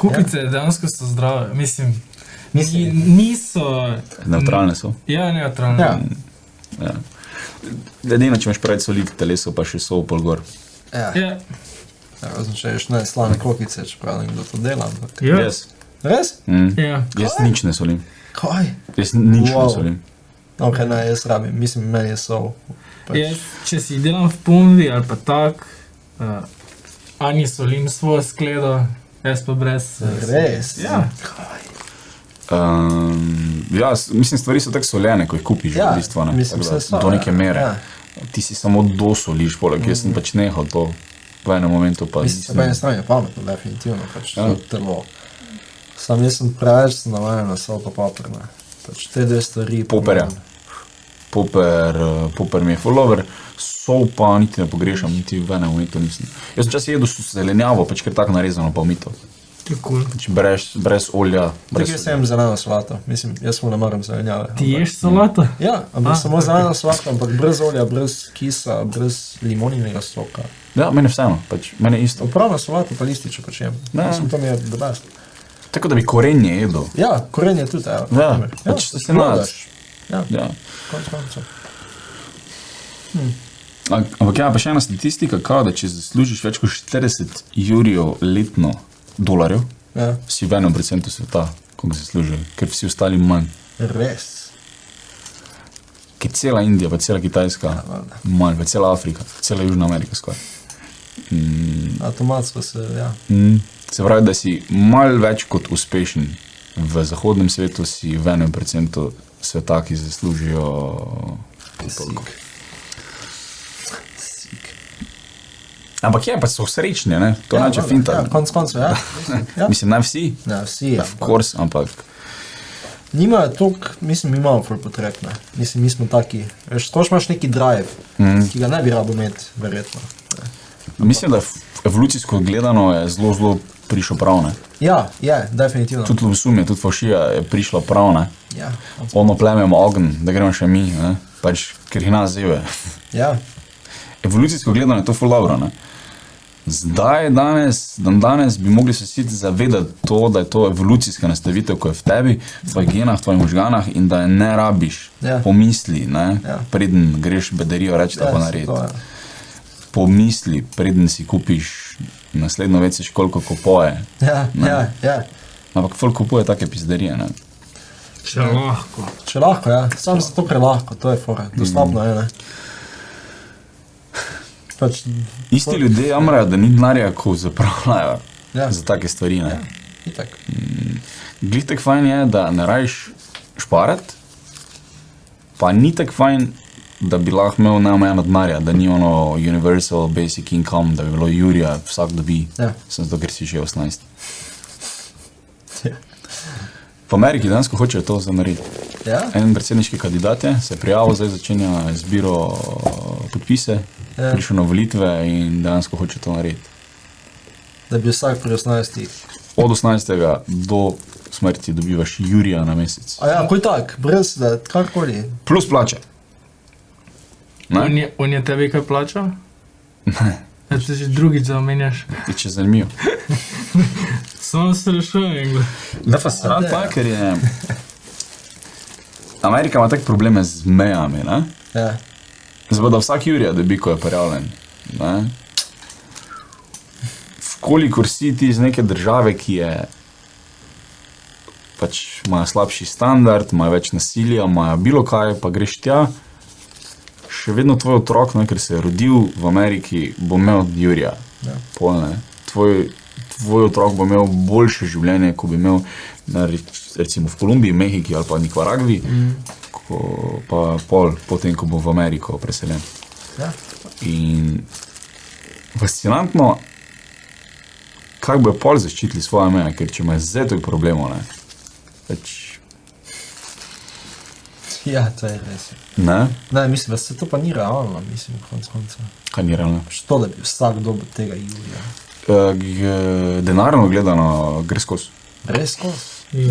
S1: Kupice ja. dejansko so zdrave, mislim.
S2: Mislim.
S1: ni- Niso.
S3: Neutralne so.
S1: Ja, neutralne.
S2: Ja.
S3: Ja. Edino, če imaš preveč solid telesu, pa še so pol gor.
S2: Ja.
S1: Ja.
S2: Razen če ješ ne slane kokice, čeprav nekdo to dela. Ampak.
S1: Ja.
S3: Jaz,
S2: Res?
S3: mm.
S1: Ja.
S3: jaz nič ne solim.
S2: Kaj?
S3: Jaz nič wow. ne
S2: Wow.
S3: solim.
S2: Ok, ne, jaz rabim, mislim, meni je sol. Pač.
S1: Jaz, če si delam v pomvi ali pa tak, uh, ani solim svojo skledo, jaz pa brez. eh,
S2: Res?
S1: Ja.
S2: Kaj?
S3: Um, ja, s- mislim, stvari so tako soljene, ko jih kupiš,
S2: Ja,
S3: v bistvu, ne,
S2: mislim,
S3: Tako da,
S2: saj so,
S3: do neke
S2: ja,
S3: mere.
S2: ja. Mhm.
S3: Ti si samo dosoliš, poleg jaz sem pač nehal to v enem momentu. Pa,
S2: Mislim,
S3: nisem-
S2: da je stanje pametno, definitivno, pač
S3: Ja.
S2: ja. telo. Sam jaz sem preveč navajen na sol pa paprna. Pač te dve stvari. po
S3: Poperja.
S2: mojem.
S3: Poper, eh, poper mi je follower, so pa niti ne pogrešam, niti v enem momentu nisem. Jaz sem čas jedel s zelenjavo, pač ker tako narezano, pa umito.
S1: To je kul.
S3: Pač brez, brez olja, brez
S2: Tako jaz sem zeleno solato, mislim, jaz mu ne maram zelenjave.
S1: Ti
S2: ampak-
S1: ješ solato?
S2: Ja, ampak
S1: Ah,
S2: samo zeleno solato, ampak brez olja, brez kisa, brez limoninega soka.
S3: Ja, meni je vseeno, pač, meni je isto.
S2: Upravno solato pa lističe počnem.
S3: Ne.
S2: Mislim, to mi je debast.
S3: Tako da bi korenje jedel.
S2: Ja, korenje tudi, evo.
S3: Ja,
S2: naprimer.
S3: pač se nadaš.
S2: prodaš. Ja,
S3: Ja.
S2: konec koncev.
S3: Am- Ampak ja, pa še ena statistika, kao, da če zaslužiš več kot 40 jurijev letno dolarjev,
S2: Ja,
S3: si v enem procentu sveta, koliko zaslužijo, ker vsi ostali manj.
S2: res.
S3: Ki cela Indija, pa cela Kitajska,
S2: Ja, valjda.
S3: manj, pa cela Afrika, cela Južna Amerika skoraj.
S2: Avtomatsko se, ja.
S3: Mm. Se pravi, da si mal več kot uspešen v zahodnem svetu, si v enem procentu sveta, ki zaslužijo toliko.
S2: Sik.
S3: Ampak je, pa so srečni, ne? To ja, nače
S2: valjda,
S3: finta.
S2: Ja, konec koncev, ja. Mislim, ja.
S3: Mislim, ja. ne vsi,
S2: Ne, vsi.
S3: of course, ampak
S2: Nimajo toliko, mislim, mi imamo ful potreb, ne. Mislim, mi smo taki. Veš, sploh imaš neki drive,
S3: Mhm.
S2: mm. ki ga ne bi rabo imeti, verjetno. ne.
S3: mislim, da f- evolucijsko gledano je zelo, zelo prišlo prav, ne?
S2: Ja, je, definitivno.
S3: Tudi Lusumija, tudi Fošija je prišla prav, ne?
S2: Ja,
S3: Ono plemem ogen, da gremo še mi, ne? Pač, ker jih nas zeve.
S2: ja.
S3: evolucijsko gledano je to fulabro. Zdaj, danes, dan danes bi mogli se vsi zavedati, to, da je to evolucijska nastavitev, ki je v tebi, v tvojih genah, v tvojih možganah in da je ne rabiš,
S2: Ja.
S3: pomisli, ne,
S2: Ja.
S3: preden greš bedarijo reči, da
S2: ja,
S3: pa
S2: saj
S3: naredi.
S2: to, ja.
S3: Pomisli, preden si kupiš naslednjo veš, koliko kupoje.
S2: Ja,
S3: Ne.
S2: ja, ja.
S3: Ampak folk kupuje take pizdarije. Ne.
S1: Če lahko.
S2: Če lahko, ja. Sam zato, ker lahko, to je fora. Dostopno je, ne. Pač,
S3: Isti ljudje jamrajo, da ni denarja, ko zapravljajo
S2: ja,
S3: za take stvari. Ne.
S2: itak.
S3: Glej, tako fajn je, da ne rajiš šparati, pa ni tako fajn, da bi lahko imel neomejeno denarja, da ni ono universal basic income, da bi bilo Jurija, vsak dobi,
S2: Ja.
S3: sem zato, ker si že 18.
S2: Ja.
S3: V Ameriki dejansko hočejo to zdaj narediti.
S2: Ja,
S3: En predsedniški kandidat je se je prijavil, zdaj začenja zbiro eh, podpise,
S2: Ja.
S3: ja. prišel na volitve in dejansko hoče to narediti.
S2: da bi vsak pri 18.
S3: Od 18. do smrti dobivaš Jurija na mesec.
S2: A ja, kuj tak, brez da, karkoli.
S3: Plus plače. Ne?
S1: On je, on je tebi kaj plačal? Ne. Če že drugič zamenjaš,
S3: Je Če zanimivo.
S1: samo se rešujem.
S3: Da, pa srat pa, ker je. Amerika ima take probleme z mejami, ne?
S2: Ja,
S3: Zdaj Seveda vsak Jurija dobi, ko je prijavljen. ne. Kolikor si ti iz neke države, ki je pač ima slabši standard, ima več nasilja, ima bilo kaj, pa greš tja, še vedno tvoj otrok, ne, ker se je rodil v Ameriki, bo imel od Jurija.
S2: Ja.
S3: Polne. Tvoj, tvoj otrok bo imel boljše življenje, kot bi imel na, reč- recimo v Kolumbiji, Mehiki ali pa Nikaragvi, mm. ko, pa pol, potem, ko bo v Ameriko preseljen.
S2: Ja.
S3: In fascinantno, kako bo pol zaščitili svoje meje, ker če ima zdaj toliko problemov, ne. Pač,
S2: Ja, to je res.
S3: ne,
S2: Ne, mislim, da se to pa ni realno, mislim, konc koncev.
S3: kaj ni realno.
S2: Što da bi vsak dobil tega Julija?
S3: Eh, g- Denarno gledano, gre skozi.
S2: Res ko?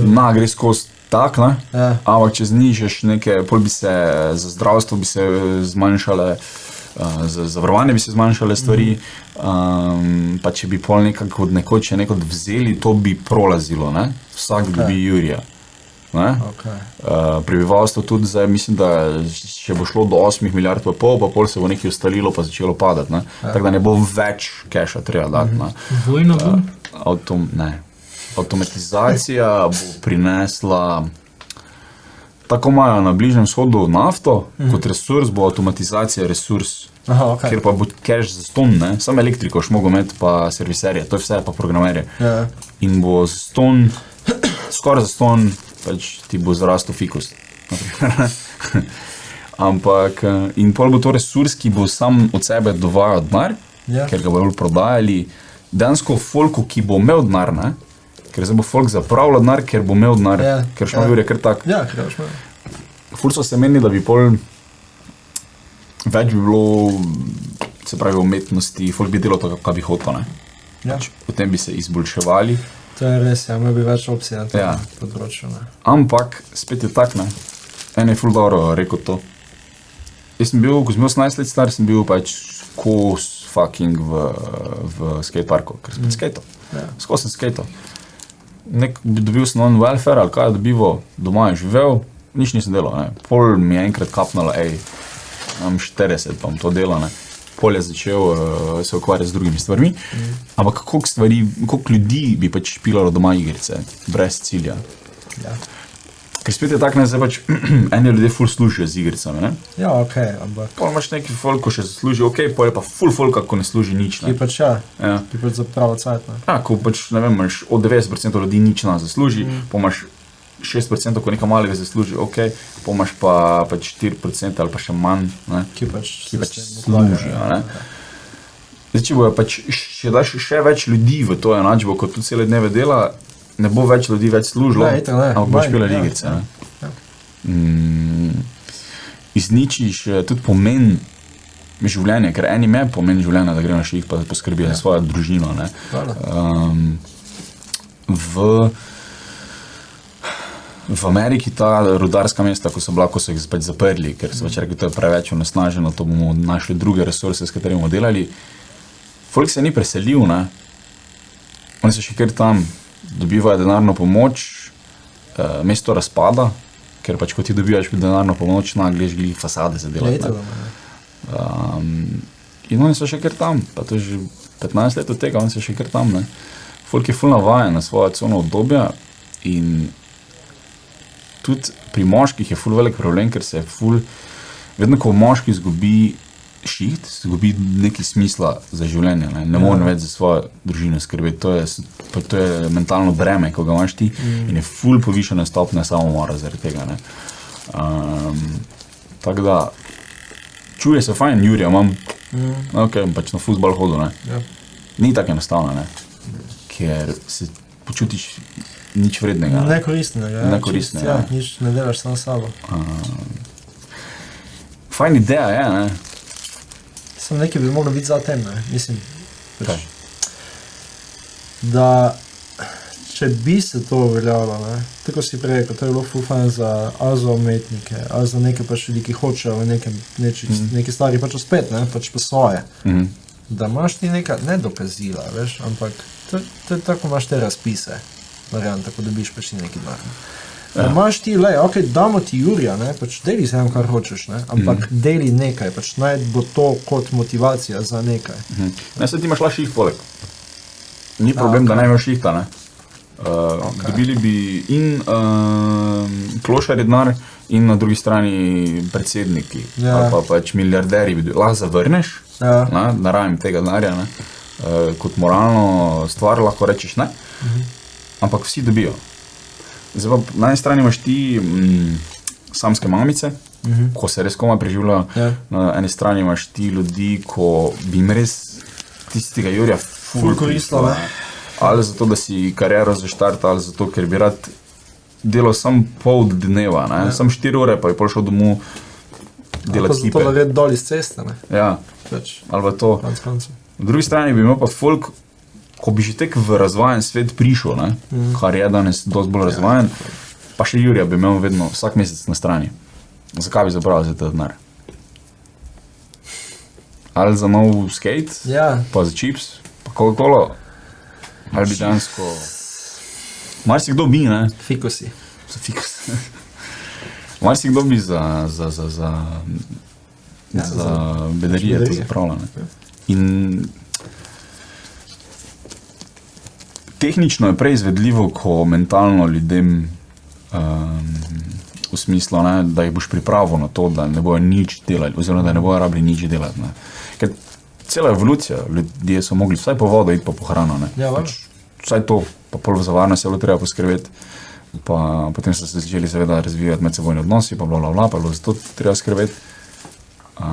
S3: Na, gre skozi tak, ne.
S2: Ja.
S3: Ampak če znižaš nekaj, pol bi se za zdravstvo bi se eh, zmanjšale, eh, za zavarovanje bi se zmanjšale stvari. Um, pa če bi pol nekako od nekoč še nekod vzeli, to bi prolazilo, ne? vsak okay. dobi Jurija. Ne?
S2: Okay.
S3: Uh, prebivalstvo tudi zdaj, mislim, da če bo šlo do 8 milijard, pa pol, pa pol se bo nekaj ustalilo, pa začelo padati. Ne? Tako da ne bo več keša treba dati. ne.
S1: Vojno bo?
S3: Avtom, ne. Avtomatizacija bo prinesla. Tako imajo na Bližnjem vzhodu nafto, mm -hmm. kot resurs bo avtomatizacija resurs,
S2: Aha,
S3: okay.
S2: okay.
S3: ker pa bo cache za ston, ne? samo elektriko, šmogomet, pa serviserje, to je vse, pa programerje.
S2: Ja.
S3: In bo za ston, skoraj za ston, pač ti bo zrastel fikus. na primer. Ampak eh, in pol bo to resurs, ki bo sam od sebe dovajal denar,
S2: Ja.
S3: ker ga bodo prodajali dejansko folku, ki bo imel denar, ne? ker se bo folk zapravljal denar, ker bo imel denar,
S2: Ja,
S3: ker šlo
S2: ja.
S3: je kar tako.
S2: Ja, kreš me.
S3: Ful so se meni, da bi pol več bi bilo, se pravi, umetnosti, folk bi delal to, kar bi hotel. ne. Pač
S2: Ja.
S3: Potem bi se izboljševali,
S2: To je res, ja, imel bi več opcij na tem
S3: Ja.
S2: področju. Ne.
S3: ampak spet je tak, ne. En je ful dobro rekel to. Jaz sem bil, ko sem bil 18 let star, sem bil pač kos fucking v, v skateparku, ker sem mm. skateal.
S2: Ja.
S3: Skozi sem skateal. Nek dobil sem on welfare ali kaj, dobival doma je živel, nič nisem delal. Ne. Pol mi je enkrat kapnalo, hej, imam 40, pa bom to delo. Ne. Pol je začel uh, se ukvarjati z drugimi stvarmi. Mm. Ampak koliko, stvari, koliko ljudi bi pač špilalo doma igrice, brez cilja.
S2: Ja.
S3: Ker spet je tako, ne, zdaj pač eni ljudje ful služijo z igricami. Ne.
S2: ja, ok, ampak
S3: Pol imaš neki folk, ko še zasluži, ok, pol je pa ful folk, ko ne služi nič. Ne.
S2: ti pač ja,
S3: Ja.
S2: ti pač za pravo cajt. Ne.
S3: Ja, ko pač ne vem, imaš od 90% ljudi nič na zasluži, mm. pa imaš 6%, ko nekaj malega zasluži, ok, pa imaš pa pač 4% ali pa še manj, ne,
S2: Ki pač,
S3: ki
S2: se
S3: pač
S2: s tem ukvarjajo,
S3: služijo. Ne. Zdaj, če bojo pač še, daš še več ljudi v to enačbo, kot tu cele dneve dela, ne bo več ljudi več služilo,
S2: Ne, itak ne,
S3: ampak boš
S2: manj,
S3: pila
S2: ja,
S3: igrice.
S2: ja,
S3: ne.
S2: ja.
S3: Mm, Izničiš eh, tudi pomen življenja, ker enim je pomen življenja, da gremo še jih pa poskrbijo
S2: Ja.
S3: za svojo družino. Ne.
S2: Hvala.
S3: Um, v, v Ameriki ta rudarska mesta, ko so bila, ko so jih pač zaprli, ker so pač rekli, da je preveč onesnaženo, to bomo našli druge resurse, s katerimi bomo delali. Folk se ni preselil, ne? oni so še kar tam, dobivajo denarno pomoč, uh, mesto razpada, ker pač ko ti dobivaš denarno pomoč, nagliš glih fasade za
S2: Ja,
S3: delo.
S2: itak, ne.
S3: Um, in oni so še kar tam, pa to je že 15 let od tega, oni so še kar tam. Ne. Folk je fulno vajen na svoje cono obdobje in tudi pri moških je ful velik problem, ker se je ful, vedno ko moški izgubi šiht, izgubi neki smisla za življenje, ne, ne more več za svojo družino skrbeti. To je, s- pa to je mentalno breme, ko ga imaš ti in je ful povišena stopnja samomora zaradi tega. ne. Um, Tako da, čuje se fajn, Jurija imam,
S2: Mm,
S3: ok, pač na futbal hodil, ne.
S2: ja.
S3: Ni tako enostavno, ne. Ker se počutiš nič vrednega. ne.
S2: Nekoristnega, ja.
S3: Nekoristno,
S2: čist, ja.
S3: ja.
S2: Nič ne delaš samo s sabo.
S3: Fajn ideja je, ne.
S2: Sem nekaj bi mogel biti za tem, ne. mislim. pač,
S3: Kaj?
S2: Da, če bi se to uveljavilo, ne, tako kot si prej rekel, to je bilo fufan za ali za umetnike, ali za neke pač ljudi, ki hočejo v nekem, neči, mm. neki stvari pač uspeti, ne, pač pa svoje.
S3: Mhm.
S2: Da imaš ti neka, ne dokazila, veš, ampak to, to je tako imaš te razpise, verjamem, tako dobiš pač ti neki denar. ne. Ja. Imaš ti, le, ok, damo ti Jurija, ne, pač deli z enim, kar hočeš, ne, ampak mm. deli nekaj, pač naj bo to kot motivacija za nekaj.
S3: mhm. Ne, se ti imaš lažjih poleg. Ni problem, da ne imaš jih ta. Uh, okay. Dobili bi in uh, klošarje denar, in na drugi strani predsedniki,
S2: Ja.
S3: ali pa pač milijarderji, bi do- lahko zavrneš,
S2: Ja.
S3: ne, ne rabim tega denarja, ne, uh, kot moralno stvar lahko rečeš ne,
S2: Mhm.
S3: ampak vsi dobijo. Zdaj pa na eni strani imaš ti mm, samske mamice, uh -huh. ko se res koma preživljajo,
S2: Mhm. Ja.
S3: na eni strani imaš ti ljudi, ko bi jim res tistega Jurija ful
S2: Ful koristilo,
S3: koristilo,
S2: ne.
S3: ne. Ali zato, da si kariero zaštartal, ali zato, ker bi rad delal samo pol dneva, ne? samo 4 ure, pa je prišel domov
S2: Ja. Pa
S3: delati
S2: zato, da
S3: kipe.
S2: gre dol iz ceste, ne,
S3: Ja,
S2: pač,
S3: ali pa to.
S2: konc koncev.
S3: Na drugi strani bi imel pa folk, ko bi že tek v razvajen svet prišel, ne? kar je danes dosti bolj razvajen, pa še Jurija bi imel vedno vsak mesec na strani. Zakaj bi zapravil za ta denar? Ali za nov skate,
S2: Ja,
S3: pa za čips, pa Coca-Cola, ali bi dejansko. Marsikdo bi, ne?
S2: fikusi.
S3: Za fikus. Marsikdo bi za, za, za, za,
S2: Ja,
S3: ja,
S2: za-
S3: za bedarije to
S2: bedarije.
S3: zapravljal. ne. In tehnično je prej izvedljivo, ko mentalno ljudem um, v smislu, ne, da jih boš pripravil na to, da ne bojo nič delali, oziroma da ne bojo rabili nič delati. Ne. Ker cela evolucija, ljudje so mogli vsaj po vodo iti pa po hrano. Ne Pač
S2: Ja, valjda.
S3: vsaj to, pa pol za varnost je bilo treba poskrbeti. Pa, potem so se začeli seveda razvijati medsebojni odnosi, pa bla bla bla, pa je bilo za to treba skrbeti, uh,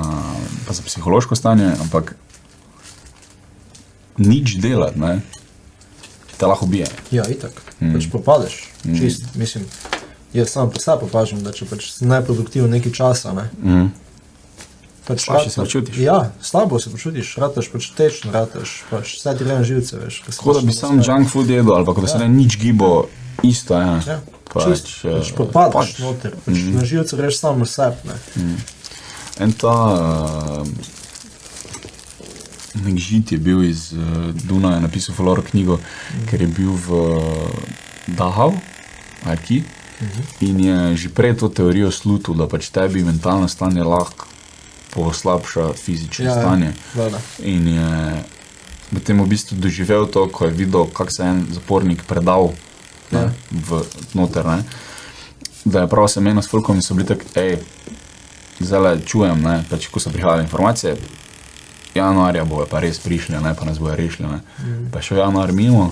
S3: pa za psihološko stanje, ampak nič delati, ne, te lahko bije.
S2: Ja, itak. Mm. Pač propadeš, mm. čist, mislim. Jaz sam pri sebi opažam, da če pač si najproduktiven nekaj časa, ne.
S3: Mm.
S2: Pač
S3: Slabše
S2: rataš-
S3: se počutiš.
S2: Ja, slabo se počutiš, rataš pač tečen, rataš pač vse ti gre na živce, veš. ko se
S3: Tako da bi
S2: pač
S3: sam junk food jedel, ali pa ko da se ne nič gibo, isto je. Ja. eh,
S2: Ja, čist, pač propadeš pač. noter, pač mm. na živce greš samo sebe, ne.
S3: En ta uh, nek žid je bil iz uh, Dunaja, napisal Floro knjigo, mm. ker je bil v Dahau, Arki. In je že prej to teorijo slutil, da pač tebi mentalno stanje lahko poslabša fizično ja,
S2: Ja, ja.
S3: stanje.
S2: Vada.
S3: In je potem v bistvu doživel to, ko je videl, kako se je en zapornik predal ne, v noter. Ne. Da je prav se meni s Fulkom in so bili tako, hej, zdaj le čujem, ne, pač ko so prihajale informacije. Januarja bojo pa res prišli, ne pa nas bojo rešili. Ne. Pa je šel januar mimo,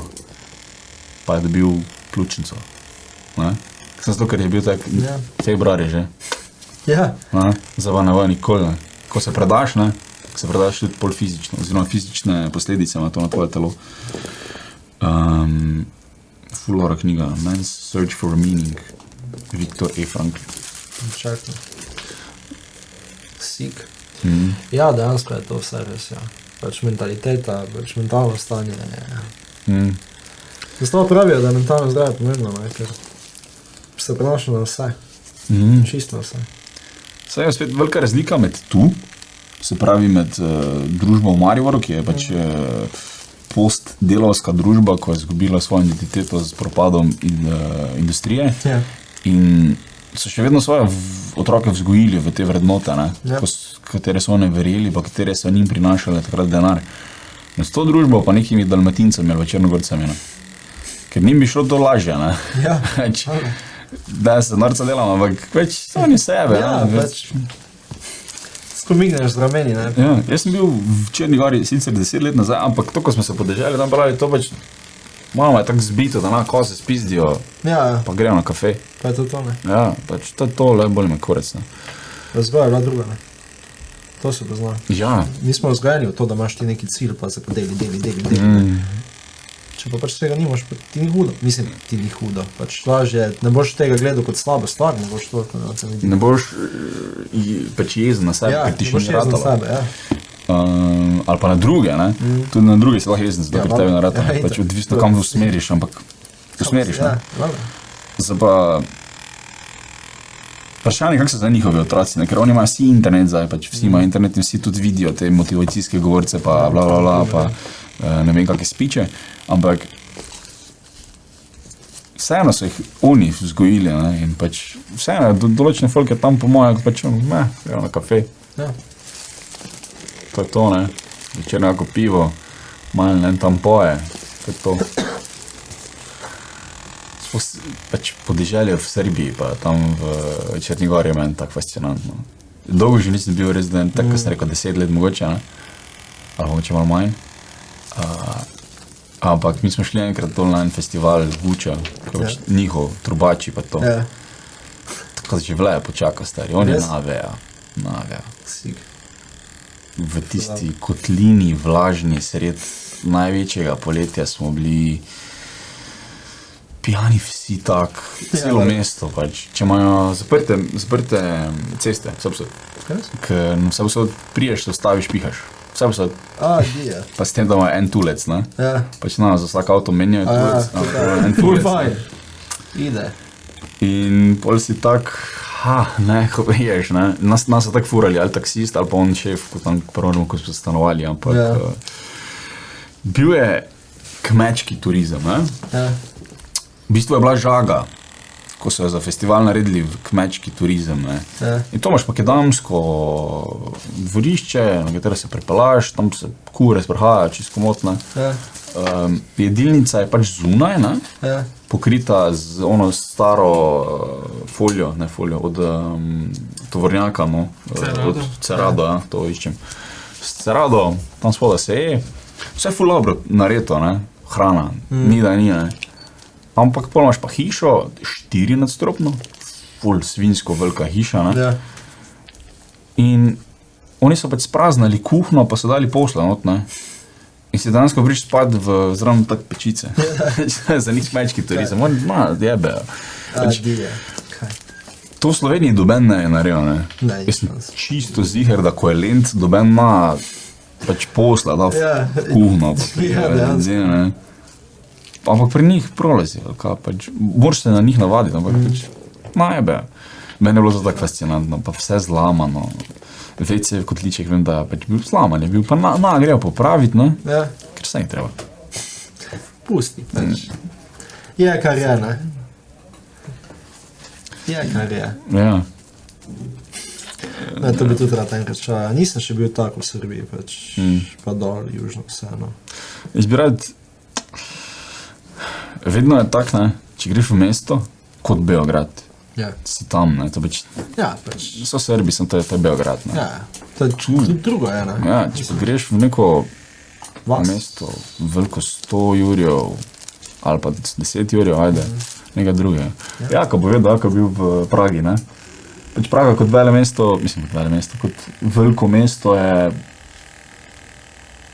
S3: pa je dobil ključnico. ne. Sem zato, ker je bil tak
S2: Ja.
S3: februar je že,
S2: Ja,
S3: ne, zdaj pa ne bo nikoli. Ne. Ko se predaš, ne, se predaš tudi pol fizično, oziroma fizične posledice ima to na tvoje telo. Um, Fulora knjiga, Man's Search for Meaning, Viktor E. Frankl.
S2: čakaj. Sik.
S3: Mm.
S2: Ja, dejansko je to vse res, ja. Pač mentaliteta, pač mentalno stanje. Ja.
S3: Mm.
S2: Zato pravijo, da je mentalno zdravje pomembno, ne, ker se prenaša na vse,
S3: Mm.
S2: čisto na vse.
S3: Saj je spet velika razlika med tu, se pravi med uh, družbo v Mariboru, ki je pač uh, postdelovska družba, ko je izgubila svojo identiteto z propadom in, uh, industrije.
S2: Ja.
S3: In so še vedno svoje v- otroke vzgojili v te vrednote, ne,
S2: Ja.
S3: ko s- katere so oni verjeli, pa katere so njim prinašale takrat denar. In s to družbo pa nekimi dalmatincami ali pa črnogorcami. Ne. Ker njim bi šlo to lažje. Ne.
S2: Ja.
S3: Pač, da se norca delamo, ampak več oni sebe.
S2: Ja,
S3: ne,
S2: pač. Skomigneš z rameni, ne.
S3: Ja, jaz sem bil v Črni gori sicer deset let nazaj, ampak to, ko smo se podeželi, tam pravi, to pač malo je tako zbito, da na kose spizdijo,
S2: Ja, ja,
S3: pa grejo na kafe.
S2: pa je to to, ne.
S3: Ja, pač to je to, le bolj me korec. Ne.
S2: Razvoja je bila druga, ne. To se pozna.
S3: Ja,
S2: Nismo vzgajani v to, da imaš ti neki cilj, pa se pa deli, deli, deli. deli. Mm. Če pa pač tega nimaš, pa ti ni hudo. Mislim, ti ni hudo. Pač lažje, ne boš tega gledal kot slabo stvar, ne boš to kot nekaj videl.
S3: ne boš eh, je- pač jezen na sebe,
S2: Ja,
S3: ker ti
S2: ne
S3: še
S2: boš
S3: ni
S2: jezen na
S3: ratalo.
S2: sebe, ja.
S3: Um, ali pa na druge, ne? tudi na druge se lahko jezen, zato
S2: Ja,
S3: ker tebe
S2: valjda.
S3: ne ratalo.
S2: Ja,
S3: Pač
S2: itak.
S3: odvisno, kam usmeriš, ampak usmeriš.
S2: Ja,
S3: ne.
S2: valjda.
S3: Zdaj pa vprašanje, kako so zdaj njihovi otroci, ne? ker oni imajo vsi internet, zdaj pač vsi imajo internet in vsi tudi vidijo te motivacijske govorce, pa bla bla bla, pa eh, ne vem, kakšne spiče, ampak vseeno so jih oni vzgojili ne, in pač vseeno do, določene folke tam po mojem, pač ne, gremo na kafe.
S2: Ja.
S3: To je to, ne. Večer neko pivo, malo ne tam poje, to je to. Spos, pač podeželje v Srbiji, pa tam v Črnigori je meni tako fascinantno. Dolgo že nisem bil res, da je tako, kot
S2: Mm.
S3: sem rekel, deset let mogoče, ne? ali mogoče malo manj. Uh, ampak mi smo šli enkrat dol na en festival Guča, ki je pač njihov, trubači pa to.
S2: Ja,
S3: Tako da že vleje počaka, stari, on je
S2: Res?
S3: naveja, naveja
S2: sik.
S3: v tisti kotlini, vlažni, sred največjega poletja smo bili pijani, vsi tako, celo
S2: Ja,
S3: ja, mesto. Pač. Če imajo zaprte, zaprte
S2: mm,
S3: ceste, vse vse.
S2: Res?
S3: Vse vse priješ, se no, ustaviš, pihaš. Vse vse,
S2: A, dija.
S3: pa s tem, da ima en tulec. Ne?
S2: Ja,
S3: Pač na za vsak avto menjajo
S2: A ja,
S3: tulec,
S2: to
S3: ampak
S2: da.
S3: imajo en
S2: ful
S3: tulec. ne.
S2: fajn. Ide.
S3: In pol si tak, ha, ne, ko veš, ne. Nas, nas so tako furali, ali taksist, ali pa on šef, kot tam prvemu, ko smo stanovali. Ampak,
S2: Ja.
S3: yeah. uh, bil je kmečki turizem. Ne?
S2: Ja.
S3: V bistvu je bila žaga, ko so jo za festival naredili v kmečki turizem. Ne?
S2: Ja.
S3: In to imaš makedonsko dvorišče, na katero se prepelaš, tam se kure sprohajajo, čisto motne.
S2: Ja,
S3: Um, jedilnica je pač zunaj, ne?
S2: ja,
S3: pokrita z ono staro uh, folijo, ne folijo, od um, tovornjaka, no, eh,
S1: Cerado.
S3: od Cerado, ja, to iščem. S Cerado, tam spoda se je, vse je fulabro nareto, ne, hrana, mm. ni da ni, ne. Ampak pol imaš pa hišo, štiri nadstropno, ful svinsko velika hiša, ne.
S2: ja.
S3: In oni so pač spraznili kuhno, pa so dali posla not, ne. In si danes, ko greš spat v zraven tak pečice, za njih mečki turizem, oni ma, jebejo.
S2: A,
S3: Pač,
S2: dija. Kaj?
S3: to v Sloveniji doben ne je naredil, ne.
S2: Ne,
S3: Jaz sem
S2: nisem.
S3: čisto ziger, da ko je lent, doben ima pač posla, da
S2: Ja.
S3: v kuhno, pa
S2: Ja,
S3: prijeve,
S2: dejansko.
S3: benzin, ne. Ampak pri njih prolazi, ali kaj, pač, moraš se na njih navaditi, ampak
S2: Mhm.
S3: mm. pač, najbe. Meni je bilo to tako fascinantno, pa vse zlamano. Vece v kotliček vem, da je pač bil zlaman, je bil pa na, na grejo popraviti, ne?
S2: Ja,
S3: ker se jim treba.
S2: pusti.
S3: Mm.
S2: Pač. Je, kar je, ne. Je, kar je.
S3: Ja.
S2: Ne, to bi tudi rad enkrat šel. Ja, Nisem še bil tako v Srbiji, pač
S3: Mm.
S2: pa dol, južno vseeno.
S3: Jaz bi rad, vedno je tako, ne, če greš v mesto, kot Beograd,
S2: Ja,
S3: si tam, ne, to pač
S2: ja pač.
S3: so Srbi, sem to je, to je Beograd. Ne.
S2: Ja, to je tudi drugo, ena.
S3: Mm. Ja, če pa greš v neko
S2: Vas.
S3: mesto, veliko 100 jurjev ali pa 10 jurjev, ajde,
S2: Mhm.
S3: nekaj drugega. Ja, ko bo vedel, ko je bil v Pragi. Ne? Pač Praga kot vele mesto, mislim, kot vele mesto, kot veliko mesto je.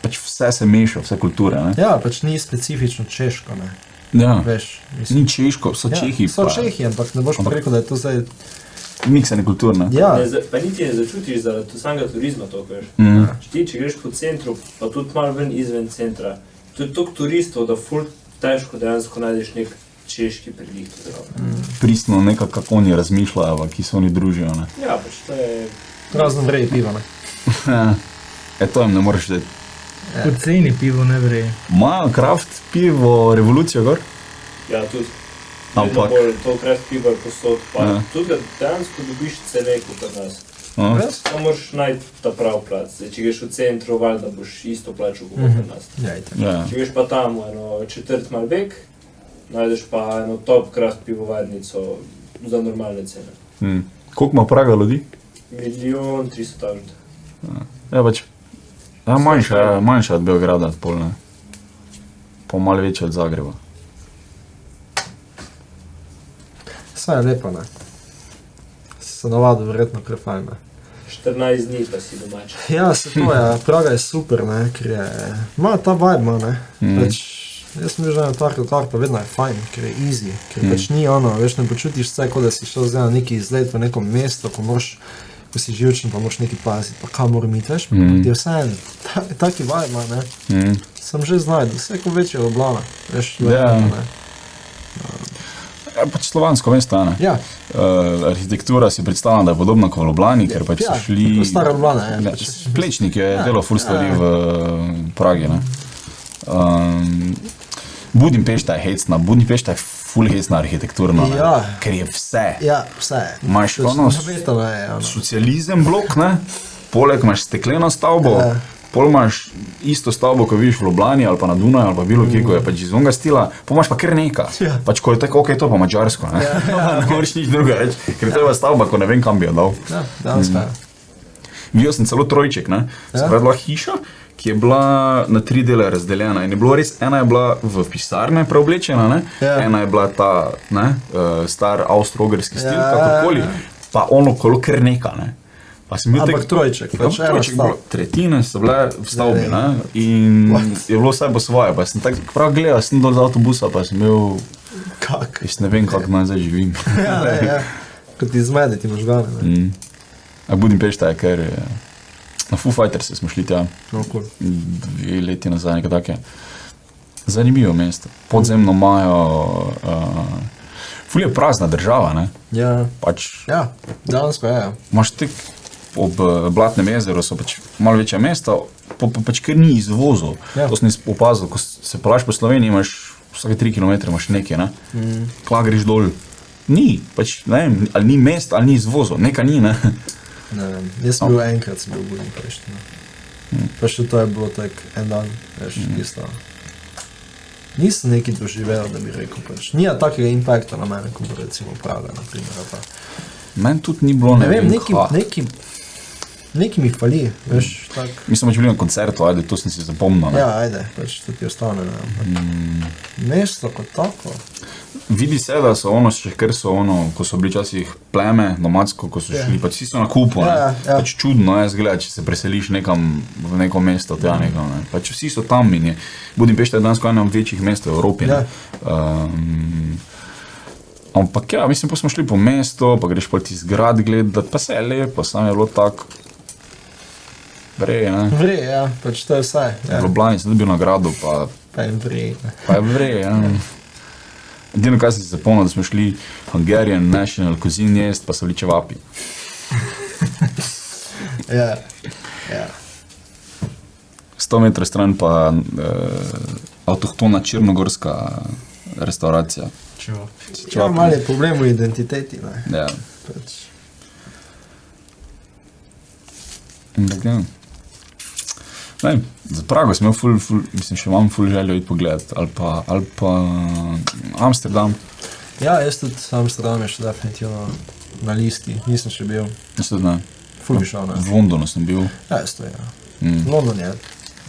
S3: Pač vse se meša, vse kulture. Ne?
S2: Ja, pač ni specifično češko, ne.
S3: Ja.
S2: Veš, mislim.
S3: Ni češko, so
S2: Ja,
S3: čehi.
S2: so
S3: pa
S2: Čehi, ampak ne boš pa
S3: Ampak-
S2: rekel, da je to zdaj.
S3: Miksane kulturne.
S2: Ja,
S4: Ne, za- pa niti ne začutiš zaradi samega turizma to, kar je.
S3: Mm.
S4: Ti, če greš po centru, pa tudi malo ven izven centra, to je toliko turistov, da ful težko dejansko najdeš nek češki prilih. Mm.
S3: Pristno nekako, kako oni razmišljajo, pa ki se oni družijo. Ne?
S4: Ja, pač to je.
S2: razno vrej piva, ne.
S3: E, to jim ne moreš dati.
S1: ja. Poceni pivo ne vre.
S3: Imajo kraft pivo, revolucijo gor.
S4: Ja, tudi.
S3: Ampak-
S4: Ampak. Bolj, to krat pivo je posod, pa
S3: Ja.
S4: ja. tudi ga dejansko dobiš cene kot pri nas.
S3: No.
S2: Res?
S4: Samo moraš najti ta prav plac. Zdaj, če greš v centru, valjda boš isto plačal kot pri nas.
S2: Ja, itak.
S3: Ja.
S4: Če greš pa tam, eno četrt Malbek, najdeš pa eno top krat pivovarnico za normalne cene.
S3: Mm. Koliko ima praga ljudi?
S4: Milijon tristo tažd.
S3: Ja, pač, ja, manjša, je, manjša od Beograda, pol, ne. pa malo večja od Zagreba.
S2: Saj je lepo, ne. Se navadi, verjetno prefajn. ne.
S4: 14 dni pa si domač.
S2: Ja, se to je, Praga je super, ne, ker je, ima ta vibe, ima, ne.
S3: Mm.
S2: Mm. Pač, jaz sem že na tako tar, pa vedno je fajn, ker je easy, ker mm. pač
S3: Mhm.
S2: ni ono, veš, ne počutiš se, kot da si šel zdaj na neki izlet v neko mesto, ko moraš, ko si živčen, pa moraš nekaj paziti, pa kam moram iti, veš,
S3: Mm.
S2: mm. ti je vseeno, ta, taki vibe, ima, ne.
S3: Mm.
S2: Sem že znašel, vse ko večje oblana, veš,
S3: Ja.
S2: verjetno, ne.
S3: Ja, pač slovansko mesto. ne.
S2: Ja,
S3: Uh, arhitektura si predstavljam, da je podobna kot v Ljubljani, ker pač
S2: ja,
S3: so šli.
S2: stara oblana, ja.
S3: Ne,
S2: Pač,
S3: Plečnik je
S2: Ja,
S3: delal ful stvari
S2: ja.
S3: v Pragi. ne. Um, Budimpešta je hecna, Budimpešta je ful hecna arhitekturno, ne,
S2: Ja.
S3: ker je vse.
S2: Ja, vse je.
S3: Imaš
S2: To je
S3: ponos?
S2: zavetano je, ono.
S3: socializem blok, ne? poleg imaš stekleno stavbo,
S2: Ja.
S3: ja. pol imaš isto stavbo, kot vidiš v Ljubljani ali pa na Dunaju ali pa bilo kje, ko je pač iz unga stila, pa imaš pa kar nekaj.
S2: Mhm. Ja.
S3: Pač ko je tako, ok, to pa mačarsko, ne, ja. ne moreš nič drugega reči, ker to je pa stavba, ko ne vem, kam bi jo dal.
S2: Ja, danes pa. je.
S3: Videl sem celo trojček, ne?
S2: Ja.
S3: Ja. Spravila hiša, ki je bila na tri dele razdeljena. In je bilo res, ena je bila v pisarne preoblečena, ne?
S2: Ja.
S3: ena je bila ta ne, eh, star avstralski stil,
S2: Ja,
S3: ja. kakorkoli,
S2: ja,
S3: pa ono kolo kar neka. Ne? Pa sem bil
S2: Ampak
S3: tek-
S2: trojček,
S3: Ja,
S2: pač ena
S3: trojček
S2: stavba.
S3: bilo, tretjine so bile v stavbi
S2: Ja,
S3: ne? in je bilo vse po svoje. Pa sem tako prav gledal, sem dol z avtobusa, pa sem imel,
S2: Kak?
S3: jaz ne vem, kako naj zdaj živim.
S2: Ja, ne, ja. Kot ti zmede ti možgane. ne.
S3: Mm. A Budimpešta je kar, eh, na Foo Fighters smo šli tam.
S2: No, cool.
S3: dve leti nazaj, nekaj takega. Zanimivo mesto. Podzemno imajo, uh, fulje prazna država. Ne?
S2: Ja,
S3: Pač
S2: ja danes pa je. ja.
S3: imaš tik ob eh, Blatnem jezeru, so pač malo večja mesta, pa, pa pač ker ni izvozov.
S2: Ja.
S3: Ja. To sem jaz opazil, ko s- se polaš po Sloveniji, imaš vsake tri km imaš nekaj, ne? mm. kla greš dol. Ni, pač, ne vem, ali ni mest, ali ni izvozov, nekaj ni. Ne?
S2: Ne vem, jaz sem bil enkrat, sem bil v Budimpešti. no. Pa še to je bilo tako en dan, veš, isto. Nisem neki doživel, da bi rekel, pač. Nija takega impakta na mene, kot bo recimo Praga, na primer. ali pa-
S3: Meni tudi ni bilo,
S2: Ne vem, neki,
S3: kaj.
S2: neki, neki mi fali, veš, tako.
S3: Mislim, da če bi bil pač na koncertu, ajde, to sem si zapomnil. ne.
S2: Ja, ajde, pač to ti ostane. Ne, ampak mesto kot tako.
S3: Vidi se, da so ono, še kar so ono, ko so bili včasih pleme, nomadsko, ko so
S2: Ja.
S3: šli, pač vsi so na kupu. ne.
S2: Ja, ja.
S3: Pač čudno je zgled, če se preseliš nekam v neko mesto,
S2: Ja.
S3: tja nekam. Ne. Pač vsi so tam in je. Budimpešta je danes ena od večjih mest v Evropi.
S2: Ja.
S3: ne. Um, ampak ja, mislim, pa smo šli po mestu, pa greš pa ti zgrad gledati, pa se je lepo, sam je bilo tako. Vrej, ne.
S2: Vre, ja, pač to je vse. Ja,
S3: V Ljubljani sem dobil nagrado, pa
S2: pa je vre. ne.
S3: Pa je vrej, ja. Edino, kar sem si zapomnil, da smo šli Hungarian National Cuisine jest, pa so bili čevapi.
S2: Ja, ja.
S3: 100 metrov stran pa eh, avtohtona črnogorska eh, restauracija.
S1: Čevapi.
S2: ja malo je problem v identiteti. Ne,
S3: Ja.
S2: pač.
S3: In tako, ja. Ne vem, Za Prago sem imel ful, ful, mislim, še imam ful željo iti pogledat, ali pa, ali pa eh, Amsterdam,
S2: Ja, jaz tudi Amsterdam je še definitivno na listi, nisem še bil,
S3: mislim, da ne.
S2: ful bi šel na.
S3: v Londonu sem bil,
S2: Ja, jaz to je. Ja.
S3: mm,
S2: London je,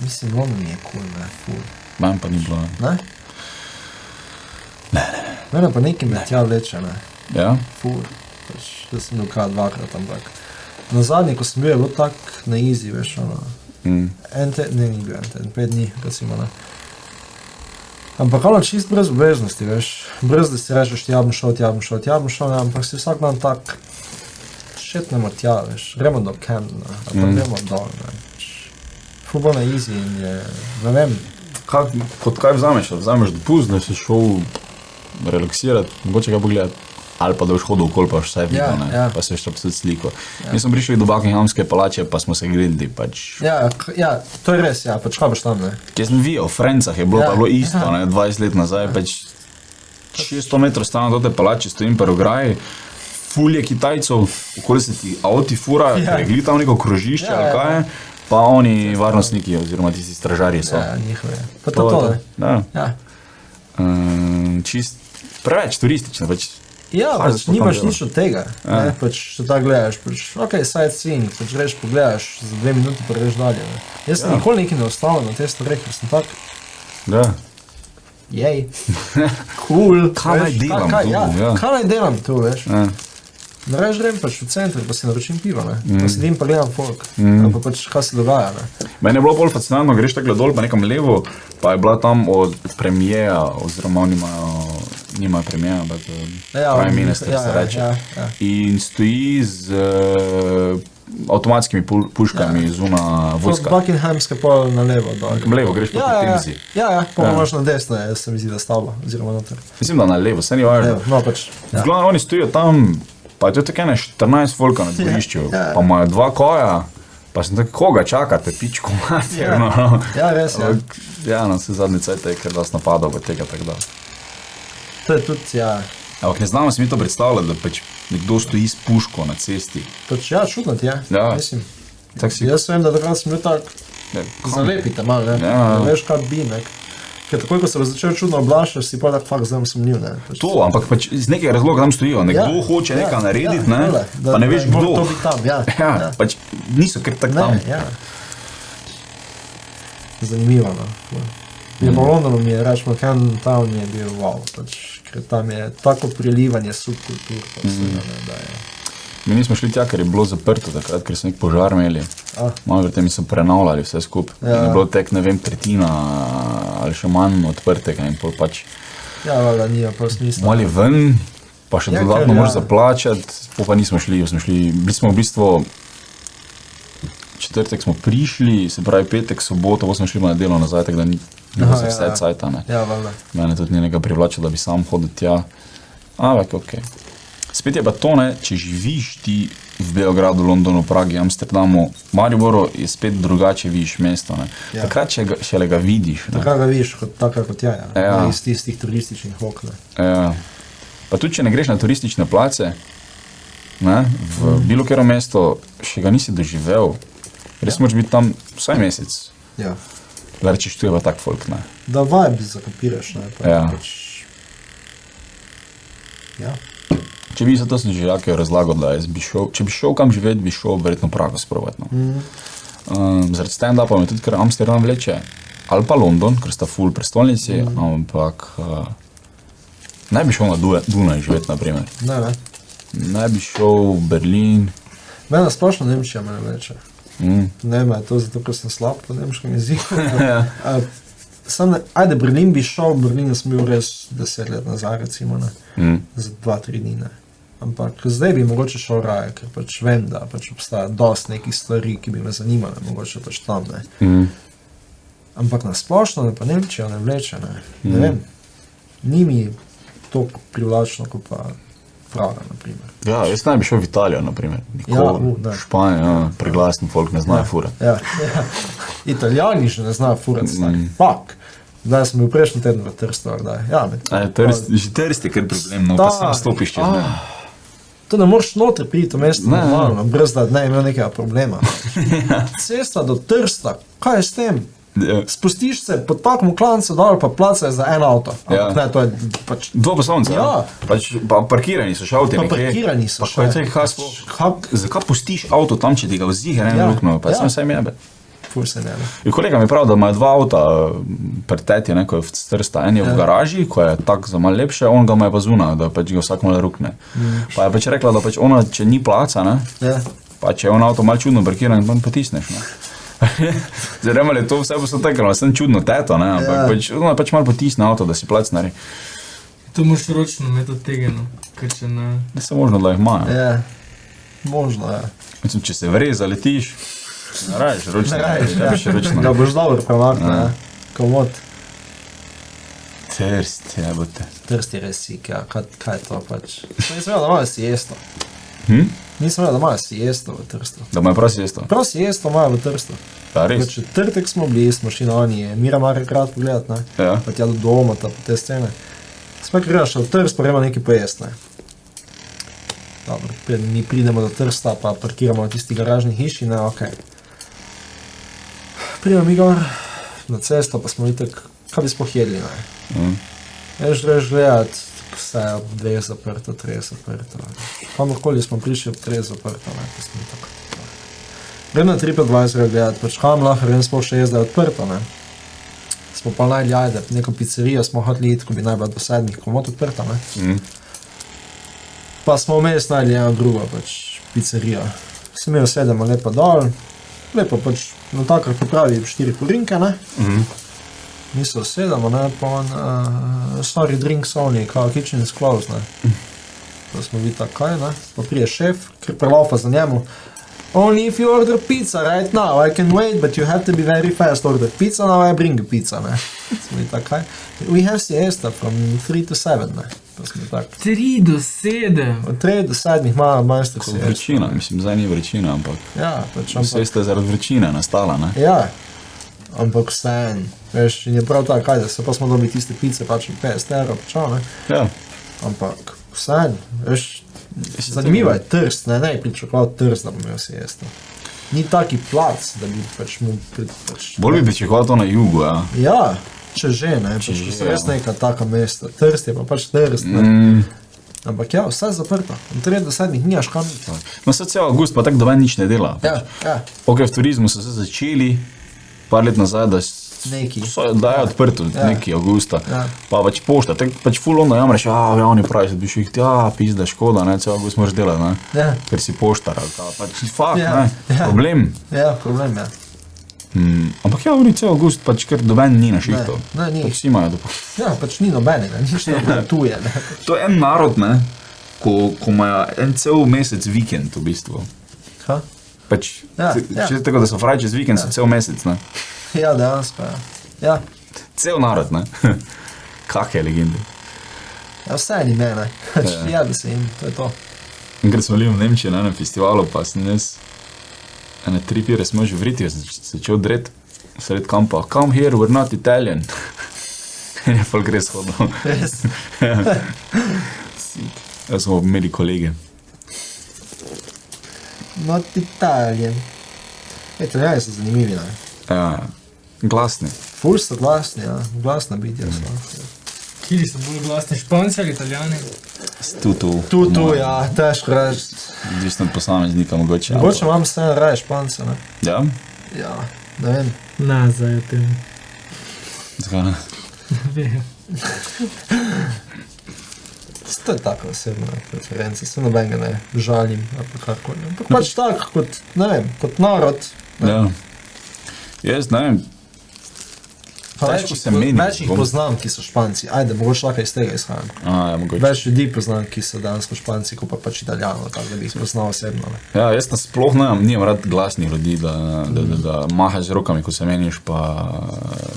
S2: mislim, London je kul, cool, ne, ful.
S3: manj pa ni bilo.
S2: Ne? Ne, ne. Mene pa nekaj med tja vleče, ne.
S3: Ja,
S2: ful, pač, jaz sem bil kaj dvakrat, ampak na zadnji, ko sem bil, je bilo tako na izi, veš, ono,
S3: mm,
S2: en teden, ne, ni bil en teden, pet dni, recimo, ne. Ampak ono čist brez obveznosti, veš, brez da si rečeš, ja bom šel, ja bom šel, ja bom šel, ne, ampak si vsak dan tak, šetnemo tja, veš, gremo do Camdena, ali pa
S3: Mm.
S2: gremo dol, ne. pač. Ful bo na izi in je, ne vem,
S3: Kaj, kot kaj vzameš? Ali Vzameš dopust, da si šel relaksirati, mogoče ga pogledati. Ali pa da boš hodil okoli, pa vse videl,
S2: Ja,
S3: ja,
S2: ja.
S3: ja. pa se še posod sliko. Ja. Mi smo prišli do Buckinghamske palače, pa smo se grili. Pač. Ja.
S2: ja, k- ja, to je res, ja, pač kaj boš tam, ne.
S3: Če sem videl, v Francah je bilo
S2: Ja,
S3: ja. bilo isto,
S2: ja.
S3: ja. ne, 20 let nazaj, ja. pač 600 metrov stran od te palače, stojim pa v ograji. Fulje Kitajcev, okoli se ti avti fura,
S2: Ja.
S3: ja. gre tam neko krožišče
S2: Ja,
S3: ja, ali
S2: ja.
S3: kaj, je, pa oni varnostniki oziroma tisti stražarji so.
S2: Ja, njihove. Pa to, to, ne.
S3: Ja.
S2: Ja.
S3: Um, čist, preveč turistično. Pač,
S2: Ja,
S3: Kaj
S2: pač
S3: smo
S2: nimaš
S3: tam Ja.
S2: nič od tega. Ne, pač, če tako gledaš, pač, ok, sightseeing, pač greš, pogledaš, za dve minuti pa greš dalje. Ne. Jaz sem ja.
S3: Ja.
S2: nikoli nekaj ne ustavil na te stvari, ker sem tak,
S3: da.
S2: jej, cool.
S3: Kaj naj
S2: veš,
S3: delam
S2: kaj,
S3: tu,
S2: ja,
S3: ja.
S2: kaj naj delam tu, veš?
S3: Ja.
S2: Naraž grem pač v center, pa si naročim pivo, ne. Mm. Pa sedim pa gledam folk, mm. pa pač kaj se dogaja, ne.
S3: Meni je bilo bolj fascinantno, greš tako dol, pa nekam levo, pa je bila tam od premijeja, oziroma oni imajo, nimajo premijeja, ampak ja, prime
S2: on-
S3: minister
S2: ja,
S3: ja, se
S2: ja,
S3: reče.
S2: Ja,
S3: Ja.
S2: ja.
S3: In stoji z uh, avtomatskimi pul- puškami ja. zuna
S2: Od
S3: vojska.
S2: Buckinghamske pol na levo, dol.
S3: Nekam levo greš proti
S2: Ja, ja,
S3: Temzi.
S2: ja, ja, pa
S3: Ja.
S2: imaš na desno, jaz se mi zdi, da stavba, oziroma noter.
S3: Mislim, da na levo, se ni važno.
S2: Evo, no, pač,
S3: Ja.
S2: ja.
S3: Glavno, oni stojijo tam, pa je to tako ene 14 volka na dvorišču,
S2: ja.
S3: ja. pa imajo dva koja, pa sem tako, koga čakate, pičko materno.
S2: Ja.
S3: no.
S2: Ja, res je.
S3: Ampak, Ja, na vse zadnje cajt je, ker vas napada od tega tako da.
S2: To je tudi, ja,
S3: Ampak ne znamo si mi to predstavljati, da pač nekdo stoji s puško na cesti.
S2: pač ja, čudno ti je.
S3: Ja.
S2: Mislim,
S3: Tak si,
S2: jaz vem, da takrat sem bil tak,
S3: ne,
S2: zalepite malo, ne,
S3: Ja.
S2: ne veš, kaj bi nek. Ker takoj, ko se bo začel čudno oblašati, si pa tak fakt zdaj sumnil, ne. Pač,
S3: To, ampak pač iz nekega razloga tam stojijo. Nekdo ja, hoče nekaj ja, narediti, ja, ne,
S2: tole,
S3: da, pa ne veš
S2: mora
S3: kdo.
S2: To biti tam, ja.
S3: Ja, ja. Pač niso kar tako tam.
S2: Ne, ja. Zanimivo. No. tako. Je
S3: Mm.
S2: pa London, mi je rečemo, Camden Town je bil wow, pač, ker tam je tako prilivanje subkultur, pa
S3: Mm.
S2: vsega, ne, da je.
S3: Mi nismo šli tja, ker je bilo zaprto takrat, ker so nek požar imeli.
S2: Ah.
S3: Malo pred tem so prenavljali vse skupaj.
S2: Ja.
S3: Ja. Je bilo tek, ne vem, tretjina ali še manj odprtega in pol pač
S2: Ja, valjda ni, pa smisel.
S3: mali ven, pa še
S2: Ja,
S3: ja,
S2: ker,
S3: dodatno
S2: ja.
S3: ja. moraš zaplačati, pol pa nismo šli, smo šli, bili smo v bistvu. Četrtek smo prišli, se pravi petek, soboto, potem smo šli na delo nazaj, tako da ni bilo
S2: Aha,
S3: za
S2: ja,
S3: vse
S2: ja.
S3: cajt. Ja.
S2: Ja, valjda.
S3: Mene tudi ni nekaj privlačilo, da bi sam hodil tja. Ampak ok. Spet je pa to, ne, če živiš ti v Beogradu, Londonu, Pragi, Amsterdamu, Mariboru, je spet drugače vidiš mesto. Ne.
S2: Ja.
S3: Takrat še ga, šele ga vidiš. ne.
S2: Tako ga vidiš, kot, taka kot ja, ja.
S3: Ja.
S2: Ne iz tistih turističnih okna.
S3: Ja. Pa tudi, če ne greš na turistične place, ne, v mm. bilo katero mesto, še ga nisi doživel. Res ja. moraš biti tam vsaj mesec.
S2: Ja.
S3: Da rečeš, tu je pa tak folk. Ne.
S2: Da vibe zakopiraš, ne. Pa,
S3: Ja.
S2: Pač, ja.
S3: Če bi se to slišal, razlagal, da jaz bi šel, če bi šel kam živeti, bi šel verjetno Prago sprovat. No.
S2: Mm.
S3: Um, zaradi stand-upa me tudi kar Amsterdam vleče, ali pa London, ker sta full prestolnici, mm. ampak uh, ne bi šel na Duje- Dunaj živeti, naprimer.
S2: Ne, ne.
S3: ne bi šel v Berlin.
S2: Mene splošno Nemčija me ne veče.
S3: Mm.
S2: Ne vem, a je to zato, ker sem slab v nemškem jeziku.
S3: Ja.
S2: A, Sam, ne- ajde, Berlin bi šel, Berlin sem bil res deset let nazaj, recimo, ne,
S3: Mm.
S2: za dva, tri dni. Ne. Ampak zdaj bi mogoče šel raje, ker pač vem, da pač obstaja dosti nekih stvari, ki bi me zanimale, mogoče pač tam ne.
S3: Mm.
S2: Ampak na splošno ne pa Nemčijo ne vleče, ne,
S3: Mm.
S2: ne vem. Ni mi tako privlačno, kot pa Praga, na primer.
S3: Ja, jaz ne bi šel v Italijo, naprimer.
S2: Ja, u, ne.
S3: Španijo, ja, preglasen folk ne zna furati.
S2: Ja, ja. Italijani že ne znajo furati snak. Mm. Pak. Zdaj sem bil prejšnji teden v Trstu, da ja, med.
S3: A je Trst- Že trsti, ker problem, no pa sem
S2: Stari,
S3: stopiš čez.
S2: ah.
S3: ne.
S2: To ne moreš noter priti, v mesto
S3: Ne, Ja. ne.
S2: normalno, brez da ne imaš nekega problema. Cesta do Trsta, kaj je s tem?
S3: Ja.
S2: Spustiš se pod takom klancu dol, pa plačaš za en avto.
S3: Ja.
S2: Ampak Ne, to je pač.
S3: Dva poslanca.
S2: Ja.
S3: Pač, pa parkirani so še avtomobili.
S2: Pa parkirani so
S3: Pa
S2: še.
S3: kaj je kaj sploh?
S2: Kak,
S3: Zakaj pustiš avto tam, če ti ga vzdiha eno
S2: Ja,
S3: ja, luknjo, pa
S2: ja.
S3: ja. sem vsaj jebe.
S2: ful se ne. ne.
S3: In kolega mi pravi, da imajo dva avta, preteti, ne, ko je v strsta, en je
S2: Ja.
S3: v garaži, ko je tak za malo lepše, on ga ima pa zunaj, da pač ga vsak malo rukne.
S2: Mm.
S3: Pa je pač rekla, da pač ona, če ni placa, ne,
S2: Ja.
S3: pa če je on avto malo čudno parkiran, tam potisneš. Ne. Zdaj, ali je to vse posod tako, ali sem čudno teto, ne, ampak
S2: Ja.
S3: ja. pač, ona pač malo potisne avto, da si plac nari.
S1: To moš ročno metodo tega, no. ker če ne.
S3: Ne se možno, da jih imajo.
S2: Ja. Možno ja. je.
S3: Mislim, če se vre, zaletiš, ne rabiš ročno.
S2: Ne rabiš,
S3: ne rabiš ročno.
S2: Ga boš ja. dobro premaknil,
S3: Ja.
S2: ja. komod.
S3: Trst, jebote.
S2: Trsti res sik, ja. kaj, kaj je to pač. Nisem vedel, da imajo siesto.
S3: Hm?
S2: Nisem vedel, da imajo siesto v Trstu.
S3: Da me prosi isto.
S2: Prav siesto imajo v Trstu. Pač
S3: Ja,
S2: V
S3: res.
S2: četrtek smo bili, smo šli na oni, mira mar krat pogledati, ne.
S3: Ja.
S2: Pa tja do doma, ta, te scene. Spet greš v Trst, pa gremo nekaj pojesti, ne. Dobro, preden mi pridemo do Trsta, pa parkiramo v tisti garažni hiši, ne, ok. Pridemo mi gor na cesto, pa smo itak, kaj bi sploh jedli, ne.
S3: Mm.
S2: Veš, greš gledat, vse je ob dveh zaprto, treh zaprto. Kamorkoli smo prišli ob treh zaprto, ne, pa smo tako. Grem na 3,25 gledat, pač kam lahko, vem, smo še jaz, da je odprto, ne. Smo pa naj ljajde, neko pizzerijo smo hodili, iti, ko bi naj bila do sedmih, komod odprta, ne.
S3: Mm.
S2: Pa smo vmes najdli eno drugo, pač pizzerijo. Sem imel sedem ali pa dol, lepo pač, no tako, kot pravi, štiri korinke, ne.
S3: Mm.
S2: Mi se usedemo, ne, pa on, uh, sorry, drinks only, kao kitchen is closed, ne. Pa smo vi tako, ne, pa prije šef, ker prelopa za njemu. Only if you order pizza right now, I can wait, but you have to be very fast. Order pizza now, I bring you pizza, ne. Smo vi tako, we have siesta from 3 to 7, ne. Pa smo tako.
S1: 3 do 7.
S2: Od 3 do 7 ima majster
S3: Ko
S2: siesta.
S3: Vročina, mislim, zdaj ni vročina, ampak
S2: Ja, pač
S3: vse
S2: ampak.
S3: ste zaradi vročine nastala. Ne?
S2: Ja. ampak vseeno, veš, in je prav tako, kaj da se pa smo dobili tiste pice, pač 50 evrov, pač, ne?
S3: Ja,
S2: ampak vseeno, veš, zanimivo je trst, ne, ne bi pričakoval trst, da bi imel si jesti. Ni taki plac, da bi pač mu pri- pač,
S3: bolj bi pričakoval to na jugu, ja.
S2: Ja, če že ne, če pač,
S3: že,
S2: že, so res
S3: ja.
S2: neka taka mesta, trst je pa pač trst. Mm.
S3: Mm.
S2: Ampak ja, vse je zaprto, in 30 dni je škam.
S3: No, se cel avgust, pa tako doben nič ne dela.
S2: Ja, ja,
S3: Ok, v turizmu so se začeli, par let nazaj, da s-
S2: Neki.
S3: so, da je odprto,
S2: Ja.
S3: ja. neki avgusta.
S2: Ja.
S3: Ja. Pa pač pošta, tako pač fulano, ja, rečeš, a ja, oni pravijo, da bi šel, ja, pizda, škoda, ne, cel avgust moraš delati, ne.
S2: ja,
S3: Ker si poštar, ali pa pač fakt,
S2: Ja,
S3: ja. ne,
S2: ja.
S3: problem.
S2: ja problem je.
S3: Mm, ampak ja, oni cel avgust, pač ker doben ni na
S2: Ne,
S3: šihtu.
S2: ne, ni.
S3: Pač vsi imajo dopa.
S2: Ja, pač ni nobenega, nič ne potuje. Ne.
S3: To je en narod, ne, ko, ko ima en cel mesec vikend v bistvu.
S2: Ha?
S3: Pač,
S2: Ja,
S3: ja,
S2: ja.
S3: ja. Če, tako da so fraji čez vikend, ja. so cel mesec, ne.
S2: Ja, dejansko. Ja. Ja,
S3: Cel narod, ne. Kakšne legende.
S2: ja vse je ime, ne.
S3: Ja.
S2: Ja, da se jim, to je to.
S3: Enkrat smo bili v Nemčiji na enem festivalu, pa sem jaz, ene tri pire smo že vriti, jaz sem zač- začel dret sred kampa. Come here, we're not Italian. In je pa res hodno.
S2: Res.
S3: Jaz smo imeli kolege.
S2: Not Italijan. Italijani so zanimivi, ne.
S3: Ja, glasni.
S2: Ful so glasni, ja. glasna bitja so. ja.
S1: Kiri so bolj glasni, Španci ali Italijani?
S3: Tutu.
S2: Tu, tu, ja, težko reči.
S3: Odvisno od posameznika, mogoče.
S2: Mogoče
S3: ali
S2: imam vse raje špance, ne.
S3: pa- Ja,
S2: Ja, ne vem.
S1: Nazaj v tem.
S3: zakaj ne?
S2: To je tako osebna preferenca, se nobenega ne žalim, ali pa karkoli. Ampak
S3: Hm.
S2: pač tako kot, ne vem, kot narod. Ne.
S3: Ja. Jaz ne vem,
S2: Pa
S3: Težko
S2: več jih
S3: se
S2: po-
S3: meni,
S2: Več jih
S3: bom-
S2: poznam, ki so španci. Ajde, mogoče lahko iz tega izhajam.
S3: a, ja, mogoče.
S2: Več ljudi poznam, ki so dejansko španci, kot pa pač italijano, tako da bi jih poznal osebno. Ne.
S3: Ja, jaz nasploh ne imam rad glasnih ljudi, da, da, da, da mahaš z rokami, ko se meniš, pa,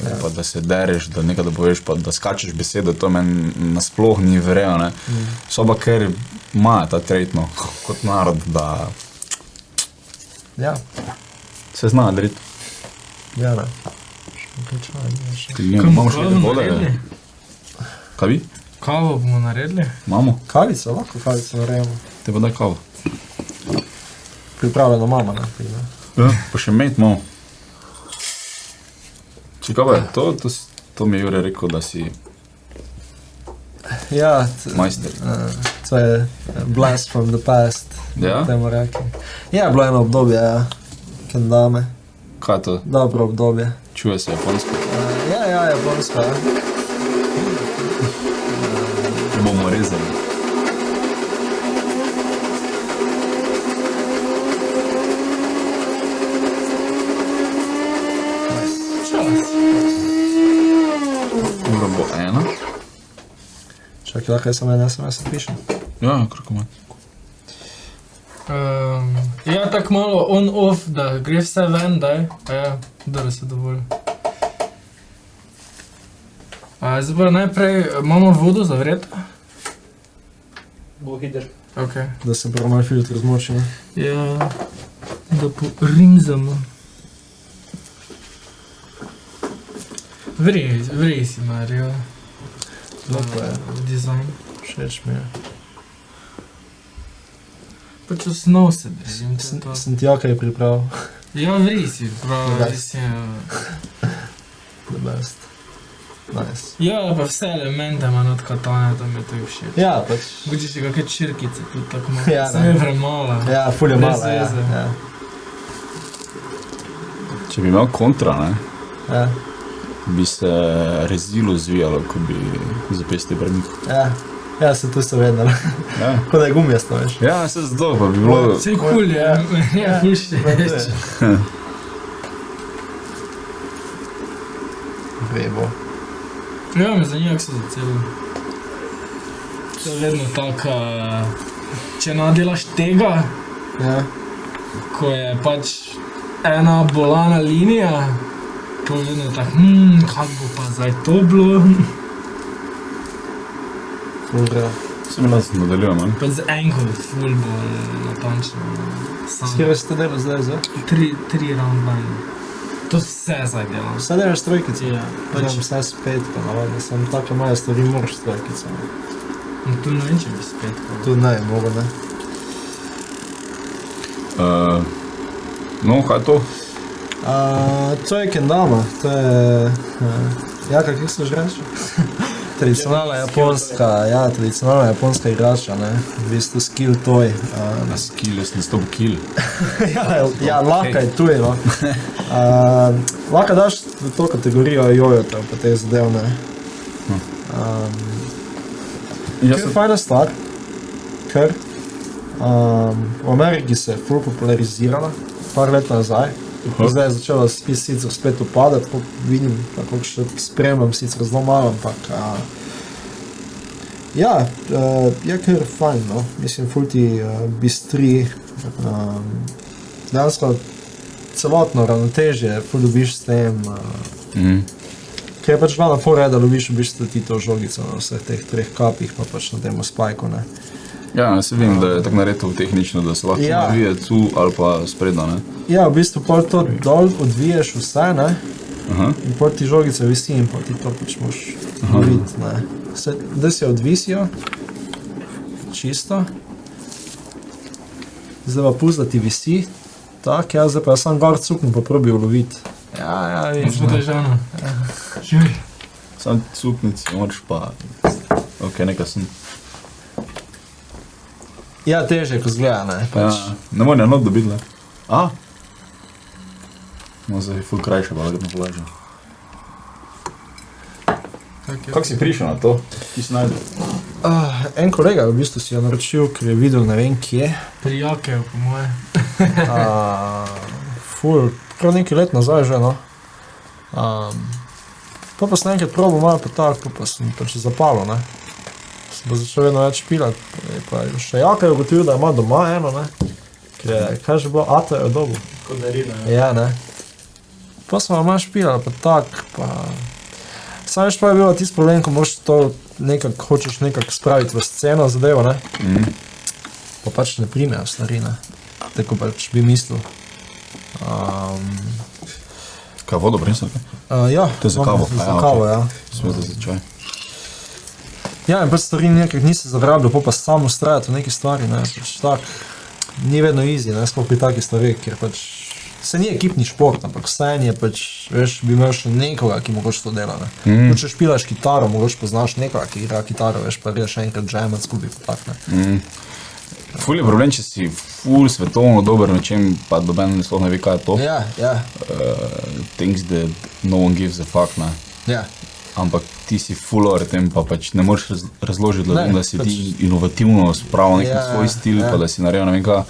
S3: ja. pa da se dereš, da nekaj da poveš, pa da skačeš besede, to meni nasploh ni verjelo. Mm. So pa ker ima ta tretno kot narod, da
S2: Ja,
S3: se zna dreti.
S2: ja, ne. Še nekaj časa, ne, še-
S3: Imamo še nekaj vode.
S1: naredili?
S3: Kaj vi?
S1: Kavo bomo naredili?
S3: Imamo,
S2: Kavico, lahko kavico naredimo.
S3: te bo da kavo.
S2: Pripravljeno mama, ne. pride.
S3: Ja. Pa še met imamo. Če kaj pa je, to, to, s- to mi je Jure rekel, da si
S2: Ja, t-
S3: majster.
S2: eh, to je eh, blast from the past,
S3: Ja?
S2: temu reki. Ja, bilo je eno obdobje, ja. Kendame,
S3: Kaj je to?
S2: dobro obdobje.
S3: Čuje se japonsko.
S2: Eh, Ja, ja, japonska. ja.
S3: Bomo rezali. Ura bo ena.
S2: Čakaj, lahko jaz samo en SMS pišem.
S3: Ja, kako ima.
S1: Um, ja, tako malo on-off, da gre vse ven, da je, ja, da se dovolj. A, zdaj pa najprej eh, imamo vodo za vred.
S4: Bo hiter.
S1: Okay.
S2: Da se bo moj filter zmočil. ne.
S1: Ja, da porimzamo. Vrej, vrej si Marijo.
S2: Lepo
S1: Э,
S2: je,
S1: Dizajn.
S2: všeč mi je.
S1: Pač osnov se držim. to je
S2: Sem,
S1: to.
S2: sem ti okaj pripravil,
S1: Ja, vrej si, prav,
S2: Drugače.
S1: res je.
S2: the best. Nice.
S1: Ja, pa vse elemente ima not katane, tam je to všeč.
S2: Ja, pač.
S1: Mogoče še kakšne črkice, tudi tako malo.
S2: Ja,
S1: Ja,
S2: ne.
S1: Sem je premala. Ja.
S2: Ja, fulje
S1: Brez
S2: malo. Ja,
S1: veze.
S2: ja,
S3: Če bi imel kontra, ne,
S2: ja,
S3: bi se rezilo zvijalo, ko bi zapesti brnik.
S2: ja. ja, se tu so vedno.
S3: Ja.
S2: Kot da je gumijasto, veš.
S3: ja, se zdol, pa bi bilo.
S1: Vse je kul, cool, ja, meni je
S2: Ja,
S1: všeč.
S2: Vebo.
S1: Ja, me zanima, kako se zacelil. To je vedno tako, če nadelaš tega,
S2: Ja,
S1: ko je pač ena bolana linija, to je vedno tako, hm, kako bo pa zdaj to bilo.
S2: fulje.
S3: Se mi nas nadaljujemo. ne.
S1: Pač z enko, ful bo natančno.
S2: Skiraj ste delo zdaj, zdaj?
S1: Tri, tri round line. To vse zdaj delam.
S2: Vse delaš Pa trojkice. Pa
S1: Ja,
S2: Pač
S1: pač,
S2: vse spet, navadno sem tako male stvari, moraš trojkice.
S1: no, tu ne vem, če bi spet.
S2: Tu ne, mogo ne.
S3: Uh, no, kaj je to?
S2: A, to je kendama, to je... eh, Ja, kako se že reče? Tradicionalna japonska, ja, tradicionalna japonska igrača, ne, v bistvu skill toy. Um,
S3: Na skill, jaz nisem top kill.
S2: ja, ja, laka je tuj, no. Uh, laka daš v to kategorijo jojo, tam pa te zadevne. Um,
S3: Jaz
S2: Jaz sem
S3: sem
S2: fajna stvar, ker um, v Ameriki se je ful popularizirala, par let nazaj.
S3: Aha.
S2: Zdaj je začela spis sicer spet upadati, kot vidim, tako še spremljam, sicer zelo malo, ampak uh, ja, uh, je kar fajn, no. mislim, ful ti uh, bistri, um, dejansko celotno ravnotežje, ful dobiš s tem. Uh,
S3: Mhm.
S2: Ker je pač glavna fora, je, da loviš v bistvu ti to žogico na vseh teh treh kapih, pa pač na tem spajku. Ne.
S3: Ja, se vem, da je tako naredil tehnično, da se lahko
S2: Ja.
S3: ja. vije tu ali pa spredno. Ne?
S2: Ja, v bistvu pol to dol odviješ vse, ne?
S3: Aha.
S2: in pol ti žogice visi in pol ti to pač moš loviti. ne. Se- Da se odvisijo, čisto. Zdaj pa pusti, da ti visi, tako jaz zdaj pa sam gor cuknem pa probi uloviti. Ja, ja,
S1: In
S2: vidiš.
S1: smo
S2: ne.
S1: težavno. Živi.
S3: Sam cuknici, moraš pa. Ok, nekaj sem.
S2: Ja, teže, ko zgleda, ne.
S3: Ja,
S2: Pač.
S3: ne morem enot dobiti, ne. A? No, zdaj je ful krajše, pa lahko na plažo. Kako si prišel na to? Ti si najdel.
S2: Ah, en kolega je v bistvu si jo naročil, ker je videl ne vem kje.
S1: Prijakev, po moje.
S2: Uh, ful, kar nekaj let nazaj že. No. Um, pa pa sem enkrat probo malo pa tako, pa, pa sem pač zapalo. Ne. Sem pa začel vedno več pilati. Pa je še jaka je ugotovil, da ima doma eno, ne. Ker je, kaj že bilo, ata je dobil.
S4: Kot narina.
S2: Ja, ne. Pa smo malo špilali, pa tako, pa... Sam veš, pa je bilo tisti problem, ko moraš to nekako, hočeš nekako spraviti v sceno zadevo, ne.
S3: Mhm.
S2: Pa pač ne primejo stvari, ne. Tako pač bi mislil. Um,
S3: Kaj vodo prinesel?
S2: uh, ja,
S3: To je za
S2: imam
S3: kavo,
S2: Za
S3: a ja,
S2: kavo,
S3: okej.
S2: ja.
S3: Smo za začaj.
S2: Ja, in pač stvari nekaj nisi zavrabljal, pa pa sam ustrajati v neki stvari, ne. Pač tak, ni vedno easy, ne, sploh pri takih stvareh, ker pač se ni ekipni šport, ampak vseeno je pač, veš, bi imel še nekoga, ki mogoče to dela, ne. Mm. Če špilaš kitaro, mogoče poznaš nekoga, ki igra kitaro, veš, pa greš še enkrat džemat skupaj, pa tak, ne.
S3: Ful je problem, če si ful svetovno dober na čem, pa doben sploh ne ve, kaj je to.
S2: Ja, ja,
S3: Uh, things that no one gives a fuck, ne.
S2: ja.
S3: Ampak ti si fulor, tem pa pač ne moreš raz, razložiti,
S2: Ne,
S3: ljudem, da si
S2: pač-
S3: ti inovativno spravil nek
S2: Ja,
S3: ja, svoj stil,
S2: ja.
S3: ja. pa da si naredil ne vem kaj.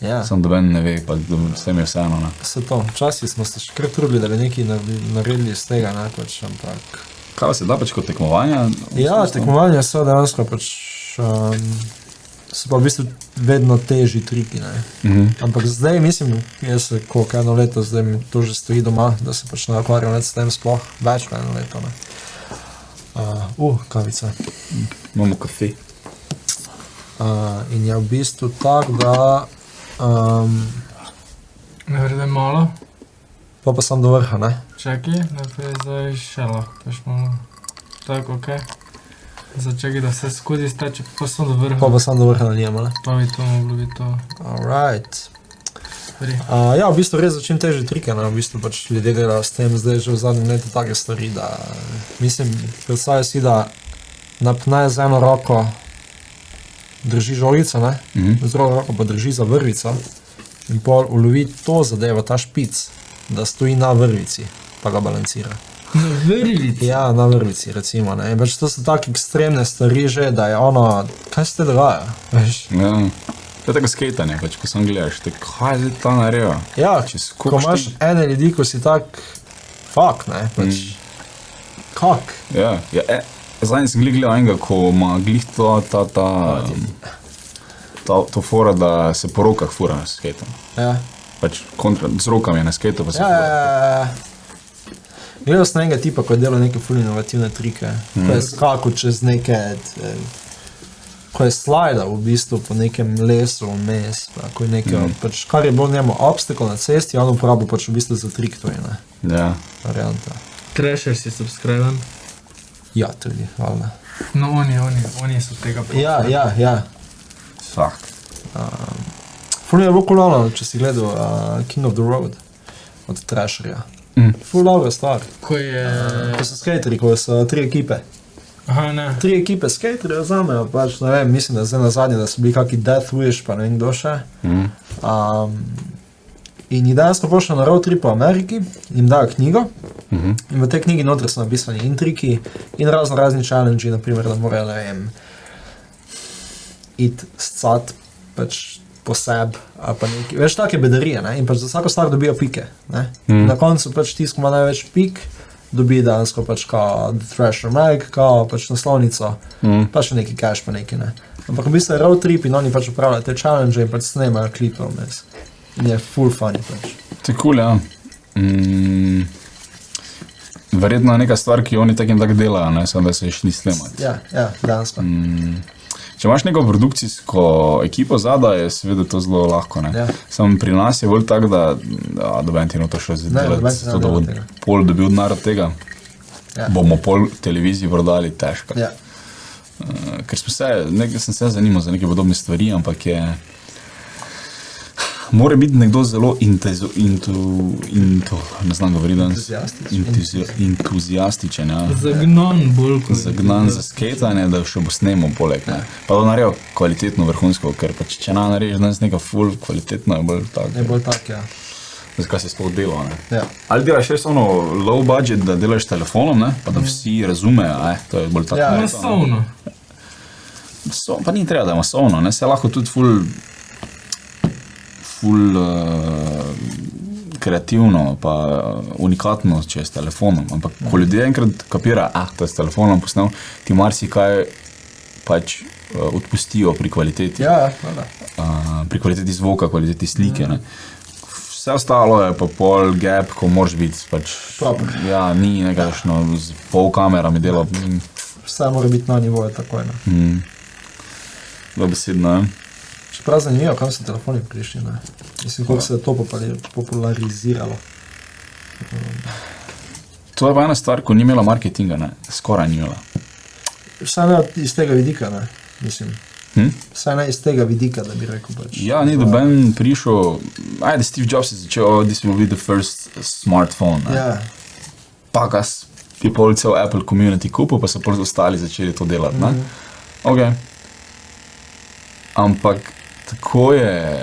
S2: ja.
S3: Sam doben ne ve, pa do- vsem je vseeno. Ne.
S2: Se to, včasih smo se še kar trudili, da bi nekaj nar- naredili iz tega, ne pač, ampak.
S3: Kaj pa se da pač kot tekmovanja?
S2: Ja,
S3: v smislu?
S2: tekmovanja so dejansko pač, um, so pa v bistvu vedno težji triki, ne.
S3: Mhm.
S2: Ampak zdaj mislim, jaz se koliko eno leto, zdaj mi to že stoji doma, da se pač ne ukvarjam več s tem sploh, več kot eno leto, ne. Uh, uh kavica.
S3: Imamo kafe.
S2: Uh, in je v bistvu tako, da um,
S1: Ne vrede malo.
S2: pa, pa sem do vrha, ne?
S1: Čakaj, najprej zdaj še lahko peš malo. Tako, ok. Začakaj, da se skozi steče, pa sem do vrha.
S2: Pa, pa sem do vrha na njem, ne?
S1: Pa bi to moglo biti to.
S2: Alright.
S1: Pri.
S2: Uh, ja, v bistvu res začnem težje trike, ne? v bistvu pač ljudje delajo s tem zdaj že v zadnjem letu take stvari, da mislim, predstavljaj si, da napne z eno roko drži žogico, ne?
S3: Mhm.
S2: z drugo roko pa drži za vrvico in pol ulovi to zadevo, ta špic, da stoji na vrvici, pa ga balancira.
S1: Na vrlici.
S2: Ja, na vrvici, recimo. Ne? In Pač to so tako ekstremne stvari že, da je ono, kaj se te dogaja? Veš?
S3: Ja. To je tako skejtanje, pač, ko sem gledaš, te kaj zdaj ta nareva.
S2: Ja,
S3: Če
S2: ko
S3: skupiš
S2: imaš
S3: ti-
S2: ene ljudi, ko si tak, fuk, ne, pač. Mm. Kak?
S3: Ja, ja, e, zadnji sem glih gledal enega, ko ima glih to, ta, ta, ta, to fora, da se po rokah fura na skejtu.
S2: Ja,
S3: Pač kontra, z rokami je na skejtu, pa se
S2: ja, ja.
S3: fura.
S2: ja, ja. Gledal sem enega tipa, ko je delal neke fully inovativne trike, mm. ko je skakal čez neke, eh, ko je slidal v bistvu po nekem lesu vmes, pa ko je nekaj, mm. pač, kar je bilo njemu obstakel na cesti, on uporabil pač v bistvu za trik, to je ne,
S3: Ja.
S2: varianta.
S1: Trasher si subscriben.
S2: Ja, tudi, hvala.
S1: No, oni, oni, oni so tega pa.
S2: Ja, ja, ja.
S3: Vsak.
S2: Ful je bilo kulano, če si gledal uh, King of the Road od Trasherja.
S3: Mm.
S2: Ful dobra stvar.
S1: Ko je...
S2: To so skateri, ko so tri ekipe.
S1: Aha, ne.
S2: Tri ekipe skaterjev vzamejo, pač ne vem, mislim, da zdaj na zadnje, da so bili kaki Death Wish, pa ne vem kdo še.
S3: Mm.
S2: Um, in jih dejansko pošljejo na road trip po Ameriki, jim dajo knjigo.
S3: Mm -hmm.
S2: In v tej knjigi notri so napisani in triki, in razno razni challenge, naprimer, da morajo, ne vem, iti scat, pač poseb, ali pa nekaj. Več take bedarije, ne? in pač za vsako stvar dobijo pike. Mm.
S3: Mm.
S2: Na koncu pač tisti, ki ima največ pik, dobi dejansko pač kao The Thrasher Mag, kao pač naslovnico,
S3: Mm.
S2: pa še neki cache, pa neki ne. Ampak v bistvu je road trip in oni pač upravljajo te challenge in pač snemajo klipe vmes. In je full funny pač.
S3: To je kul, cool, ja. Mm. Verjetno je neka stvar, ki jo oni takim tak delajo, ne samo da se jih ni snemati.
S2: Ja, ja, dejansko. Mm.
S3: Če imaš neko produkcijsko ekipo zadaj, je seveda to zelo lahko.
S2: Ja.
S3: Ja. Sam pri nas je bolj tako, da da noben ti noče še
S2: Ne,
S3: zdelati,
S2: noben si ne
S3: zato da
S2: dela
S3: bo
S2: tega.
S3: pol dobil denar od tega.
S2: Ja.
S3: Ja. Bomo pol televiziji prodali težko.
S2: Ja.
S3: Eh, Ker smo se, nekaj sem se zanimal za neke podobne stvari, ampak je. Mora biti nekdo zelo intezo, intu, intu, ne znam govoriti danes.
S2: Entuziastičen.
S3: Entuzija, entuzijastičen, ja.
S1: Zagnan bolj kot
S3: zagnan za sketanje, da še bo snemal poleg. Ne. Pa da naredijo kvalitetno vrhunsko, ker pač če ne narediš danes nekaj full, kvalitetno je bolj
S2: Je
S3: tako.
S2: bolj tak, ja.
S3: Zakaj se sploh dela? Ne?
S2: ja.
S3: Ali delaš res ono low budget, da delaš s telefonom, ne? pa da vsi razumejo, eh? to je bolj tako.
S2: Ja.
S1: No,
S3: ne, to, ne.
S1: Masovno.
S3: So, pa ni treba, da je masovno, ne? se lahko tudi ful, ful uh, kreativno, pa eh, unikatno, če je s telefonom. Ampak
S2: Mhm.
S3: ko ljudje enkrat kapirajo, ah, to je s telefonom posnel, ti marsikaj pač uh, odpustijo pri kvaliteti.
S2: Ja, hvala.
S3: Uh, pri kvaliteti zvoka, kvaliteti slike.
S2: Ja.
S3: Ne? Vse ostalo je pa pol gap, ko moraš biti. Pač,
S2: Proper. Ja.
S3: ja, ni nekakšno z pol kamerami delo. Mm,
S2: Vse mora biti na nivoju takoj. no. Ne.
S3: mm, Dobesedno ja. je.
S2: Čeprav zanimivo, kam so telefoni prišli. Ne. Mislim, koliko se je to popali- populariziralo.
S3: To je pa ena stvar, ko ni imela marketinga, ne? skoraj ni imela.
S2: Vsaj ne od- iz tega vidika, ne. Mislim,
S3: Hm?
S2: vsaj ne iz tega vidika, da bi rekel. Pač.
S3: Ja, ni doben prišel, ajde, Steve Jobs je začel, oh, this will be the first smartphone. ne."
S2: Ja,
S3: Pa ga s- je pol cel Apple community kupil, pa so pol ostali začeli to delati. Mm -hmm. okay. Ampak tako je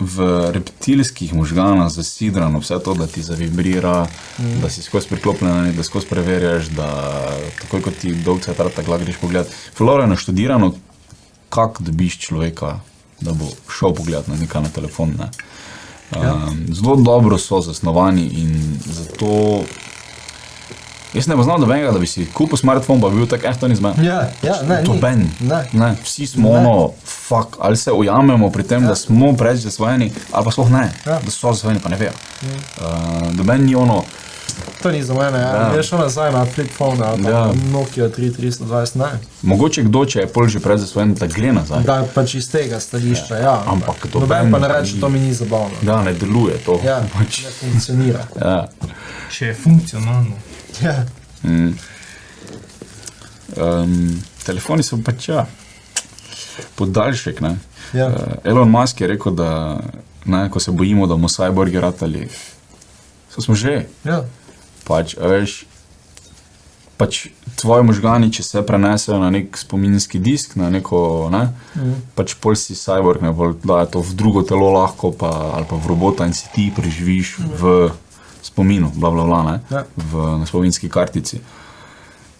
S3: v reptilskih možganah zasidrano vse to, da ti zavibrira, mm. da si skozi priklopljen na nekaj, da skozi preverjaš, da takoj kot ti dolg se trata, tako greš pogled. Flora je naštudirano, kako dobiš človeka, da bo šel pogled na nekaj na telefon. Ne. Um, zelo dobro so zasnovani in zato. Jaz ne poznam nobenega, da bi si kupil smartphone, pa bi bil tak, eh, to ni zmeden.
S2: ja, ja ne. ni.
S3: Doben.
S2: Ne.
S3: Ne, vsi smo
S2: Ne.
S3: ono, fuck, ali se ujamemo pri tem, ja. da smo preveč zasvojeni, ali pa sploh ne,
S2: Ja.
S3: ja. da so zasvojeni, pa ne vejo. Uh, Doben ni ono,
S2: To ni za mene, ja.
S3: Ja.
S2: Greš ja. nazaj na flip phone ali pa
S3: Ja.
S2: ja. Nokia 3320, ne.
S3: mogoče kdo, če je pol že preveč zasvojen, da gleda nazaj. Da.
S2: Da pač iz tega stališča, ja.
S3: Ampak doben
S2: Noben pa ne
S3: ni.
S2: reče, to mi ni zabavno.
S3: Ja, ne deluje to.
S2: Ja,
S3: Pač,
S2: ne funkcionira.
S3: ja.
S1: Če je funkcionalno.
S2: Ja.
S3: Mm. Um, telefoni so pač ja, podaljšek. Ne?
S2: Ja.
S3: Uh, Elon Musk je rekel, da ne, ko se bojimo, da bomo cyborgi ratali, so smo že.
S2: Ja.
S3: Pač, a veš, pač tvoji možgani, če se prenesejo na nek spominski disk, na neko, ne,
S2: Mhm.
S3: pač pol si cyborg, ne bolj da je to v drugo telo lahko, pa, ali pa v robota in si ti preživiš v spominu, bla bla bla, ne,
S2: Mhm. Ja.
S3: v, na spominski kartici.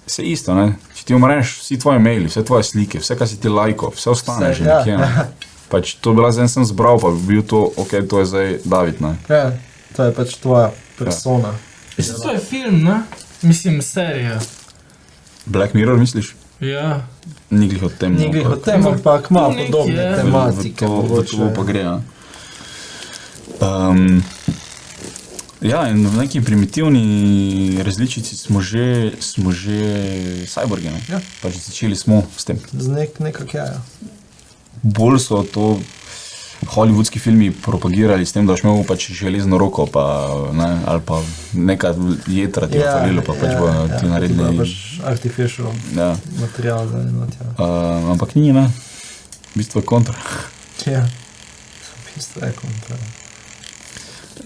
S3: Vse isto, ne? če ti umreš, vsi tvoji maili, vse tvoje slike, vse, kar si ti lajko, vse ostane
S2: Vse,
S3: že
S2: ja,
S3: nekje. Ne? Pač to bi jaz en sem zbral, pa bi bil to, ok, to je zdaj David. Ne?
S2: ja, to je pač tvoja persona.
S3: Ja.
S1: Mislim, to je film, ne? Mislim, serija.
S3: Black Mirror, misliš?
S1: Ja.
S3: Nikoli o tem no.
S2: Ni glih o
S3: ampak-
S2: tem, ampak ima
S1: To nekje,
S2: podobne
S1: ja.
S2: tematike.
S3: V to, v
S2: mogoče.
S3: to pa gre. Ja. Um, Ja, in v neki primitivni različici smo že, smo že cyborgi. ne.
S2: Ja.
S3: Pač začeli smo s tem.
S2: Z nek, nekak, ja, ja.
S3: bolj so to holivudski filmi propagirali s tem, da boš imel pač železno roko, pa, ne, ali pa neka jetra ti je falilo, pa pač bojo ti
S2: Ja,
S3: naredili.
S2: pač artificial
S3: Ja.
S2: material za enot, ja.
S3: Uh, ampak ni, ne. V bistvu je kontra.
S2: Ja. V bistvu je kontra.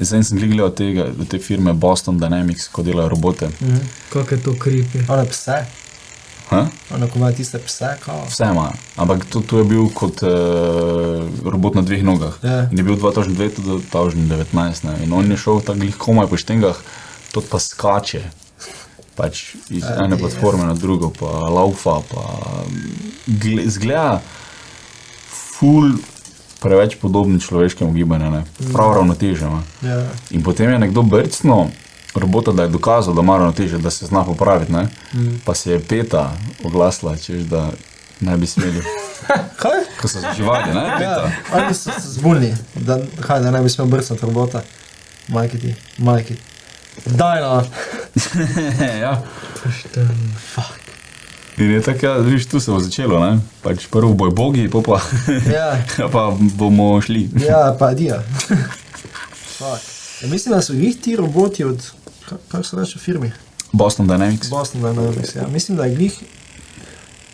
S3: Zdaj sem gledal od, tega, od te firme Boston Dynamics, ko delajo robote.
S2: Mhm.
S1: Kako je to kripi?
S2: One pse,
S3: Ha?
S2: one ko imajo tiste pse, kao.
S3: Vse ima, ampak to, to je bil kot uh, robot na dveh nogah.
S2: Ja.
S3: In je bil 2009 do 2019 ne? in on je šel tako glih komaj po štengah, to pa skače. Pač iz
S2: Ja,
S3: ene
S2: je.
S3: platforme na drugo, pa laufa, pa gle- zgleda ful preveč podoben človeškemu gibanju, ne?
S2: Mm.
S3: prav ravnoteže. Ne?
S2: Ja.
S3: In potem je nekdo brcno robota, da je dokazal, da ima ravnoteže, da se zna popraviti, ne? pa se je peta oglasila, češ da ne bi smeli.
S2: Kaj?
S3: Ko so živali, ne?
S2: Ja,
S3: Peta.
S2: oni so se zbunili, da, kaj, da ne bi smel brcati robota. Majki ti, majki. Daj no.
S3: ja. In je tako, ja, viš, tu se bo začelo, ne? Pač prvo boj bogi, pol pa,
S2: Ja,
S3: pa bomo šli.
S2: ja pa dija. Fuck. Ja, mislim, da so jih ti roboti od, ka- kako se reče, firmi.
S3: Boston Dynamics.
S2: Boston Dynamics, ja. Mislim, da je glih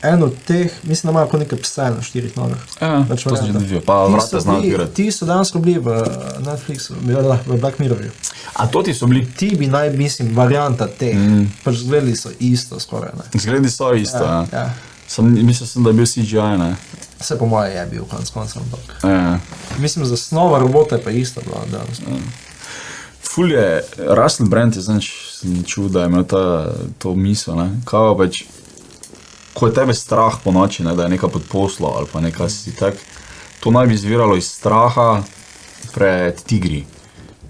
S2: en od teh, mislim, da imajo kot neke pse na štirih nogah.
S3: Ja,
S2: Pač
S3: to sem že
S2: varianta.
S3: dobil, pa
S2: Ti
S3: vrata
S2: so
S3: znam
S2: bili-
S3: odpirati.
S2: Ti so danes bili v eh, Netflixu, bila, v Black Mirrorju.
S3: A to ti so bili?
S2: Ti bi naj, mislim, varianta teh, mm. pač zgledali so isto skoraj. Ne.
S3: Zgledi so isto, ja.
S2: ja.
S3: Sam, mislil sem, da je bil CGI, ne?
S2: Vse po moje je bil konec koncev, ampak
S3: Ja.
S2: mislim, zasnova robota je pa ista bila danes.
S3: Mm. Ful je, Russell Brand je znaš, sem čul, da je imel ta, to misel, ne? Kaj pa pač, ko je tebe strah po noči, ne, da je nekaj pod poslo ali pa nekaj si tak, to naj bi izviralo iz straha pred tigri,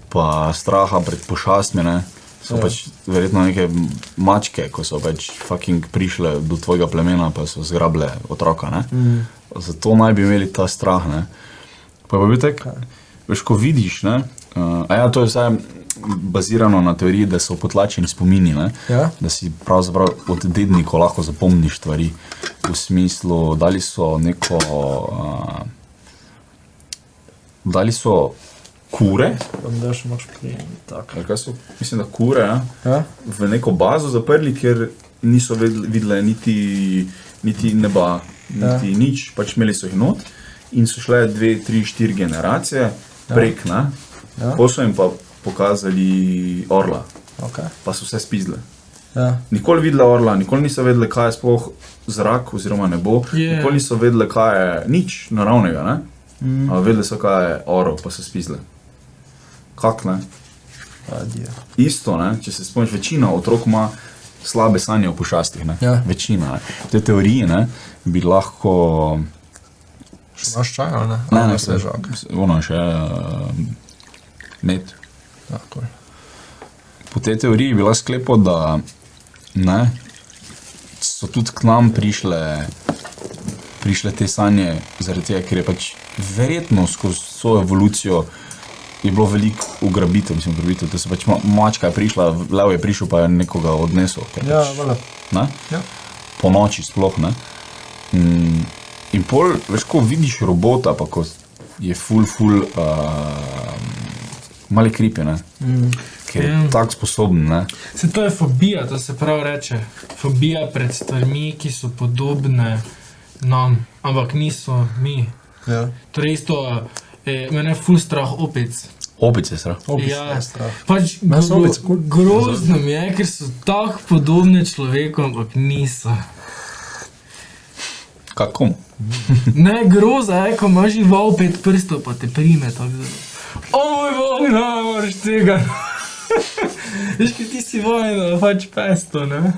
S3: pa straha pred pošastmi, ne. So
S2: Ja.
S3: ja. pač verjetno neke mačke, ko so pač fucking prišle do tvojega plemena, pa so zgrabile otroka, ne. Mm. Zato naj bi imeli ta strah, ne. Pa je pa bil tak, veš, ko vidiš, ne, uh, a ja, to je vse bazirano na teoriji, da so potlačeni spomini, ne,
S2: Ja.
S3: da si pravzaprav od dednikov lahko zapomniš stvari. V smislu, dali so neko, uh, dali so kure,
S2: Tam daš moč pri tako.
S3: ali kaj so, mislim, da kure, ja,
S2: Ja?
S3: v neko bazo zaprli, ker niso vedle- videle niti, niti neba, niti ja. nič, pač imeli so jih not in so šle dve, tri, štiri generacije prek, ne.
S2: Ja.
S3: Ja. Potem so jim pa pokazali orla,
S2: Okay.
S3: pa so vse spizle.
S2: Ja.
S3: Nikoli videla orla, nikoli niso vedela, kaj je sploh zrak oziroma nebo,
S1: Ja.
S3: yeah. nikoli niso vedela, kaj je nič naravnega, ne? Mm. A vedela so, kaj je oro, pa so spizle. Kak ne?
S2: Adijo.
S3: Isto, ne? če se spomniš, večina otrok ima slabe sanje o pošastih. ne.
S2: Ja.
S3: Večina. Ne? Te teorije ne, bi lahko.
S2: Še imaš čaj ali ne?
S3: Ne,
S2: Ali
S3: ne,
S2: vse
S3: vse
S2: je
S3: že.
S2: žog.
S3: Ono še. Uh, med.
S2: Tako.
S3: Po tej teoriji bi lahko sklepal, da ne, so tudi k nam prišle, prišle te sanje, zaradi tega, ker je pač verjetno skozi svojo evolucijo je bilo veliko ugrabitev, mislim, ugrabitev, da se pač ma, mačka je prišla, lev je prišel, pa je nekoga odnesel. ker
S2: Ja,
S3: pač,
S2: vele.
S3: ne,
S2: Ja.
S3: po noči sploh ne. Mm, In pol, veš, ko vidiš robota, pa ko je full, full, uh, mali kripi, ne. Mm. Ker je
S1: Ja.
S3: tako sposoben, ne.
S1: Se to je fobija, to se prav reče. Fobija pred stvarmi, ki so podobne nam, ampak niso mi.
S2: Ja.
S1: Torej, isto, eh, mene je ful strah opic.
S3: Opice strah.
S2: Obič,
S1: Ja.
S2: ne strah.
S1: Pač
S2: Mene so
S1: gro,
S2: opice kul.
S1: grozno mi je, ker so tako podobne človeku, ampak niso.
S3: Kako?
S1: Ne groza, je, ko imaš žival pet prstov, pa te prime tako zelo. O moj bog, ne moreš tega. Veš, ki ti si vojna, pač pesto, ne?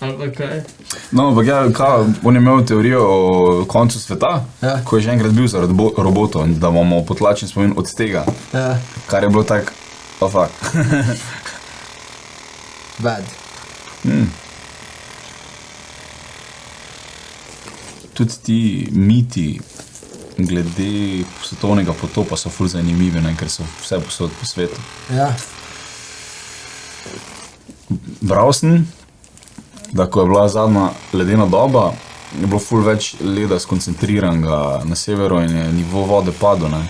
S1: Ali pa kaj?
S3: No, ampak ja, ka, on je imel teorijo o koncu sveta,
S2: Ja.
S3: ko je že enkrat bil zaradi bo- robotov in da bomo potlačen spomin od tega,
S2: Ja.
S3: kar je bilo tako, oh, pa fakt.
S2: Bad.
S3: Tudi ti miti glede svetovnega potopa so fur zanimivi, ne, ker so vse posod po svetu.
S2: Ja.
S3: Bral sem, da ko je bila zadnja ledena doba, je bilo ful več leda skoncentriranega na severu in je nivo vode padel. Ne.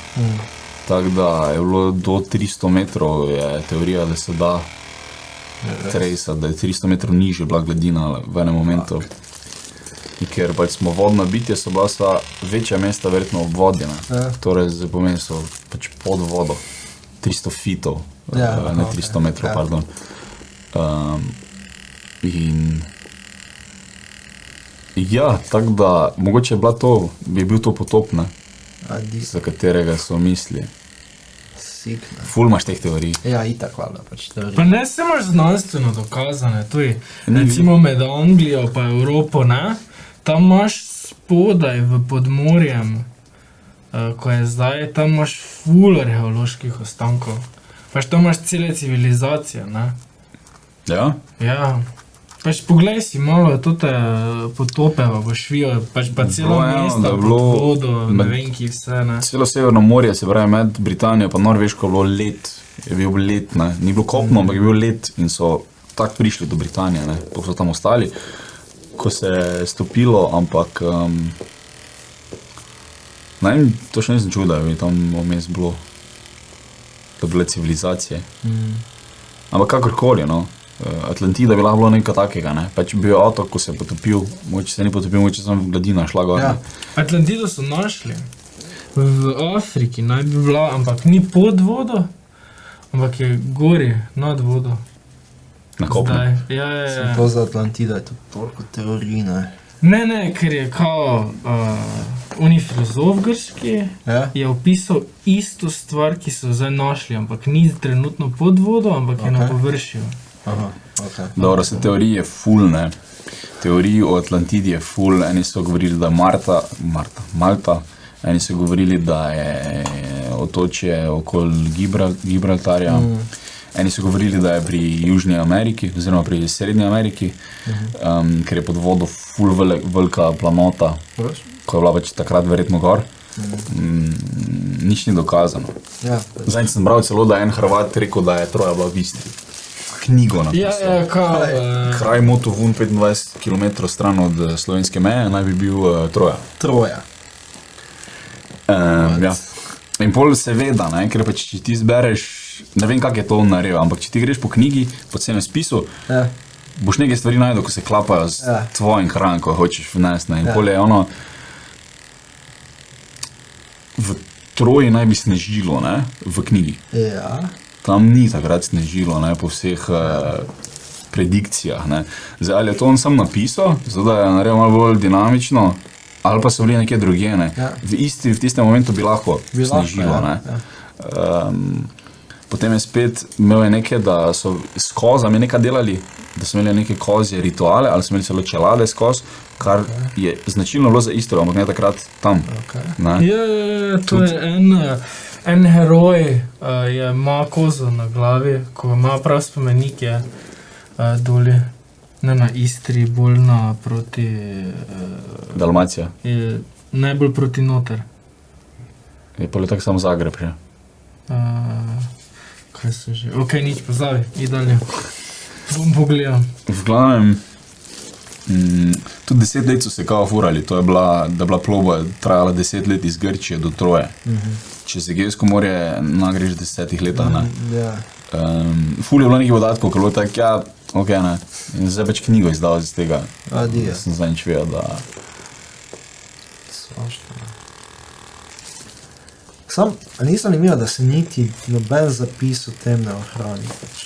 S3: Tako da je bilo do 300 metrov, je teorija, da se da
S2: Ja.
S3: tresa, da je 300 metrov nižje bila gladina v enem momentu. In ker pač smo vodna bitja, so bila sva večja mesta verjetno obvodjena.
S2: Ja.
S3: Torej, zdaj pomeni, so pač pod vodo. 300 fitov,
S2: Ja,
S3: ja, ne
S2: ok.
S3: 300 metrov,
S2: Ja.
S3: ja. pardon. Um, in ja, tako da mogoče je bila to, bi bil to potop, ne,
S2: Adi,
S3: za katerega so mislili.
S2: sikna.
S3: Ful imaš teh teorij.
S2: Ja, itak, valjda, pač teorija.
S1: Pa ne samo znanstveno dokazane, tudi
S3: Ni, ni.
S1: recimo med Anglijo in Evropo, ne? tam imaš spodaj v podmorjem, eh, ko je zdaj, tam imaš ful arheoloških ostankov. Pač tam imaš cele civilizacije. Ne?
S3: Ja,
S1: Ja. Pač poglej si malo eh, te potope, pa boš videl, pač pa celo
S3: Bilo je eno, ja, da
S1: mesto,
S3: je bilo
S1: vodo, ne
S3: med-
S1: vem, ki vse. Ne?
S3: celo severno morje, se pravi med Britanijo in Norveško, je bilo let, je bil let, ne. ni bilo kopno, ampak je bil let in so tako prišli do Britanije, ne. pa so tam ostali, ko se je stopilo, ampak um, ne vem, to še nisem čuda, da je tam vmes bilo, da bile civilizacije.
S2: Mm.
S3: Ampak kakorkoli, no. eh, Atlantida je bila bilo nekaj takega, ne. pač bil je otok, ko se je potopil, moče se ni potopil, moče sem gladina šla gor.
S2: Ja.
S3: ne.
S1: Atlantido so našli. V Afriki naj bi bila, ampak ni pod vodo, ampak je gori nad vodo.
S3: Na kopnem.
S1: Zdaj. Ja, ja,
S2: Sem
S1: ja.
S2: to za Atlantida, je to toliko teorij, ne.
S1: Ne, ne, ker je kao uh, unifilozof grški,
S2: Ja?
S1: je opisal isto stvar, ki so jo zdaj našli, ampak ni trenutno pod vodo, ampak okay. je na
S2: Okej.
S1: površju.
S2: Aha, ok.
S3: Dobro, se teorije fulne. Teorij o Atlantidi je ful. Eni so govorili, da je Marta, Marta, Malta, eni so govorili, da je otočje okoli Gibra, Gibraltarja.
S1: Mhm.
S3: Mm. Eni so govorili, da je pri Južni Ameriki, oziroma pri Srednji Ameriki,
S1: Mhm.
S3: um, ker je pod vodo ful vele- velika planota,
S2: Veš?
S3: ko je bila pač takrat verjetno gor.
S1: Mhm.
S3: Mm, nič ni dokazano.
S2: Ja,
S3: Zdaj sem bral celo, da je en Hrvat rekel, da je Troja bila v Istri. Knjigo na
S1: Ja, ja, kao. Uh,
S3: Kraj Motovun, 25 km stran od eh, slovenske meje, naj bi bil uh, Troja.
S2: troja.
S3: Um, ja. In pol seveda, ne, ker pač če ti zbereš, ne vem, kako je to naredil, ampak če ti greš po knjigi, po celem spisu,
S2: Ja.
S3: boš nekaj stvari najdel, ko se klapajo z
S2: Ja.
S3: ja. tvojim hranom, ko hočeš vnesti. ne. In
S2: Ja.
S3: ja. pol je ono, v Troji naj bi snežilo, ne, v knjigi.
S2: Ja.
S3: Tam ni takrat snežilo, ne, po vseh eh, predikcijah. Ne. Zdaj, ali je to on sam napisal, zato da je naredil malo bolj dinamično, ali pa so bili nekje drugje. Ne.
S2: Ja.
S3: V isti, v tistem momentu bi lahko
S2: Bi lahko,
S3: snežilo.
S2: ja,
S3: ne.
S2: ja.
S3: Ehm, potem je spet imel je nekaj, da so s kozami nekaj delali, da so imeli neke kozje rituale ali so imeli celo čelade s koz, kar je značilno bilo za isto, ampak ne takrat tam.
S2: Okay.
S3: Ne.
S1: ja, ja, ja, to je en, eh, en heroj, uh, je ima kozo na glavi, ko ima prav spomenik, je uh, dolje. Ne na Istri, bolj na proti, eh,
S3: Dalmacija
S1: je najbolj proti noter.
S3: je pa tako samo Zagreb. ja. Že.
S1: Uh, kaj se že? Ok, nič pozavi, idalje. Bom pogledal.
S3: V glavnem, mm, tudi deset let so se kao furali, to je bila, da je bila plovba trajala deset let iz Grčije do Troje. Če se Gejsko morje nagreš v desetih letah, ne.
S2: Ja.
S3: Um, ful je bilo nekaj podatkov, ko je bilo tako, ja, ok, ne. In zdaj pač knjigo izdal iz tega.
S2: Adijo.
S3: Jaz sem zadnjič vedel, da
S2: Svašta. Sam a ni zanimivo, da se niti noben zapis o tem ne ohrani. pač.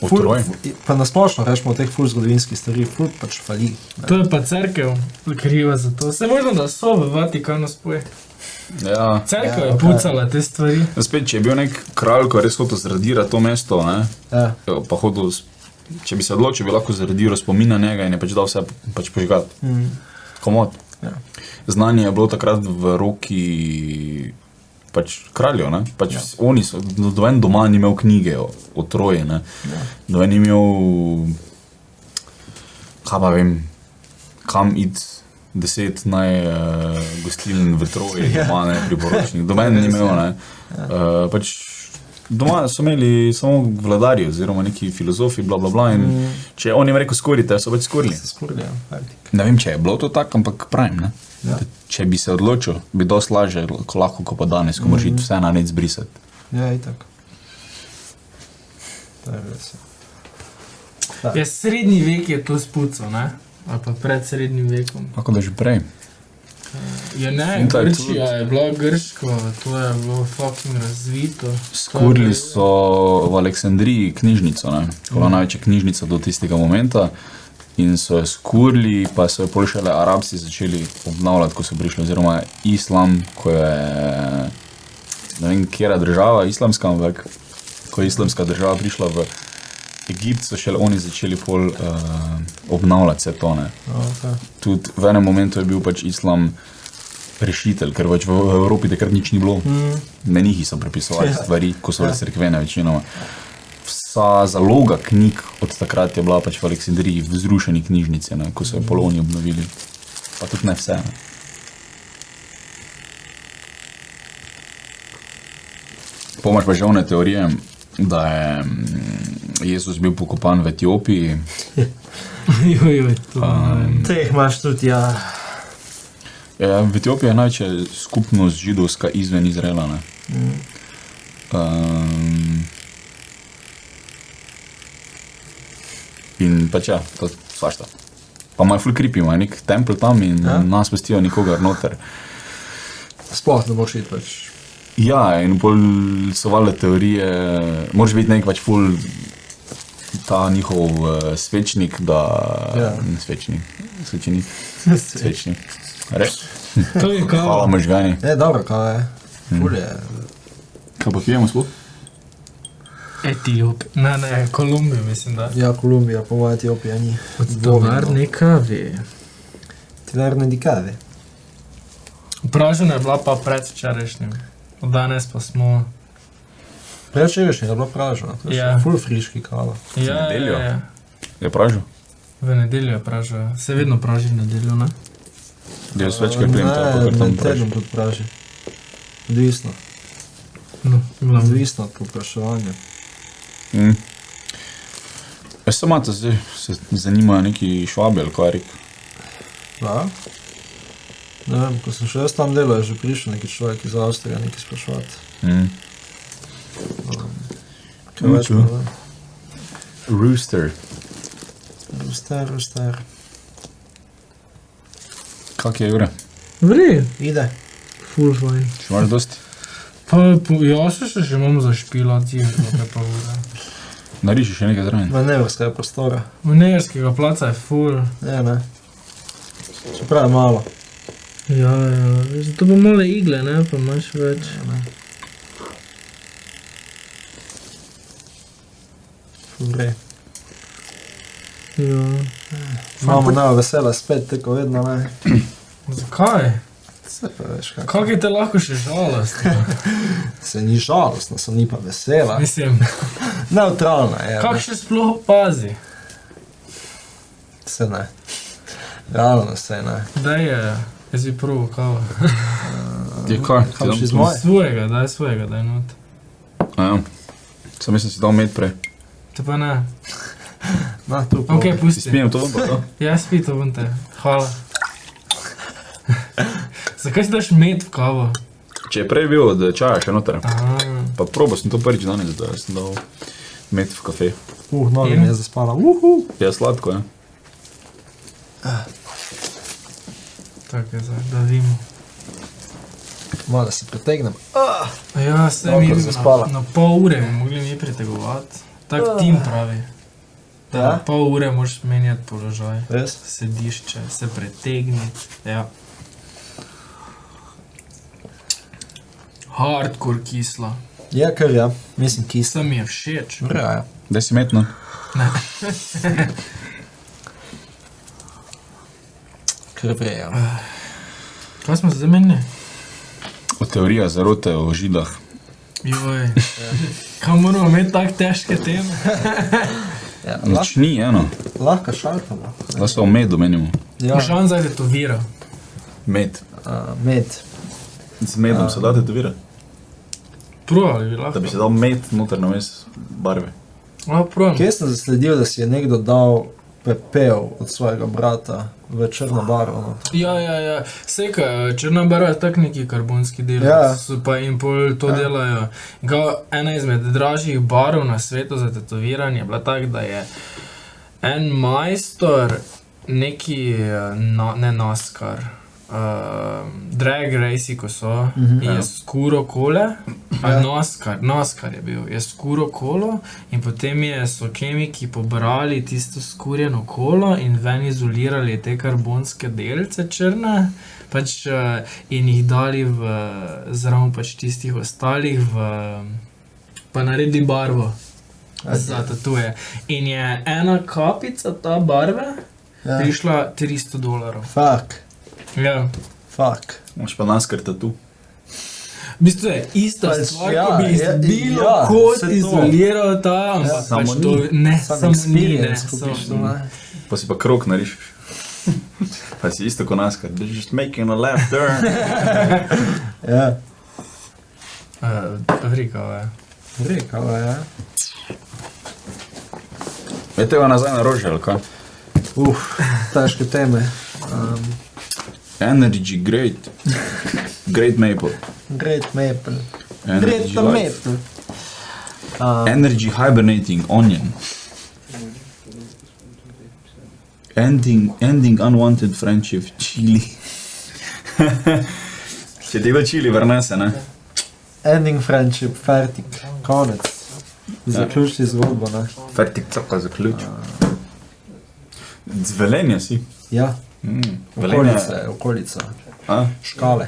S3: v
S2: Ful-
S3: Troji.
S2: i- Pa nasplošno rečemo o teh ful zgodovinskih stvari, ful pač fali. ne.
S1: To je pa crkev, kriva za to. Se možno, da so v Vatikanu spoje.
S3: Ja.
S2: Ja,
S1: Crkva je
S2: ok.
S1: pucala te stvari.
S3: Spet, če je bil nek kralj, ko je res hotel zradirati to mesto, ne,
S2: Ja.
S3: pa hodil, s- če bi se odločil, bi lahko zradiral spomin na njega in je pač dal vse pač požgati.
S2: Mm.
S3: komod.
S2: Ja.
S3: Znanje je bilo takrat v roki pač kraljev. ne. Pač ja. Oni so, noben doma ni imel knjige o, o Troji, ne. noben ni imel, kaj pa vem, kam id. Deset naj uh, gostiln v Troji,
S2: Ja.
S3: doma ne priporočnih, domen ni imel. Ne. Uh, pač Doma so imeli samo vladarji, oziroma neki filozofi, bla, bla, bla, in mm. če je on jim rekel, skorite, so pač skorili.
S2: Se skurdijo, fertik.
S3: Ne vem, če je bilo to tako, ampak pravim. Ne?
S2: Ja.
S3: Da Če bi se odločil, bi dosti lažje, ko lahko ko pa danes, ko moraš mm -hmm. vse na nec brisati.
S2: Ja, itak. To je res. Ja.
S1: Ja, srednji vek je to spuco, ne? ali pa pred srednjim vekom.
S3: Kako da že prej.
S1: Ja, ne,
S3: In to je
S1: Grčija
S3: tudi-
S1: je bila grško, to je bilo fucking razvito.
S3: Skurili so v Aleksandriji knjižnico, ne? Bila mm -hmm. največja knjižnica do tistega momento. In so jo skurili, pa so jo pošljali arabci začeli obnavljati, ko so prišli, oziroma islam, ko je ne vem, kera država, islamska, ampak ko je islamska država prišla v Egipt, so šele oni začeli pol uh, obnavljati vse to. Ne?
S2: Okay.
S3: Tudi v enem momentu je bil pač islam rešitelj, ker pač v v Evropi takrat nič ni bilo.
S2: Mm.
S3: Na njih so prepisovali
S2: Ja.
S3: stvari, ko so bile
S2: Ja.
S3: crkvene večinoma. Vsa zaloga knjig od takrat je bila pač v Aleksandriji, v zrušeni knjižnici, ne, ko so jo poloni obnovili. Pa tudi ne vse. Ne. Pomaž pa že one teorije, da je mm, Jezus bil pokopan v Etiopiji,
S1: Jojoj, to je.
S3: Um,
S2: Teh imaš tudi, ja.
S3: Ja, v Etiopiji je največja skupnost židovska izven Izraela. Ne? Um, in pač ja, to svašta. Pa imajo full creepy, imajo nek tempel tam in
S2: Ja.
S3: ja? nas pustijo nikogar noter.
S2: Sploh ne boš iti pač.
S3: Ja, in bolj so vale teorije, moraš biti nek pač full ta njihov uh, svečnik, da
S2: Ja.
S3: ne, svečnik, svečnik, svečnik. Res,
S1: To je
S3: hvala
S1: kao.
S3: možgani.
S2: Ne, E, dobro, kaj je. Ful je.
S3: Kaj pa pijemo sploh?
S1: Etiop, ne, ne, Kolumbijo mislim, da.
S2: Ja, Kolumbija, po mojem Etiopija ni.
S1: Od
S3: no.
S1: tovarne kave.
S2: Tilarne dikave.
S1: Vprašanje je bila pa predvčerajšnjim, od danes pa smo.
S2: Prečereš je bilo praženo, to je
S1: Ja.
S2: ja. ful friški kava.
S1: Ja,
S3: nedeljo?
S1: ja, ja.
S3: Je pražil?
S1: V nedeljo je pražil, se vedno praži v nedeljo, ne?
S3: Del se večkrat grem tam, pa kar
S2: Ne,
S3: tam
S2: med
S3: pražim.
S2: tednom tudi praži. Odvisno,
S1: No, glavno.
S2: odvisno od popraševanja.
S3: Mm. Ja, samo te zdaj se zanimajo neki švabi ali kaj rek.
S2: Ja. Ne vem, ko sem še jaz tam delal, je že prišel neki človek iz Avstrije, nekaj sprašovati.
S3: Mm.
S2: Kaj
S3: Nič,
S2: več? ne vem.
S3: Rooster.
S2: Ruster, ruster.
S3: Kak je ure?
S1: Vri,
S2: Ide.
S1: full fajn.
S3: Še imaš dosti?
S1: Pa, pa jaz se še imam zašpila, ti je nekaj pa ura.
S3: Nariši še nekaj zraven.
S2: Manevrskega prostora.
S1: Vneverskega placa je full.
S2: Ne, ne. Čeprav je malo.
S1: Ja, ja, zato pa male igle, ne, pa imaš več.
S2: Ja, Vre.
S1: Ja.
S2: Imamo nova vesela spet, tako vedno ne.
S1: Zakaj?
S2: Se pa veš kako.
S1: Kako je te lahko še žalost?
S2: Se ni žalostna, sem ni pa vesela.
S1: Mislim,
S2: Neutralna je.
S1: kako še sploh pazi?
S2: Se ne. Realno se ne.
S1: Daj je, jaz bi prvo kavo.
S3: Je kaj?
S2: Kam še iz moje?
S1: Svojega, daj svojega, daj not.
S3: Ja. Sam sem si dal med prej.
S1: Te pa ne.
S2: Na, tu pa.
S1: Ok,
S3: Si
S1: pusti.
S3: spijem to, ja. pa to.
S1: Jaz spito bom te. Hvala. Zakaj si daš med v kavo?
S3: Če je prej bil od čaja še noter.
S1: Aha.
S3: Pa probo sem to prvič danes, da sem dal med v kafe.
S2: Uh, noge mi je zaspala. Uhu.
S3: Je sladko, ja?
S1: Tako je zdaj, da vidimo.
S2: Malo da se pretegnem.
S1: Ja, se
S2: Dobro,
S1: mi je
S2: zaspala.
S1: na, na pol ure, bi mogli mi pritegovati. Tako tim pravi. Da,
S2: Ja?
S1: na pol ure moraš menjati položaj.
S2: Res?
S1: Sedišče, se pretegni. Ja. Hardcore kisla.
S2: Ja, kar ja. Mislim, kisla.
S1: Sem je všeč.
S2: Vre, ja.
S3: Daj si no. metno.
S2: Kar vre, ja.
S1: Kaj smo se zamenjali?
S3: O teorija zarote o židah.
S1: Joj. Kaj moramo imeti tako težke teme?
S2: ja. Lah,
S3: Nič ni eno.
S2: lahko šaltamo.
S3: Da se o medu menimo.
S2: Ja.
S1: Ja. Žan zdaj tetovira.
S3: Med.
S2: Uh, med.
S3: Ja. Z medom se da tetovira.
S1: Provali bi lahko.
S3: Da bi se dal met noter na mes barve.
S1: No, provam.
S2: Kje sem zasledil, da si je nekdo dal pepel od svojega brata v črno barvo? No?
S1: Ja, ja, ja. Seka, črna barva je tak neki karbonski del,
S2: Ja.
S1: ja. pa jim pol to ja. delajo. Ga, ena izmed dražjih barov na svetu za tetoviranje je bila tak, da je en majstor, neki eh, na, ne naskar. Uh, drag raci, ko so, mm -hmm, je skuro kole, ja. naskar, naskar je bil, je skuro kolo in potem je, so kemiki pobrali tisto skurjeno kolo in ven izolirali te karbonske delce črne pač, eh, in jih dali v, zraven pač tistih ostalih, v, pa naredi barvo. Za tatuje. In je ena kapica ta barve ja.
S2: Ja.
S1: prišla 300 dolarjev.
S2: Fak,
S1: Ja.
S2: fak.
S3: Moš pa nas krta tu.
S1: V bistvu je ista
S2: Pač,
S1: pač, stvar,
S2: ja,
S1: ja, ko bi
S2: ja,
S1: izbilo
S2: ja,
S1: ja, kot
S2: saj to.
S1: izoliral ta, ampak ja,
S3: samo
S1: pač
S3: ni.
S1: to ne,
S2: Sam
S1: samo ni, ne,
S2: experience
S1: samo
S2: kupiš, no. ne.
S3: Pa si pa krok narišeš. Pa si isto kot nas krta. Just making a left turn.
S2: Ja,
S1: Uh, Afrika, ja.
S2: rekala je.
S3: Je tega nazaj na rožje, ali kaj?
S2: Uf, težke teme. Um,
S3: Energy, great. Great maple.
S2: great maple. Great
S3: Energy, life.
S2: maple. Um,
S3: Energy hibernating onion. Ending, ending unwanted friendship, chili. Če tega čili vrnese, ne?
S2: ending friendship, fertik, konec. Zaključili zgodbo, ne?
S3: Fertik caka zaključil. Zvelenje si.
S2: Ja,
S3: Mm, velenje.
S2: okolica, okolica,
S3: A,
S2: škale,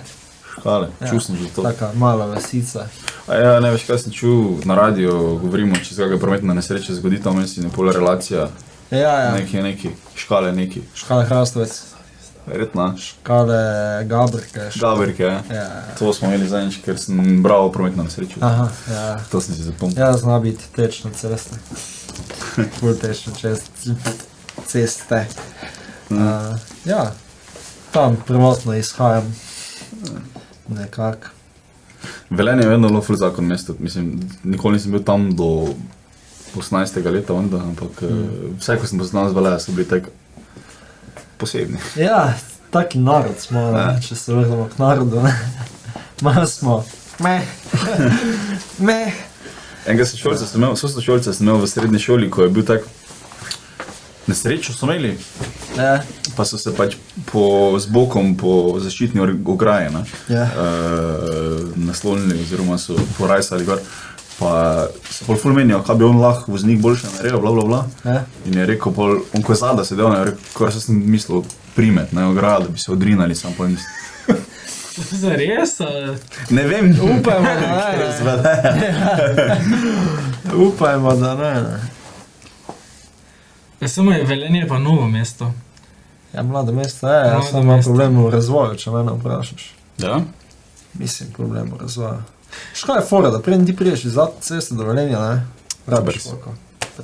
S3: škale, ja.
S2: Ja.
S3: čutil sem že to.
S2: taka mala vasica.
S3: A Ja, ne veš, kaj sem čutil na radiju, govorimo, če se kakšna prometna nesreča zgodi, tam je in pol relacija,
S2: Ja, ja,
S3: neki, neki, škale, neki.
S2: škale hrastovec,
S3: Verjetno,
S2: škale gabrke, škale.
S3: škaberke. Ja.
S2: Ja.
S3: To smo imeli zadnjič, ker sem bral prometno nesrečo.
S2: Aha, ja.
S3: To sem si zapomnil.
S2: Ja, zna biti tečna cesta. Ful tečna čez ceste.
S1: Mm.
S2: Uh, ja, tam prvotno izhajam. Nekako.
S3: Velenje je vedno lofer zakon mesto, mislim, nikoli nisem bil tam do 18. leta, onda, ampak mm. vse, ko sem poznal z Velenja, so bili tako posebni.
S2: Ja, taki narod smo, ne?
S3: Ja.
S2: če se vrnemo k narodu. ne. Malo smo, meh, meh.
S3: Enega sošolca sem imel, sošolca sem imel v srednji šoli, ko je bil tak, nesrečo so imeli,
S2: Ja,
S3: pa so se pač po zbokom, po zaščitni or- ograji ne,
S2: Ja.
S3: eh, naslonili oziroma so porajsali gor. Pa so pol ful menijo, kaj bi on lahko voznik boljše naredil, bla bla bla.
S2: ja.
S3: In je rekel, pol, on ko je zadaj sedel, je rekel, kar sem mislil, primet, ne ograjo, da bi se odrinali, sam pa nisem.
S1: Za res? ali?
S3: Ne vem,
S2: Upajmo, da
S3: ker
S2: ne,
S3: je
S2: ne.
S3: zvele.
S2: Upajmo, da ne. ne.
S1: Ja, samo je velenje pa novo mesto.
S2: Ja, mlado mesto je, jaz
S1: Mlado
S2: sem imel
S1: mesto.
S2: problem v razvoju, če me vprašaš.
S3: Ja?
S2: Mislim, problem v razvoju. Škoda je fora, da prej ti priješ iz zadnje ceste do Velenja, ne? Rabiš
S3: Brz.
S2: koliko?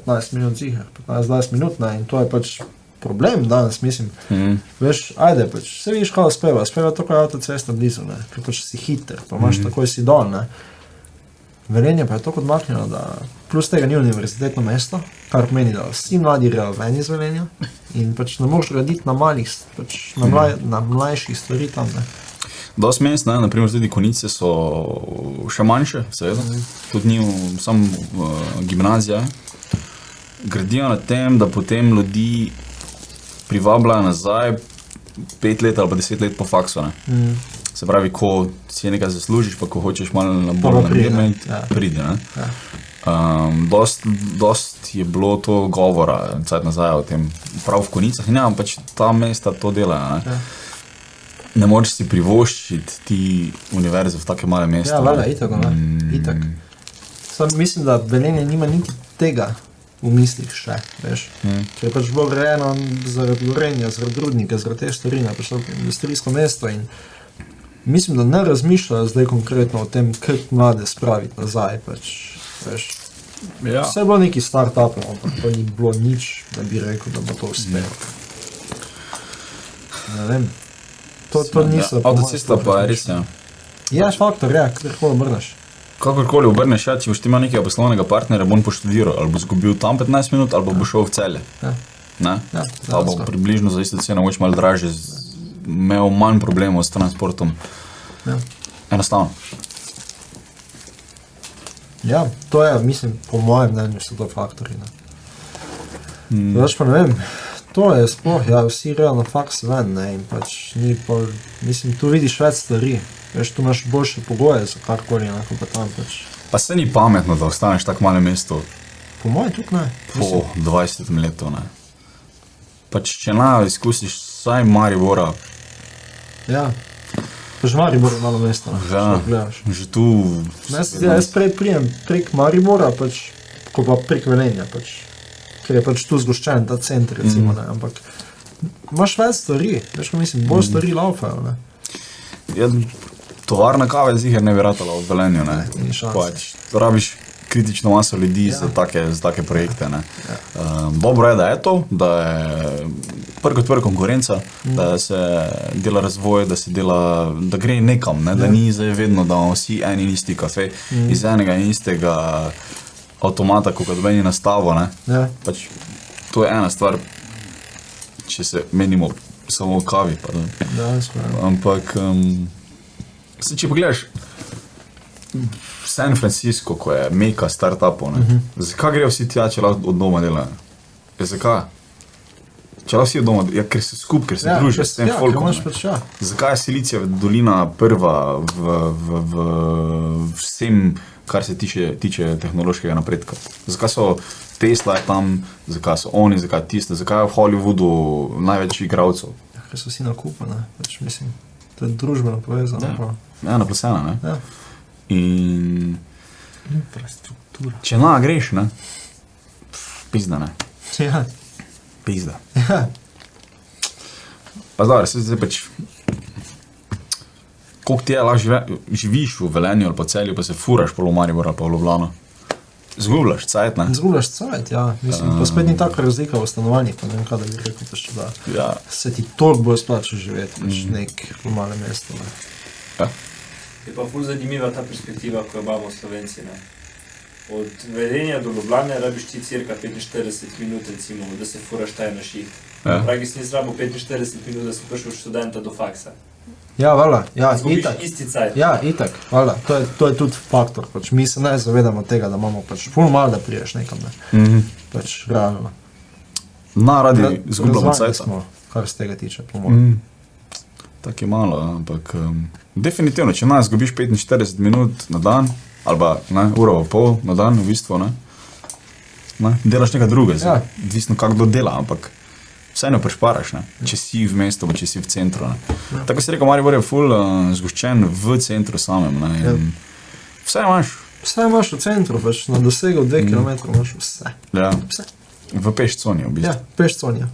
S2: 15 minut zihar, 15-20 minut, ne? In to je pač problem danes, mislim.
S3: Mm.
S2: Veš, ajde, pač, se vidiš, kaj speva, speva to, kar je avtocesta blizu, ne, ker pač si hiter, pa imaš mm -hmm. takoj si dol, ne. Velenje pa je tako odmaknjeno, da plus tega ni univerzitetno mesto, kar pomeni, da vsi mladi grejo ven iz Velenja in pač ne moreš graditi na malih, s- pač na, mlaj, na mlajših stvari tam, ne.
S3: Dost mest, ne, naprimer tudi konice so še manjše, seveda, tudi ni v- samo uh, gimnazija. Gradijo na tem, da potem ljudi privabljajo nazaj pet let ali pa deset let po faksu. Ne.
S2: Mm.
S3: Se pravi, ko si nekaj zaslužiš, pa ko hočeš malo na
S2: Pa
S3: bolj
S2: pride,
S3: namirno,
S2: ja.
S3: pride. ne.
S2: Ja.
S3: Um, dost, dost je bilo to govora, cajt nazaj o tem, prav v konicah, in ja, pač ta mesta to delajo. Ne,
S2: Ja.
S3: ne moreš si privoščiti ti univerze v take male mesta.
S2: Ja, valjda, itak, ne,
S3: Mm.
S2: itak. Sam mislim, da Velenje nima niti tega v mislih še, veš.
S3: Mm.
S2: Ker je pač bilo grejeno zaradi gorenja, zaradi rudnika, zaradi te stvari, pač to je industrijsko mesto. In mislim, da ne razmišljajo zdaj konkretno o tem, kako mlade spraviti nazaj. Pač, veš.
S3: Ja.
S2: Vse je bilo neki start-up, ampak to ni bilo nič, da bi rekel, da bo to uspelo. Ne vem. To, to niso. po mojem,
S3: Ja, Avtocesta
S2: sploh
S3: pa je
S2: razmišljali.
S3: res. Ja.
S2: Ja, faktor, ja, kar hočeš obrneš.
S3: Kakorkoli obrneš, ja, če boš ti imel nekega poslovnega partnerja, bo on poštudiral, ali bo izgubil tam 15 minut, ali pa bo šel v celje.
S2: Ja.
S3: Ne?
S2: Ja,
S3: Pa bo
S2: dejansko.
S3: približno za isto ceno, mogoče malo dražje, z- imel manj problemov s transportom.
S2: Ja.
S3: Enostavno.
S2: Ja, to je, mislim, po mojem mnenju so to faktori. Mm. Več pa ne vem, to je sploh, ja, vsi grejo na faks ven, ne, in pač ni pol, mislim, tu vidiš več stvari, veš, tu imaš boljše pogoje za karkoli, enako pa tam pač.
S3: Pa se ni pametno, da ostaneš tako malem mestu
S2: Po mojem tudi ne. Mislim,
S3: po 20 letu. Ne? Pač, če ne izkusiš vsaj Maribora,
S2: ja. Pač Maribor je malo mesto, ne, če
S3: Ja.
S2: to gledaš.
S3: že tu.
S2: Ne, se- ja, jaz prej prijem prek Maribora, pač, ko pa prek Velenja, pač, ker je pač tu zgoščen ta center,
S3: Mhm.
S2: recimo, mm. ne, ampak imaš več stvari, veš, ko mislim,
S3: Mhm.
S2: bolj stvari laufajo, ne.
S3: Ja, tovarna kave zihar ne bi ratala v Velenju. Ne?
S2: Ni šanse.
S3: Pač, rabiš kritično maso ljudi ja. za, take, za take projekte. Ja. Um, dobro je, da je to, da je prvo kot prvo konkurenca, mm. da se dela razvoj, da, se dela, da gre nekam, ne? da ni zdaj vedno, da imamo vsi en in isti kafe, Ja. mm. iz enega in istega avtomata, kot da meni nastavo. Ne?
S2: Ja.
S3: Pač, to je ena stvar, če se menimo samo o kavi. Pa, da,
S2: Dejansko, ja.
S3: Ampak, um, se, če pogledaš San Francisco, ko je meka startupov, uh -huh. zakaj grejo vsi tja, če lahko od doma delajo? Ja, zakaj? Če lahko vsi od doma, ja, ker se skupaj, ker se ja, družiš s tem
S2: ja, ker
S3: folkom.
S2: imaš
S3: ne.
S2: pač, ja.
S3: Zakaj je Silicijeva dolina prva v, v, v vsem, kar se tiče, tiče tehnološkega napredka? Zakaj so Tesla tam, zakaj so oni, zakaj tiste, zakaj je v Hollywoodu največ igralcev?
S2: Ja, Ker so vsi na kupu, ne, pač mislim, to je družbeno povezano.
S3: Ja.
S2: prav.
S3: Ena plus ena, ne?
S2: Ja.
S3: In
S1: Infrastruktura.
S3: če na greš, ne, Pf, pizda ne,
S2: Ja.
S3: pizda.
S2: Ja.
S3: Pa zdaj, se zdaj pač. Koliko ti je lahko žive, živiš v Velenju ali pa celju, pa se furaš po Lomarju ali pa v Ljubljano. Zgubljaš, cajt ne.
S2: Zgubljaš cajt, ja. Mislim, pa spet ni taka razlika v stanovanjih, pa ne vem, kaj da bi rekel, pač, da
S3: Ja,
S2: se ti toliko bolj splača živeti, pač
S3: Mhm.
S2: mm. nek malem mestu. Ne.
S4: Je pa ful zanimiva ta perspektiva, ko jo imamo Slovenci. Ne? Od Velenja do Ljubljana rabiš ti cirka 45 minut, recimo, da se furaš taj na ših.
S3: Ja.
S4: Ja. Pragi si zrabo 45 minut, da si prišel od študenta do faksa.
S2: Ja, vala, ja,
S4: Zgubiš
S2: itak.
S4: isti cajt.
S2: Ja, itak, vala, to je, to je tudi faktor, pač mi se ne zavedamo tega, da imamo pač pol malo, da priješ nekam, ne.
S3: mhm.
S2: pač realno.
S3: Na
S2: Ra-
S3: radi izgubljamo
S2: razvajeni
S3: cajt.
S2: smo, Kar se tega tiče, po mojem.
S3: Mm. Tako je malo, ampak um, definitivno, če nas zgubiš 45 minut na dan, ali pa ne, uro pa pol na dan, v bistvu ne, ne delaš nekaj drugega,
S2: Ja.
S3: ja. odvisno kako kdo dela, ampak vseeno prešparaš, ne, če si v mestu, pa če si v centru. Ne. Ja. Tako se reka, Maribor je ful uh, zgoščen v centru samem. Ne,
S2: Ja.
S3: ja. Vse imaš,
S2: Vse imaš v centru, pač na dosegu
S3: Mm.
S2: 2 km imaš vse.
S3: ja,
S2: Vse.
S3: v pešconi v bistvu.
S2: Ja, peš conja.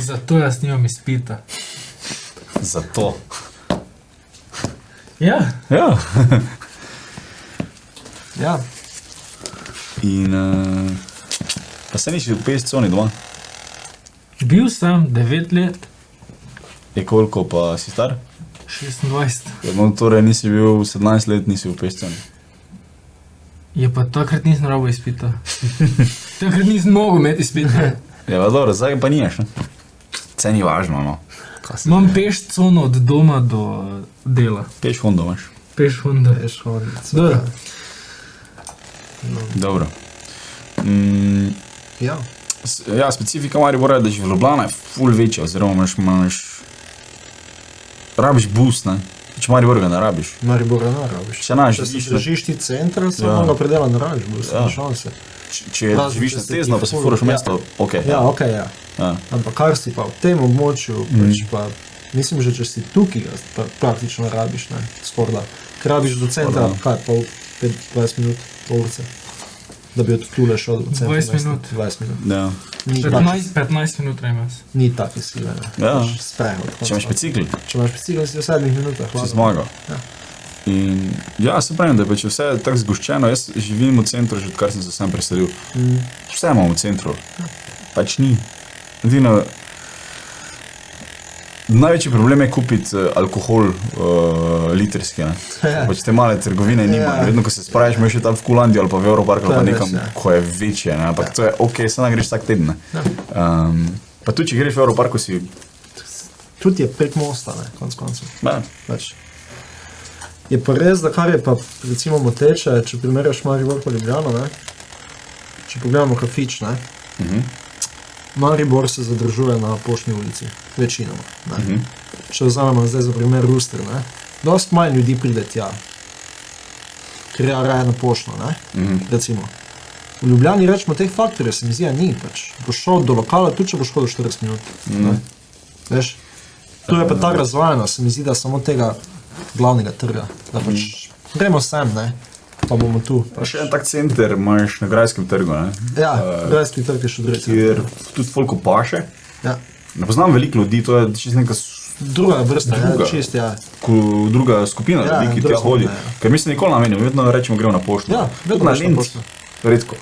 S1: Zato jaz nimam izpita.
S3: Ja. Zato.
S1: Ja,
S3: Ja.
S2: Ja,
S3: In uh, pa se nič v pešconi doma.
S1: bil sem 9 let,
S3: Je koliko pa si star?
S1: 26.
S3: No, torej nisi bil 17 let, nisi bil peščen.
S1: Je pa takrat nisem rabo izpita. takrat nisem mogel imeti izpita.
S3: Je Ja, pa dobro, zdaj pa niješ. Vse ni važno, no. Kaj se-
S1: Imam peš cono od doma do dela.
S3: Peš hondo imaš.
S1: Peš Honda.
S2: peš
S1: Dobro.
S2: hodnica.
S3: Dobro. Mm,
S2: Ja,
S3: s- ja, specifika Maribora je, da že v Ljubljana je ful večja, oziroma imaš, imaš rabiš bus, ne. Če Maribor ga ne rabiš.
S2: Maribor ne rabiš.
S3: Če naš
S2: Če si
S3: živiš na-
S2: držiš ti centra,
S3: Ja.
S2: samo ga predela ne rabiš, bo
S3: Ja.
S2: ja. šanse.
S3: Če, če
S2: Razen,
S3: živiš
S2: če
S3: na
S2: se ti
S3: Tezno, pa se
S2: ful-
S3: furaš v
S2: ja.
S3: mesto, ok.
S2: Ja, ok, ja.
S3: ja.
S2: Ampak kar si pa v tem območju,
S3: Mhm.
S2: mm. pač pa, mislim, že če si tukaj, ga pa, praktično rabiš, ne, skorda. Ker rabiš do centra,
S3: Skorda. no.
S2: kaj, pol, pet, 20 minut, pol urce. Da bi od tule šel do centra.
S1: 20
S2: mesta.
S1: minut.
S2: 20 minut.
S3: ja.
S2: Ni pač. tako,
S1: 15, 15 minut rejmas.
S2: ni tako sile, ne.
S3: Ja.
S2: Pač Sprehod.
S3: Če imaš bicikl,
S2: Če imaš bicikl, si v sedmih minutah.
S3: si
S2: hvala.
S3: zmagal.
S2: Ja.
S3: In ja, se pravim, da je pač vse tako zgoščeno. Jaz živim v centru, že odkar sem se sam preselil.
S2: Mm. Ja.
S3: Vse imamo v centru, pač ni. Edino, Največji problem je kupiti eh, alkohol, uh, litrski. ne. Pač te male trgovine ni,
S2: Ja.
S3: yeah. vedno ko se spraviš, imaš še tam v Kulandijo ali pa v Evroparku ali
S2: To
S3: pa
S2: je res,
S3: nekam,
S2: ja.
S3: ko je večje. Ne? Ampak to je ok, samo greš vsak teden. ne. Um, pa tudi, če greš v Evroparku, si.
S2: Tudi je prek mosta, ne, konc koncev.
S3: Ne,
S2: Pač. Je pa res, da kar je pa recimo moteče, če primerjaš Maribor in Ljubljano, ne? če pogledamo kafič, ne? Uh -huh. Maribor se zadržuje na Poštni ulici, večinoma. Uh -huh. Če vzamemo zdaj za primer Ruster, ne? dost manj ljudi pride tja, ker je raje na poštno, ne? Uh -huh. recimo. V Ljubljani rečemo teh faktorjev, se mi zdi, da ni pač. Boš šel do lokala, tudi če boš hodil 40 minut. Mm. Veš, tu je pa ta razvajenost, se mi zdi, da samo tega glavnega trga. Da pač gremo sem, ne? pa bomo tu. pač,
S3: pa še en tak center imaš na grajskem trgu, ne?
S2: Ja, rajski trg je še drugi.
S3: kjer tudi folko paše.
S2: Ja.
S3: Ne poznam veliko ljudi, to je čisto neka s-
S2: Druga vrsta, ja,
S3: Druga.
S2: čist, ja.
S3: ko- druga skupina
S2: Ja,
S3: ljudi, ki
S2: druga
S3: tja hodi.
S2: skupina, ja.
S3: Ker mi se nikoli namenimo, vedno rečemo, gremo na pošto.
S2: Ja, vedno
S3: Tudi na
S2: greš na
S3: Linz.
S2: pošto.
S3: Redko.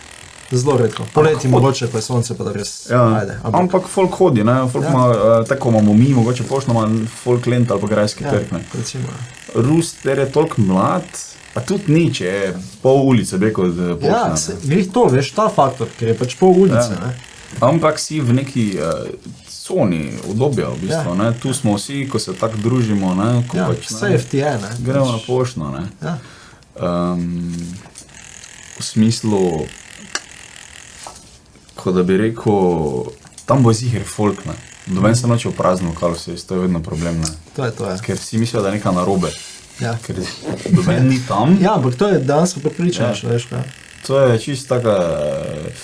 S2: Zelo redko. Poleti mogoče, pa je sonce, pa da res.
S3: Ja,
S2: Ajde,
S3: ampak. ampak folk hodi, ne? folk
S2: Ja.
S3: ja. ima, eh, tako imamo mi, mogoče poštno ima folk lent ali pa grajski ja.
S2: ja,
S3: trg. Ne?
S2: recimo, ja.
S3: Ruster je toliko mlad, pa tudi ni, če je pol ulice beko od
S2: Ja,
S3: pošta.
S2: se- glih to, veš, ta faktor, ker je pač pol ulice.
S3: Ja.
S2: Ja.
S3: Ampak si v neki uh, coni obdobja, v bistvu.
S2: Ja.
S3: Ja. Tu smo vsi, ko se tako družimo, ne? ko
S2: Ja,
S3: pač, ne,
S2: safety je, ne?
S3: gremo na poštno. ne.
S2: Ja.
S3: um, v smislu, kot da bi rekel, tam bo zihar folk. Ne? Domen se noče v prazno, kar vse je, to je vedno problem. Ne?
S2: To je to, ja.
S3: Ker vsi mislijo, da je nekaj narobe,
S2: Ja,
S3: ker domen ni tam.
S2: ja ampak to je dejansko prepričanje,
S3: Ja.
S2: ja. veš, kaj.
S3: To je čisto taka eh,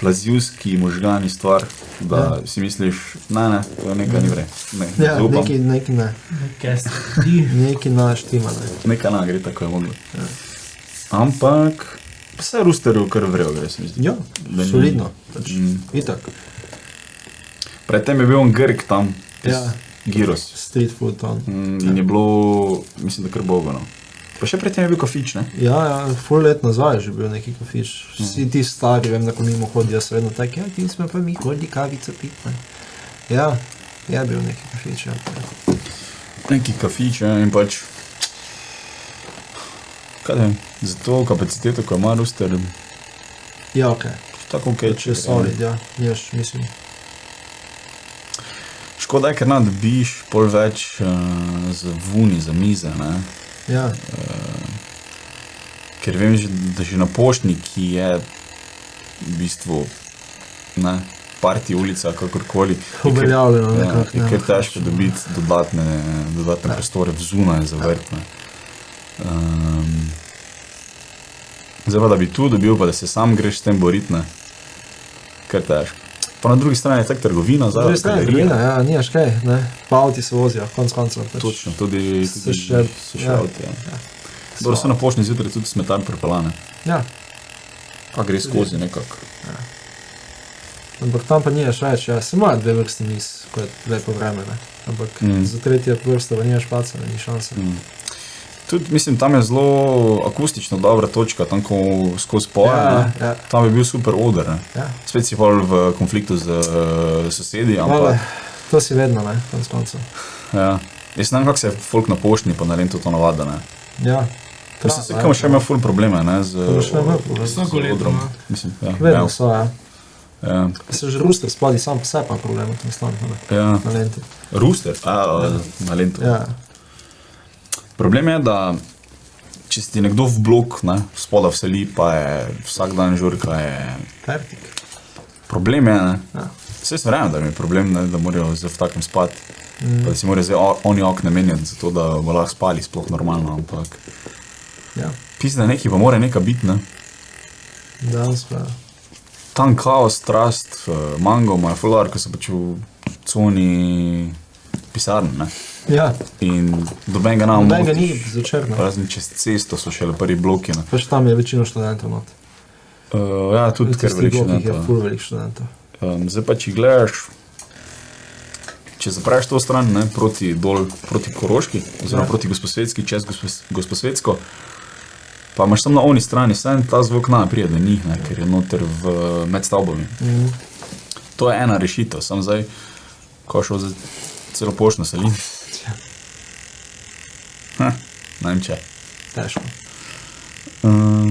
S3: plazivski možgani stvar, da ja. si misliš, ne, ne, to je nekaj ni vre. Ne,
S2: Ja,
S3: zaupam.
S2: neki, neki ne,
S1: Kaj se ti?
S2: neki naš tima, ne.
S3: Nekaj na gre, tako je moglo.
S2: Ja.
S3: Ampak, vse rusterju kar vrejo, gre se mi zdi.
S2: Ja,
S3: Da ni-
S2: solidno, pač,
S3: Mm.
S2: itak,
S3: Predtem je bil on Grk tam,
S2: Ja.
S3: ja. Giros.
S2: street food on.
S3: Mm, In je bilo, mislim, da kar bogano. Pa še predtem je bil kafič, ne?
S2: Ja, ja, full let nazaj je že bil neki kafič. Vsi ti stari, vem, da ko mimo hodijo, so vedno taki, ja, ti smo pa mi hodili kavico piti. Ja, je bil neki kafič. Ja.
S3: Neki kafič ja, in pač. Kaj da, za to kapaciteto, ko ima Ruster,
S2: ja, ok,
S3: tako ok,
S2: če je solid, ja, ješ, mislim.
S3: Škoda je, ker nad biš pol več uh, za vuni, za mize, ne?
S2: Ja,
S3: Ker vem, že, da že na poštni, ki je v bistvu, ne, parti ulica, kakorkoli. je kar-
S2: Uveljavljeno
S3: Ja,
S2: nekako,
S3: je
S2: ne,
S3: kar
S2: pač,
S3: težko dobiti dodatne, dodatne prostore zunaj za vrtne. Um, zdaj pa, da bi tu dobil, pa da se sam greš s tem boritne, kar težko. Pa na drugi strani je tak trgovina, zdaj
S2: zdaj je
S3: galerija.
S2: trgovina, ja, nimaš kaj, ne. Pa avti se vozijo, konc koncev. Pač.
S3: Točno, tudi
S2: Se
S3: tudi
S2: še-
S3: so še
S2: ja.
S3: avti. Ja. Dobro, so na pošti zjutraj tudi smetan prepelane,
S2: Ja,
S3: pa gre skozi nekako.
S2: ampak tam pa nimaš več, ja, se ima dve vrsti mis, ko je lepo vreme, ne. Ampak mm.
S3: Mm.
S2: za tretje vrsto pa nimaš paca, ne, ni šanse. Mm.
S3: Tudi, mislim, tam je zelo akustično dobra točka, tam ko skozi poje,
S2: Ja,
S3: ne,
S2: ja.
S3: tam je bil super oder. Ne.
S2: Ja.
S3: Spet si pol v konfliktu z eh, sosedi, ampak
S2: Ale, to si vedno, ne, konc koncev.
S3: ja. jaz ne vem, kako se folk na poštni, pa na lentu to navada. Ne.
S2: Ja.
S3: Mislim, se
S2: Tra-
S3: kam še ima ful probleme, ne, z
S2: To bo še vedno problem.
S3: z
S1: Vsako leto,
S3: odrom.
S1: no.
S3: Mislim, ja,
S2: Vedno
S3: ja,
S2: so, ja.
S3: ja,
S2: Se že ruster spadi sam po sebi, pa problem tam stane.
S3: ja.
S2: Talente.
S3: Ruster, a, ja. na lentu.
S2: Ja,
S3: Problem je, da če si ti nekdo v blok, ne, spoda vseli, pa je vsak dan žurka. Je,
S2: pertik.
S3: problem je, ne.
S2: Ja.
S3: Vse sem rejen, da mi je problem, ne, da morajo zdaj v takem spati. Mm. Da si morajo zdaj o- oni okne menjati, zato da bo lahko spali, sploh normalno. Ampak
S2: Ja,
S3: pisne neki pa mora neka biti, ne.
S2: dejansko. Ja.
S3: Tam kaos, strast, eh, mango, moj fular, ko se pač v coni pisarn, ne.
S2: ja
S3: In doben ga nam
S2: noben ga ni začrnil.
S3: Razen čez cesto so šele prvi bloki. Ne.
S2: Pač tam je večino študentov no. not.
S3: Uh, ja, tudi ker veliko ja.
S2: veliko
S3: ne.
S2: jih je, ful velik študentov.
S3: Um, zdaj pa, če gledaš, če zapraviš to stran, ne, proti, dol, proti Koroški, oziroma
S2: Ja.
S3: ja. proti Gosposvetski, čez Gospos- Gosposvetsko, pa imaš tam na oni strani, sem ta zvok na prije do njih, ne, ker je noter v, med stavbami.
S2: Mm.
S3: To je ena rešitev, sem zdaj, ko šel za Celo poštno se lini.
S2: Ja,
S3: Najem če.
S2: Težko.
S3: Um,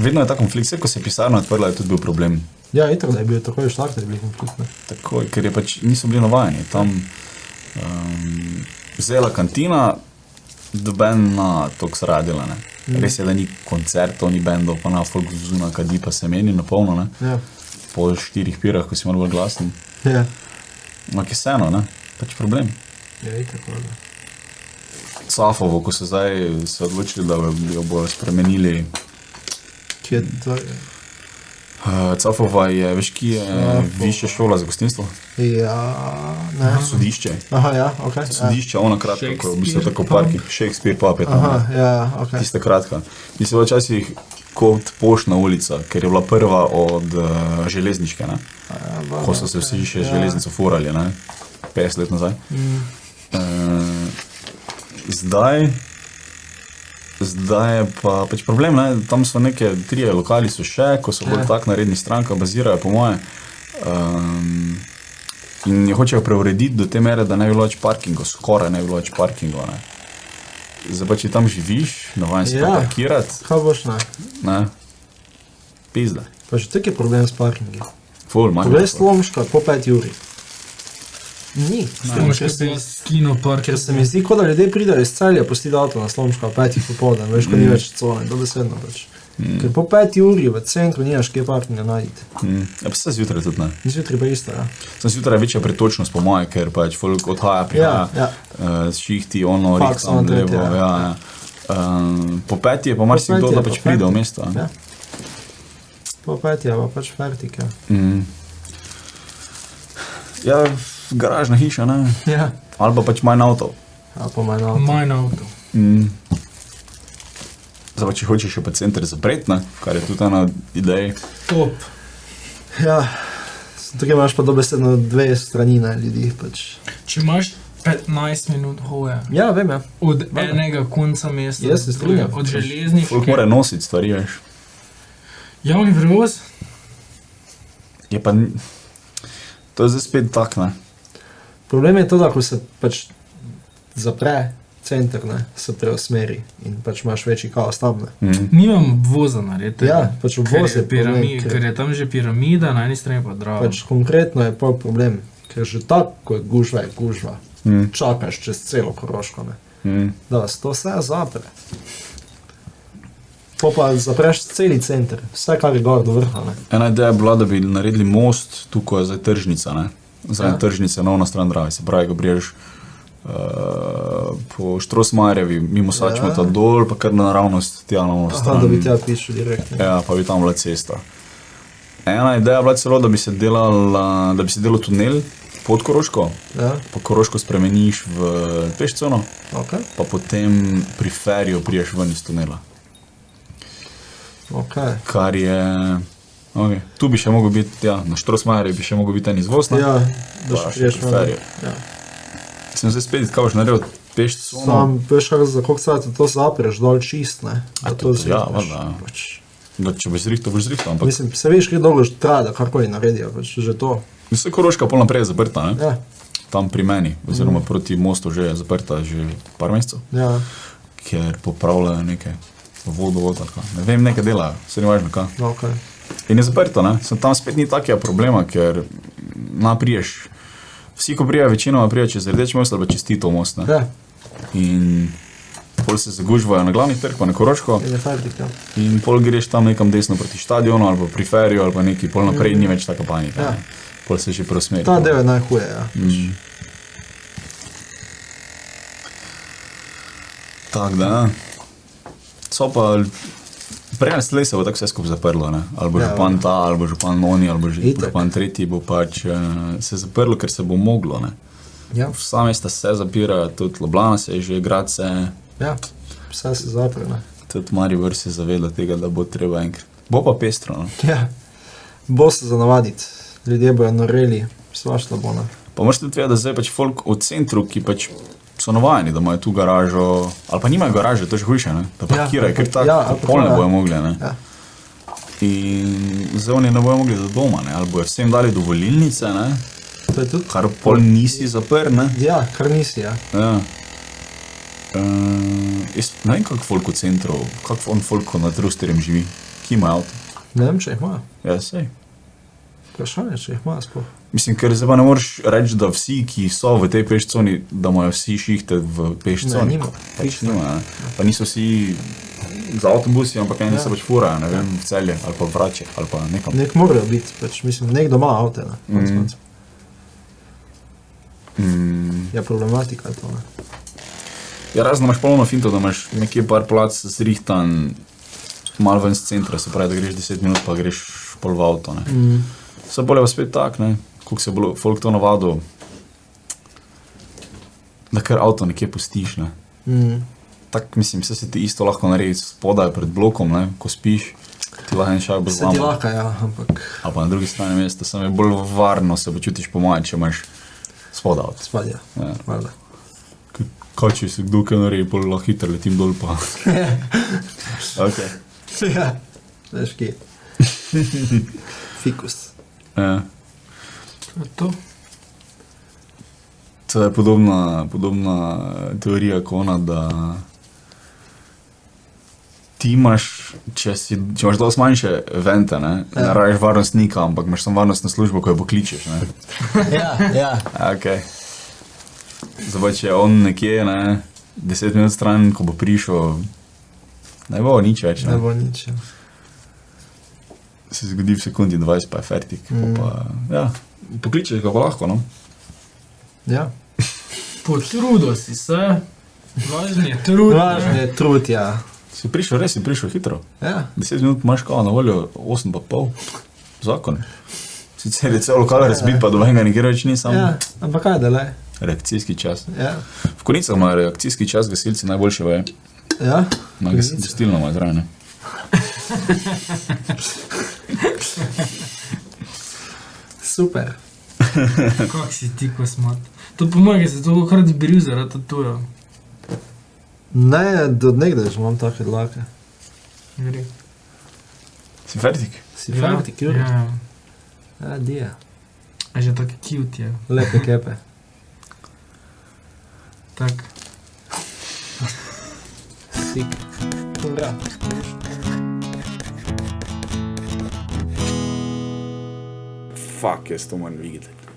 S3: vedno je ta konflikt, vse ko se je pisarna odprla, je tudi bil problem.
S2: Ja, itak, da je bil takoj štart, da je bil konflikt. ne.
S3: Takoj, ker je pač niso bili navajeni. Tam um, zela kantina, doben na tok sradila. Ne. Res je, da ni koncertov, ni bendov, pa na folk zuna, kadi pa se meni na polno, ne.
S2: Ja,
S3: po štirih pirah, ko si malo bolj glasen.
S2: ja.
S3: Ampak je vseeno, ne, pač problem.
S2: Ja, itak, valjda.
S3: Safovo, ko so zdaj se odločili, da jo bodo spremenili.
S2: Kje je to?
S3: Uh, Cafova je, veš, ki je eh,
S2: Safova.
S3: višja šola za gostinstvo,
S2: Ja, ne.
S3: sodišče.
S2: Aha, ja, ok. Ja.
S3: Sodišče, ona kratka, ko je v bistvu tako
S1: Shakespeare,
S3: parki, Shakespeare papet.
S2: Aha, ja, ok.
S3: Tista kratka. Ti si bila včasih kot poštna ulica, ker je bila prva od uh, železniške, ne?
S2: Ja,
S3: ko
S2: valjda,
S3: so se
S2: ok.
S3: vsi še
S2: Ja.
S3: z železnico furali, ne? 50 let nazaj.
S2: Mm.
S3: Eh, zdaj, zdaj je pa pač problem, ne? tam so neke tri lokali, so še, ko so bolj
S2: Ja.
S3: tako naredni stranka, bazirajo po moje. Um, in jo hočejo preurediti do te mere, da ne bi bilo več parkingov, skoraj ne bi bilo več parkingov. Ne? Zdaj pa če tam živiš, navaden si
S2: Ja.
S3: ja. parkirati,
S2: Kaj boš na?
S3: ne? Pizda.
S2: Pa že tak je problem s parkingi.
S3: Ful, manj.
S2: Poglej slomška po 5 uri. Ni. S tem, ker se mi-
S1: skino park.
S2: Ker se mi zdi, kot da ljudje pridejo iz celja, pustijo avto na slomška ob 5 popoldan, veš, ko ni več cone, dobesedno več. Ker po 5 uri v centru nimaš kje parkinga najti.
S3: Mm. Ja, pa se zjutraj tudi ne.
S2: Ni zjutraj pa isto, ja.
S3: Sem zjutraj večja pretočnost, po mojem, ker pač folk odhaja, prihaja,
S2: Ja, ja.
S3: eh, s šihti, ono,
S2: Faks
S3: res tam
S2: ono tretje,
S3: levo. Ja,
S2: ja.
S3: ja. Um, po peti je pa
S2: peti
S3: marsikdo,
S2: je
S3: da
S2: pa
S3: pač
S2: peti.
S3: pride v mesto. a.
S2: Ja. Po 5 je pa pač fertik, ja.
S3: Mm. Ja, garažna hiša, ne?
S2: Ja.
S3: ali pa pač manj avto.
S2: A Ja, pa manj avto.
S1: Moj avto.
S3: Mm. Zdaj, pa če hočeš še pa center zapreti, ne, kar je tudi ena ideja.
S1: Top.
S2: Ja. Tukaj imaš pa dobesedno dve stranine ljudi, pač.
S1: Če imaš 15 minut hoje
S2: Ja, vem, ja.
S1: od enega konca mesta,
S2: Jaz se
S1: do drugega,
S2: strinjam.
S1: od železniške.
S3: Folk mora nositi stvari, veš.
S1: Javni prevoz,
S3: Je pa, ni- to je zdaj spet tak, ne.
S2: Problem je to, da ko se pač zapre center, ne, se preusmeri in pač imaš večji kaos tam. Ne.
S3: Mm.
S1: nimam obvoza narediti.
S2: Ja, pač
S1: ker
S2: obvoz je
S1: je,
S2: problem,
S1: piramid, ker
S2: ker
S1: je tam že piramida, na eni strani pa drago.
S2: pač konkretno je pa problem, ker že tako je gužva, je gužva.
S3: Mm.
S2: Čakaš čez celo koroško, ne.
S3: Mm.
S2: da vas to vse zapre. Po pa zapreš celi center, vse kar je gor do vrha. Ne.
S3: Ena ideja je bila, da bi naredili most, tukaj je zdaj tržnica, ne? zraven
S2: Ja.
S3: ja. tržnice, novna stran Drave, se pravi, ko briješ uh, po Štrosmajerjevi, mimo Sačmeta
S2: Ja.
S3: ja. dol, pa kar naravnost tja na novo
S2: Aha, da
S3: stran.
S2: bi tja pišel direktno.
S3: Ja, pa bi tam bila cesta. Ena ideja je bila celo, da bi se, delala, da bi se delal tunel pod Koroško,
S2: Ja,
S3: pa Koroško spremeniš v pešcono,
S2: ok,
S3: pa potem pri ferju priješ ven iz tunela.
S2: ok.
S3: Kar je, okay. tu bi še mogel biti, ja, na Štrosmajerju bi še mogel biti en izvoz. ne?
S2: Ja, da
S3: Pa
S2: še
S3: še
S2: priješ na
S3: ferje.
S2: Ja.
S3: Sem zdaj spet, kaj boš naredil, peš samo.
S2: Sam veš, kako za koliko sati to zapreš, dol čist, ne? Da
S3: A
S2: to
S3: to-
S2: zrihteš.
S3: ja, valjda.
S2: Pač,
S3: Da, če boš zrihtal, boš zrihtal, ampak
S2: Mislim, se veš, kaj dolgo že traja, da karkoli naredijo, pač že to.
S3: vse koroška pol naprej je zaprta, ne?
S2: Ja,
S3: tam pri meni, oziroma proti mostu že je zaprta že par mesecev,
S2: ja.
S3: ker popravljajo neke vodovod ali kaj. Ne vem, nekaj delajo, se ni važno kaj.
S2: No, okay.
S3: In je zaprto, ne? Sem tam spet ni takega problema, ker napriješ. Vsi, ko prijajo, večinoma prijajo čez rdeč most ali pa čez Tito most. Ne?
S2: ja,
S3: In pol se zagužvajo na glavni trg, pa na Koroško.
S2: in je fertik, ja.
S3: In pol greš tam nekam desno proti stadionu ali pa pri ferju ali pa neki pol naprej, ni več tako panika.
S2: Ja.
S3: Ja. Pol se že preusmeri.
S2: Ta del je najhuje, ja.
S3: Mm. Tako da. ja. So pa l- prej ali slej se bo tako vse skupaj zaprlo. Ne? Ali bo ja,
S2: Ja,
S3: župan ta, ali bo župan oni, ali bo že-
S2: Itak.
S3: župan tretji, bo pač eh, se zaprlo, ker se bo moglo. Ne?
S2: Ja,
S3: Vsa mesta se zapirajo, tudi Ljubljana se je že, grad se,
S2: ja. vse se zapre, ne.
S3: tudi Maribor se zaveda tega, da bo treba enkrat. Bo pa pestro. No?
S2: Ja, bo se zanavaditi, ljudje bojo noreli, svašta bo, ne.
S3: Pa moraš tudi vedeti, da zdaj pač folk v centru, ki pač so navajeni, da imajo tu garažo, ali pa nimajo garaže, to je že hujše, ne? da parkirajo,
S2: ali pa-
S3: ker tako
S2: ja,
S3: ja,
S2: ali pa
S3: polne
S2: to, ja.
S3: bojo mogli. Ne?
S2: Ja.
S3: In zdaj oni ne bojo mogli do doma, ne? ali bojo vsem dali dovolilnice, ne?
S2: To je tudi.
S3: kar pol nisi zaprl. Ne?
S2: Ja, kar nisi. Ja.
S3: Ja. Uh, jaz ne vem, kako folko centrov, kako on folko na drusterem živi, ki ima avto.
S2: Ne vem, če jih ima.
S3: Ja, sej.
S2: Vprašanje, če jih ima sploh.
S3: Mislim, ker zdaj pa ne moreš reči, da vsi, ki so v tej pešconi, da imajo vsi šihte v
S2: Ne,
S3: pešconi.
S2: nima.
S3: pač nima, ne. pa niso vsi z avtobusi, ampak eni
S2: Ja.
S3: ja. se pač furajo, ne vem, v celje ali pa vrače ali pa nekam.
S2: Nek morajo biti, pač, mislim, nekdo ima avto. Ne? konec
S3: Mhm.
S2: koncev.
S3: Mm.
S2: Ja, problematika je to. Ne?
S3: Ja, razno imaš polno finto, da imaš nekje par plac zrihtan, malo ven iz centra, se pravi, da greš 10 minut, pa greš pol v avto. ne.
S2: Mm.
S3: Vse bolje pa spet tak, ne, koliko se bo folk to navadil, da kar avto nekje pustiš, ne.
S2: Mm.
S3: Tako mislim, vse se ti isto lahko naredi spodaj pred blokom, ne, ko spiš, ti lahko en šaj bo
S2: Se ti
S3: zlamal.
S2: lahko, ja, ampak
S3: A pa na drugi strani mesta, samo je bolj varno se počutiš po mojem, če imaš spodaj avto.
S2: spadja.
S3: Ja.
S2: valjda.
S3: K- Kaj če se kdo kaj naredi, bolj lahko hitro letim dol pa. okay.
S2: Ja, veš kje. Fikus.
S3: ja.
S1: To je to.
S3: To je podobna, podobna eh, teorija kot ona, da ti imaš, če, si, če imaš dosti manjše vente, ne,
S2: Ja.
S3: ne rabiš varnostnika, ampak imaš samo varnostno službo, ko jo pokličeš. ne.
S2: Ja, ja.
S3: Okay. Zdaj, če je on nekje, ne, deset minut stran, ko bo prišel, ne bo nič več.
S2: Ne
S3: Ne.
S2: bo nič. ja.
S3: Se zgodi v sekundi 20, pa je fertik. Mm. Pa, ja, pokličeš ga pa lahko. No.
S2: Ja.
S1: Potrudil si se, važni je trud.
S2: Važno je trud, ja.
S3: Si prišel, res si prišel hitro.
S2: ja.
S3: 10 minut imaš kao na voljo, 8 pa pol, zakon. Sicer je celo lokal razbit, pa dobenega nikjer več ni, samo
S2: Ja, ampak kaj da le.
S3: reakcijski čas.
S2: Ja.
S3: V konicah imajo reakcijski čas, gasilci najboljše vejo,
S2: Ja.
S3: na
S2: Konice.
S3: gasilno imajo trajne.
S2: Super.
S1: Kak si ti, ko smo? To pomaga, se to kar zbril zaradi tatuja.
S2: Ne, do nekdaj že imam take dlake.
S1: Gre.
S3: Si fertik?
S2: Si fanti, kjur. Ja,
S1: Ja,
S2: ja dija.
S1: a že tako А cute je.
S2: Lepe kepe.
S1: Tak.
S2: Sik. Ura.
S3: Fak, jaz to moram videti.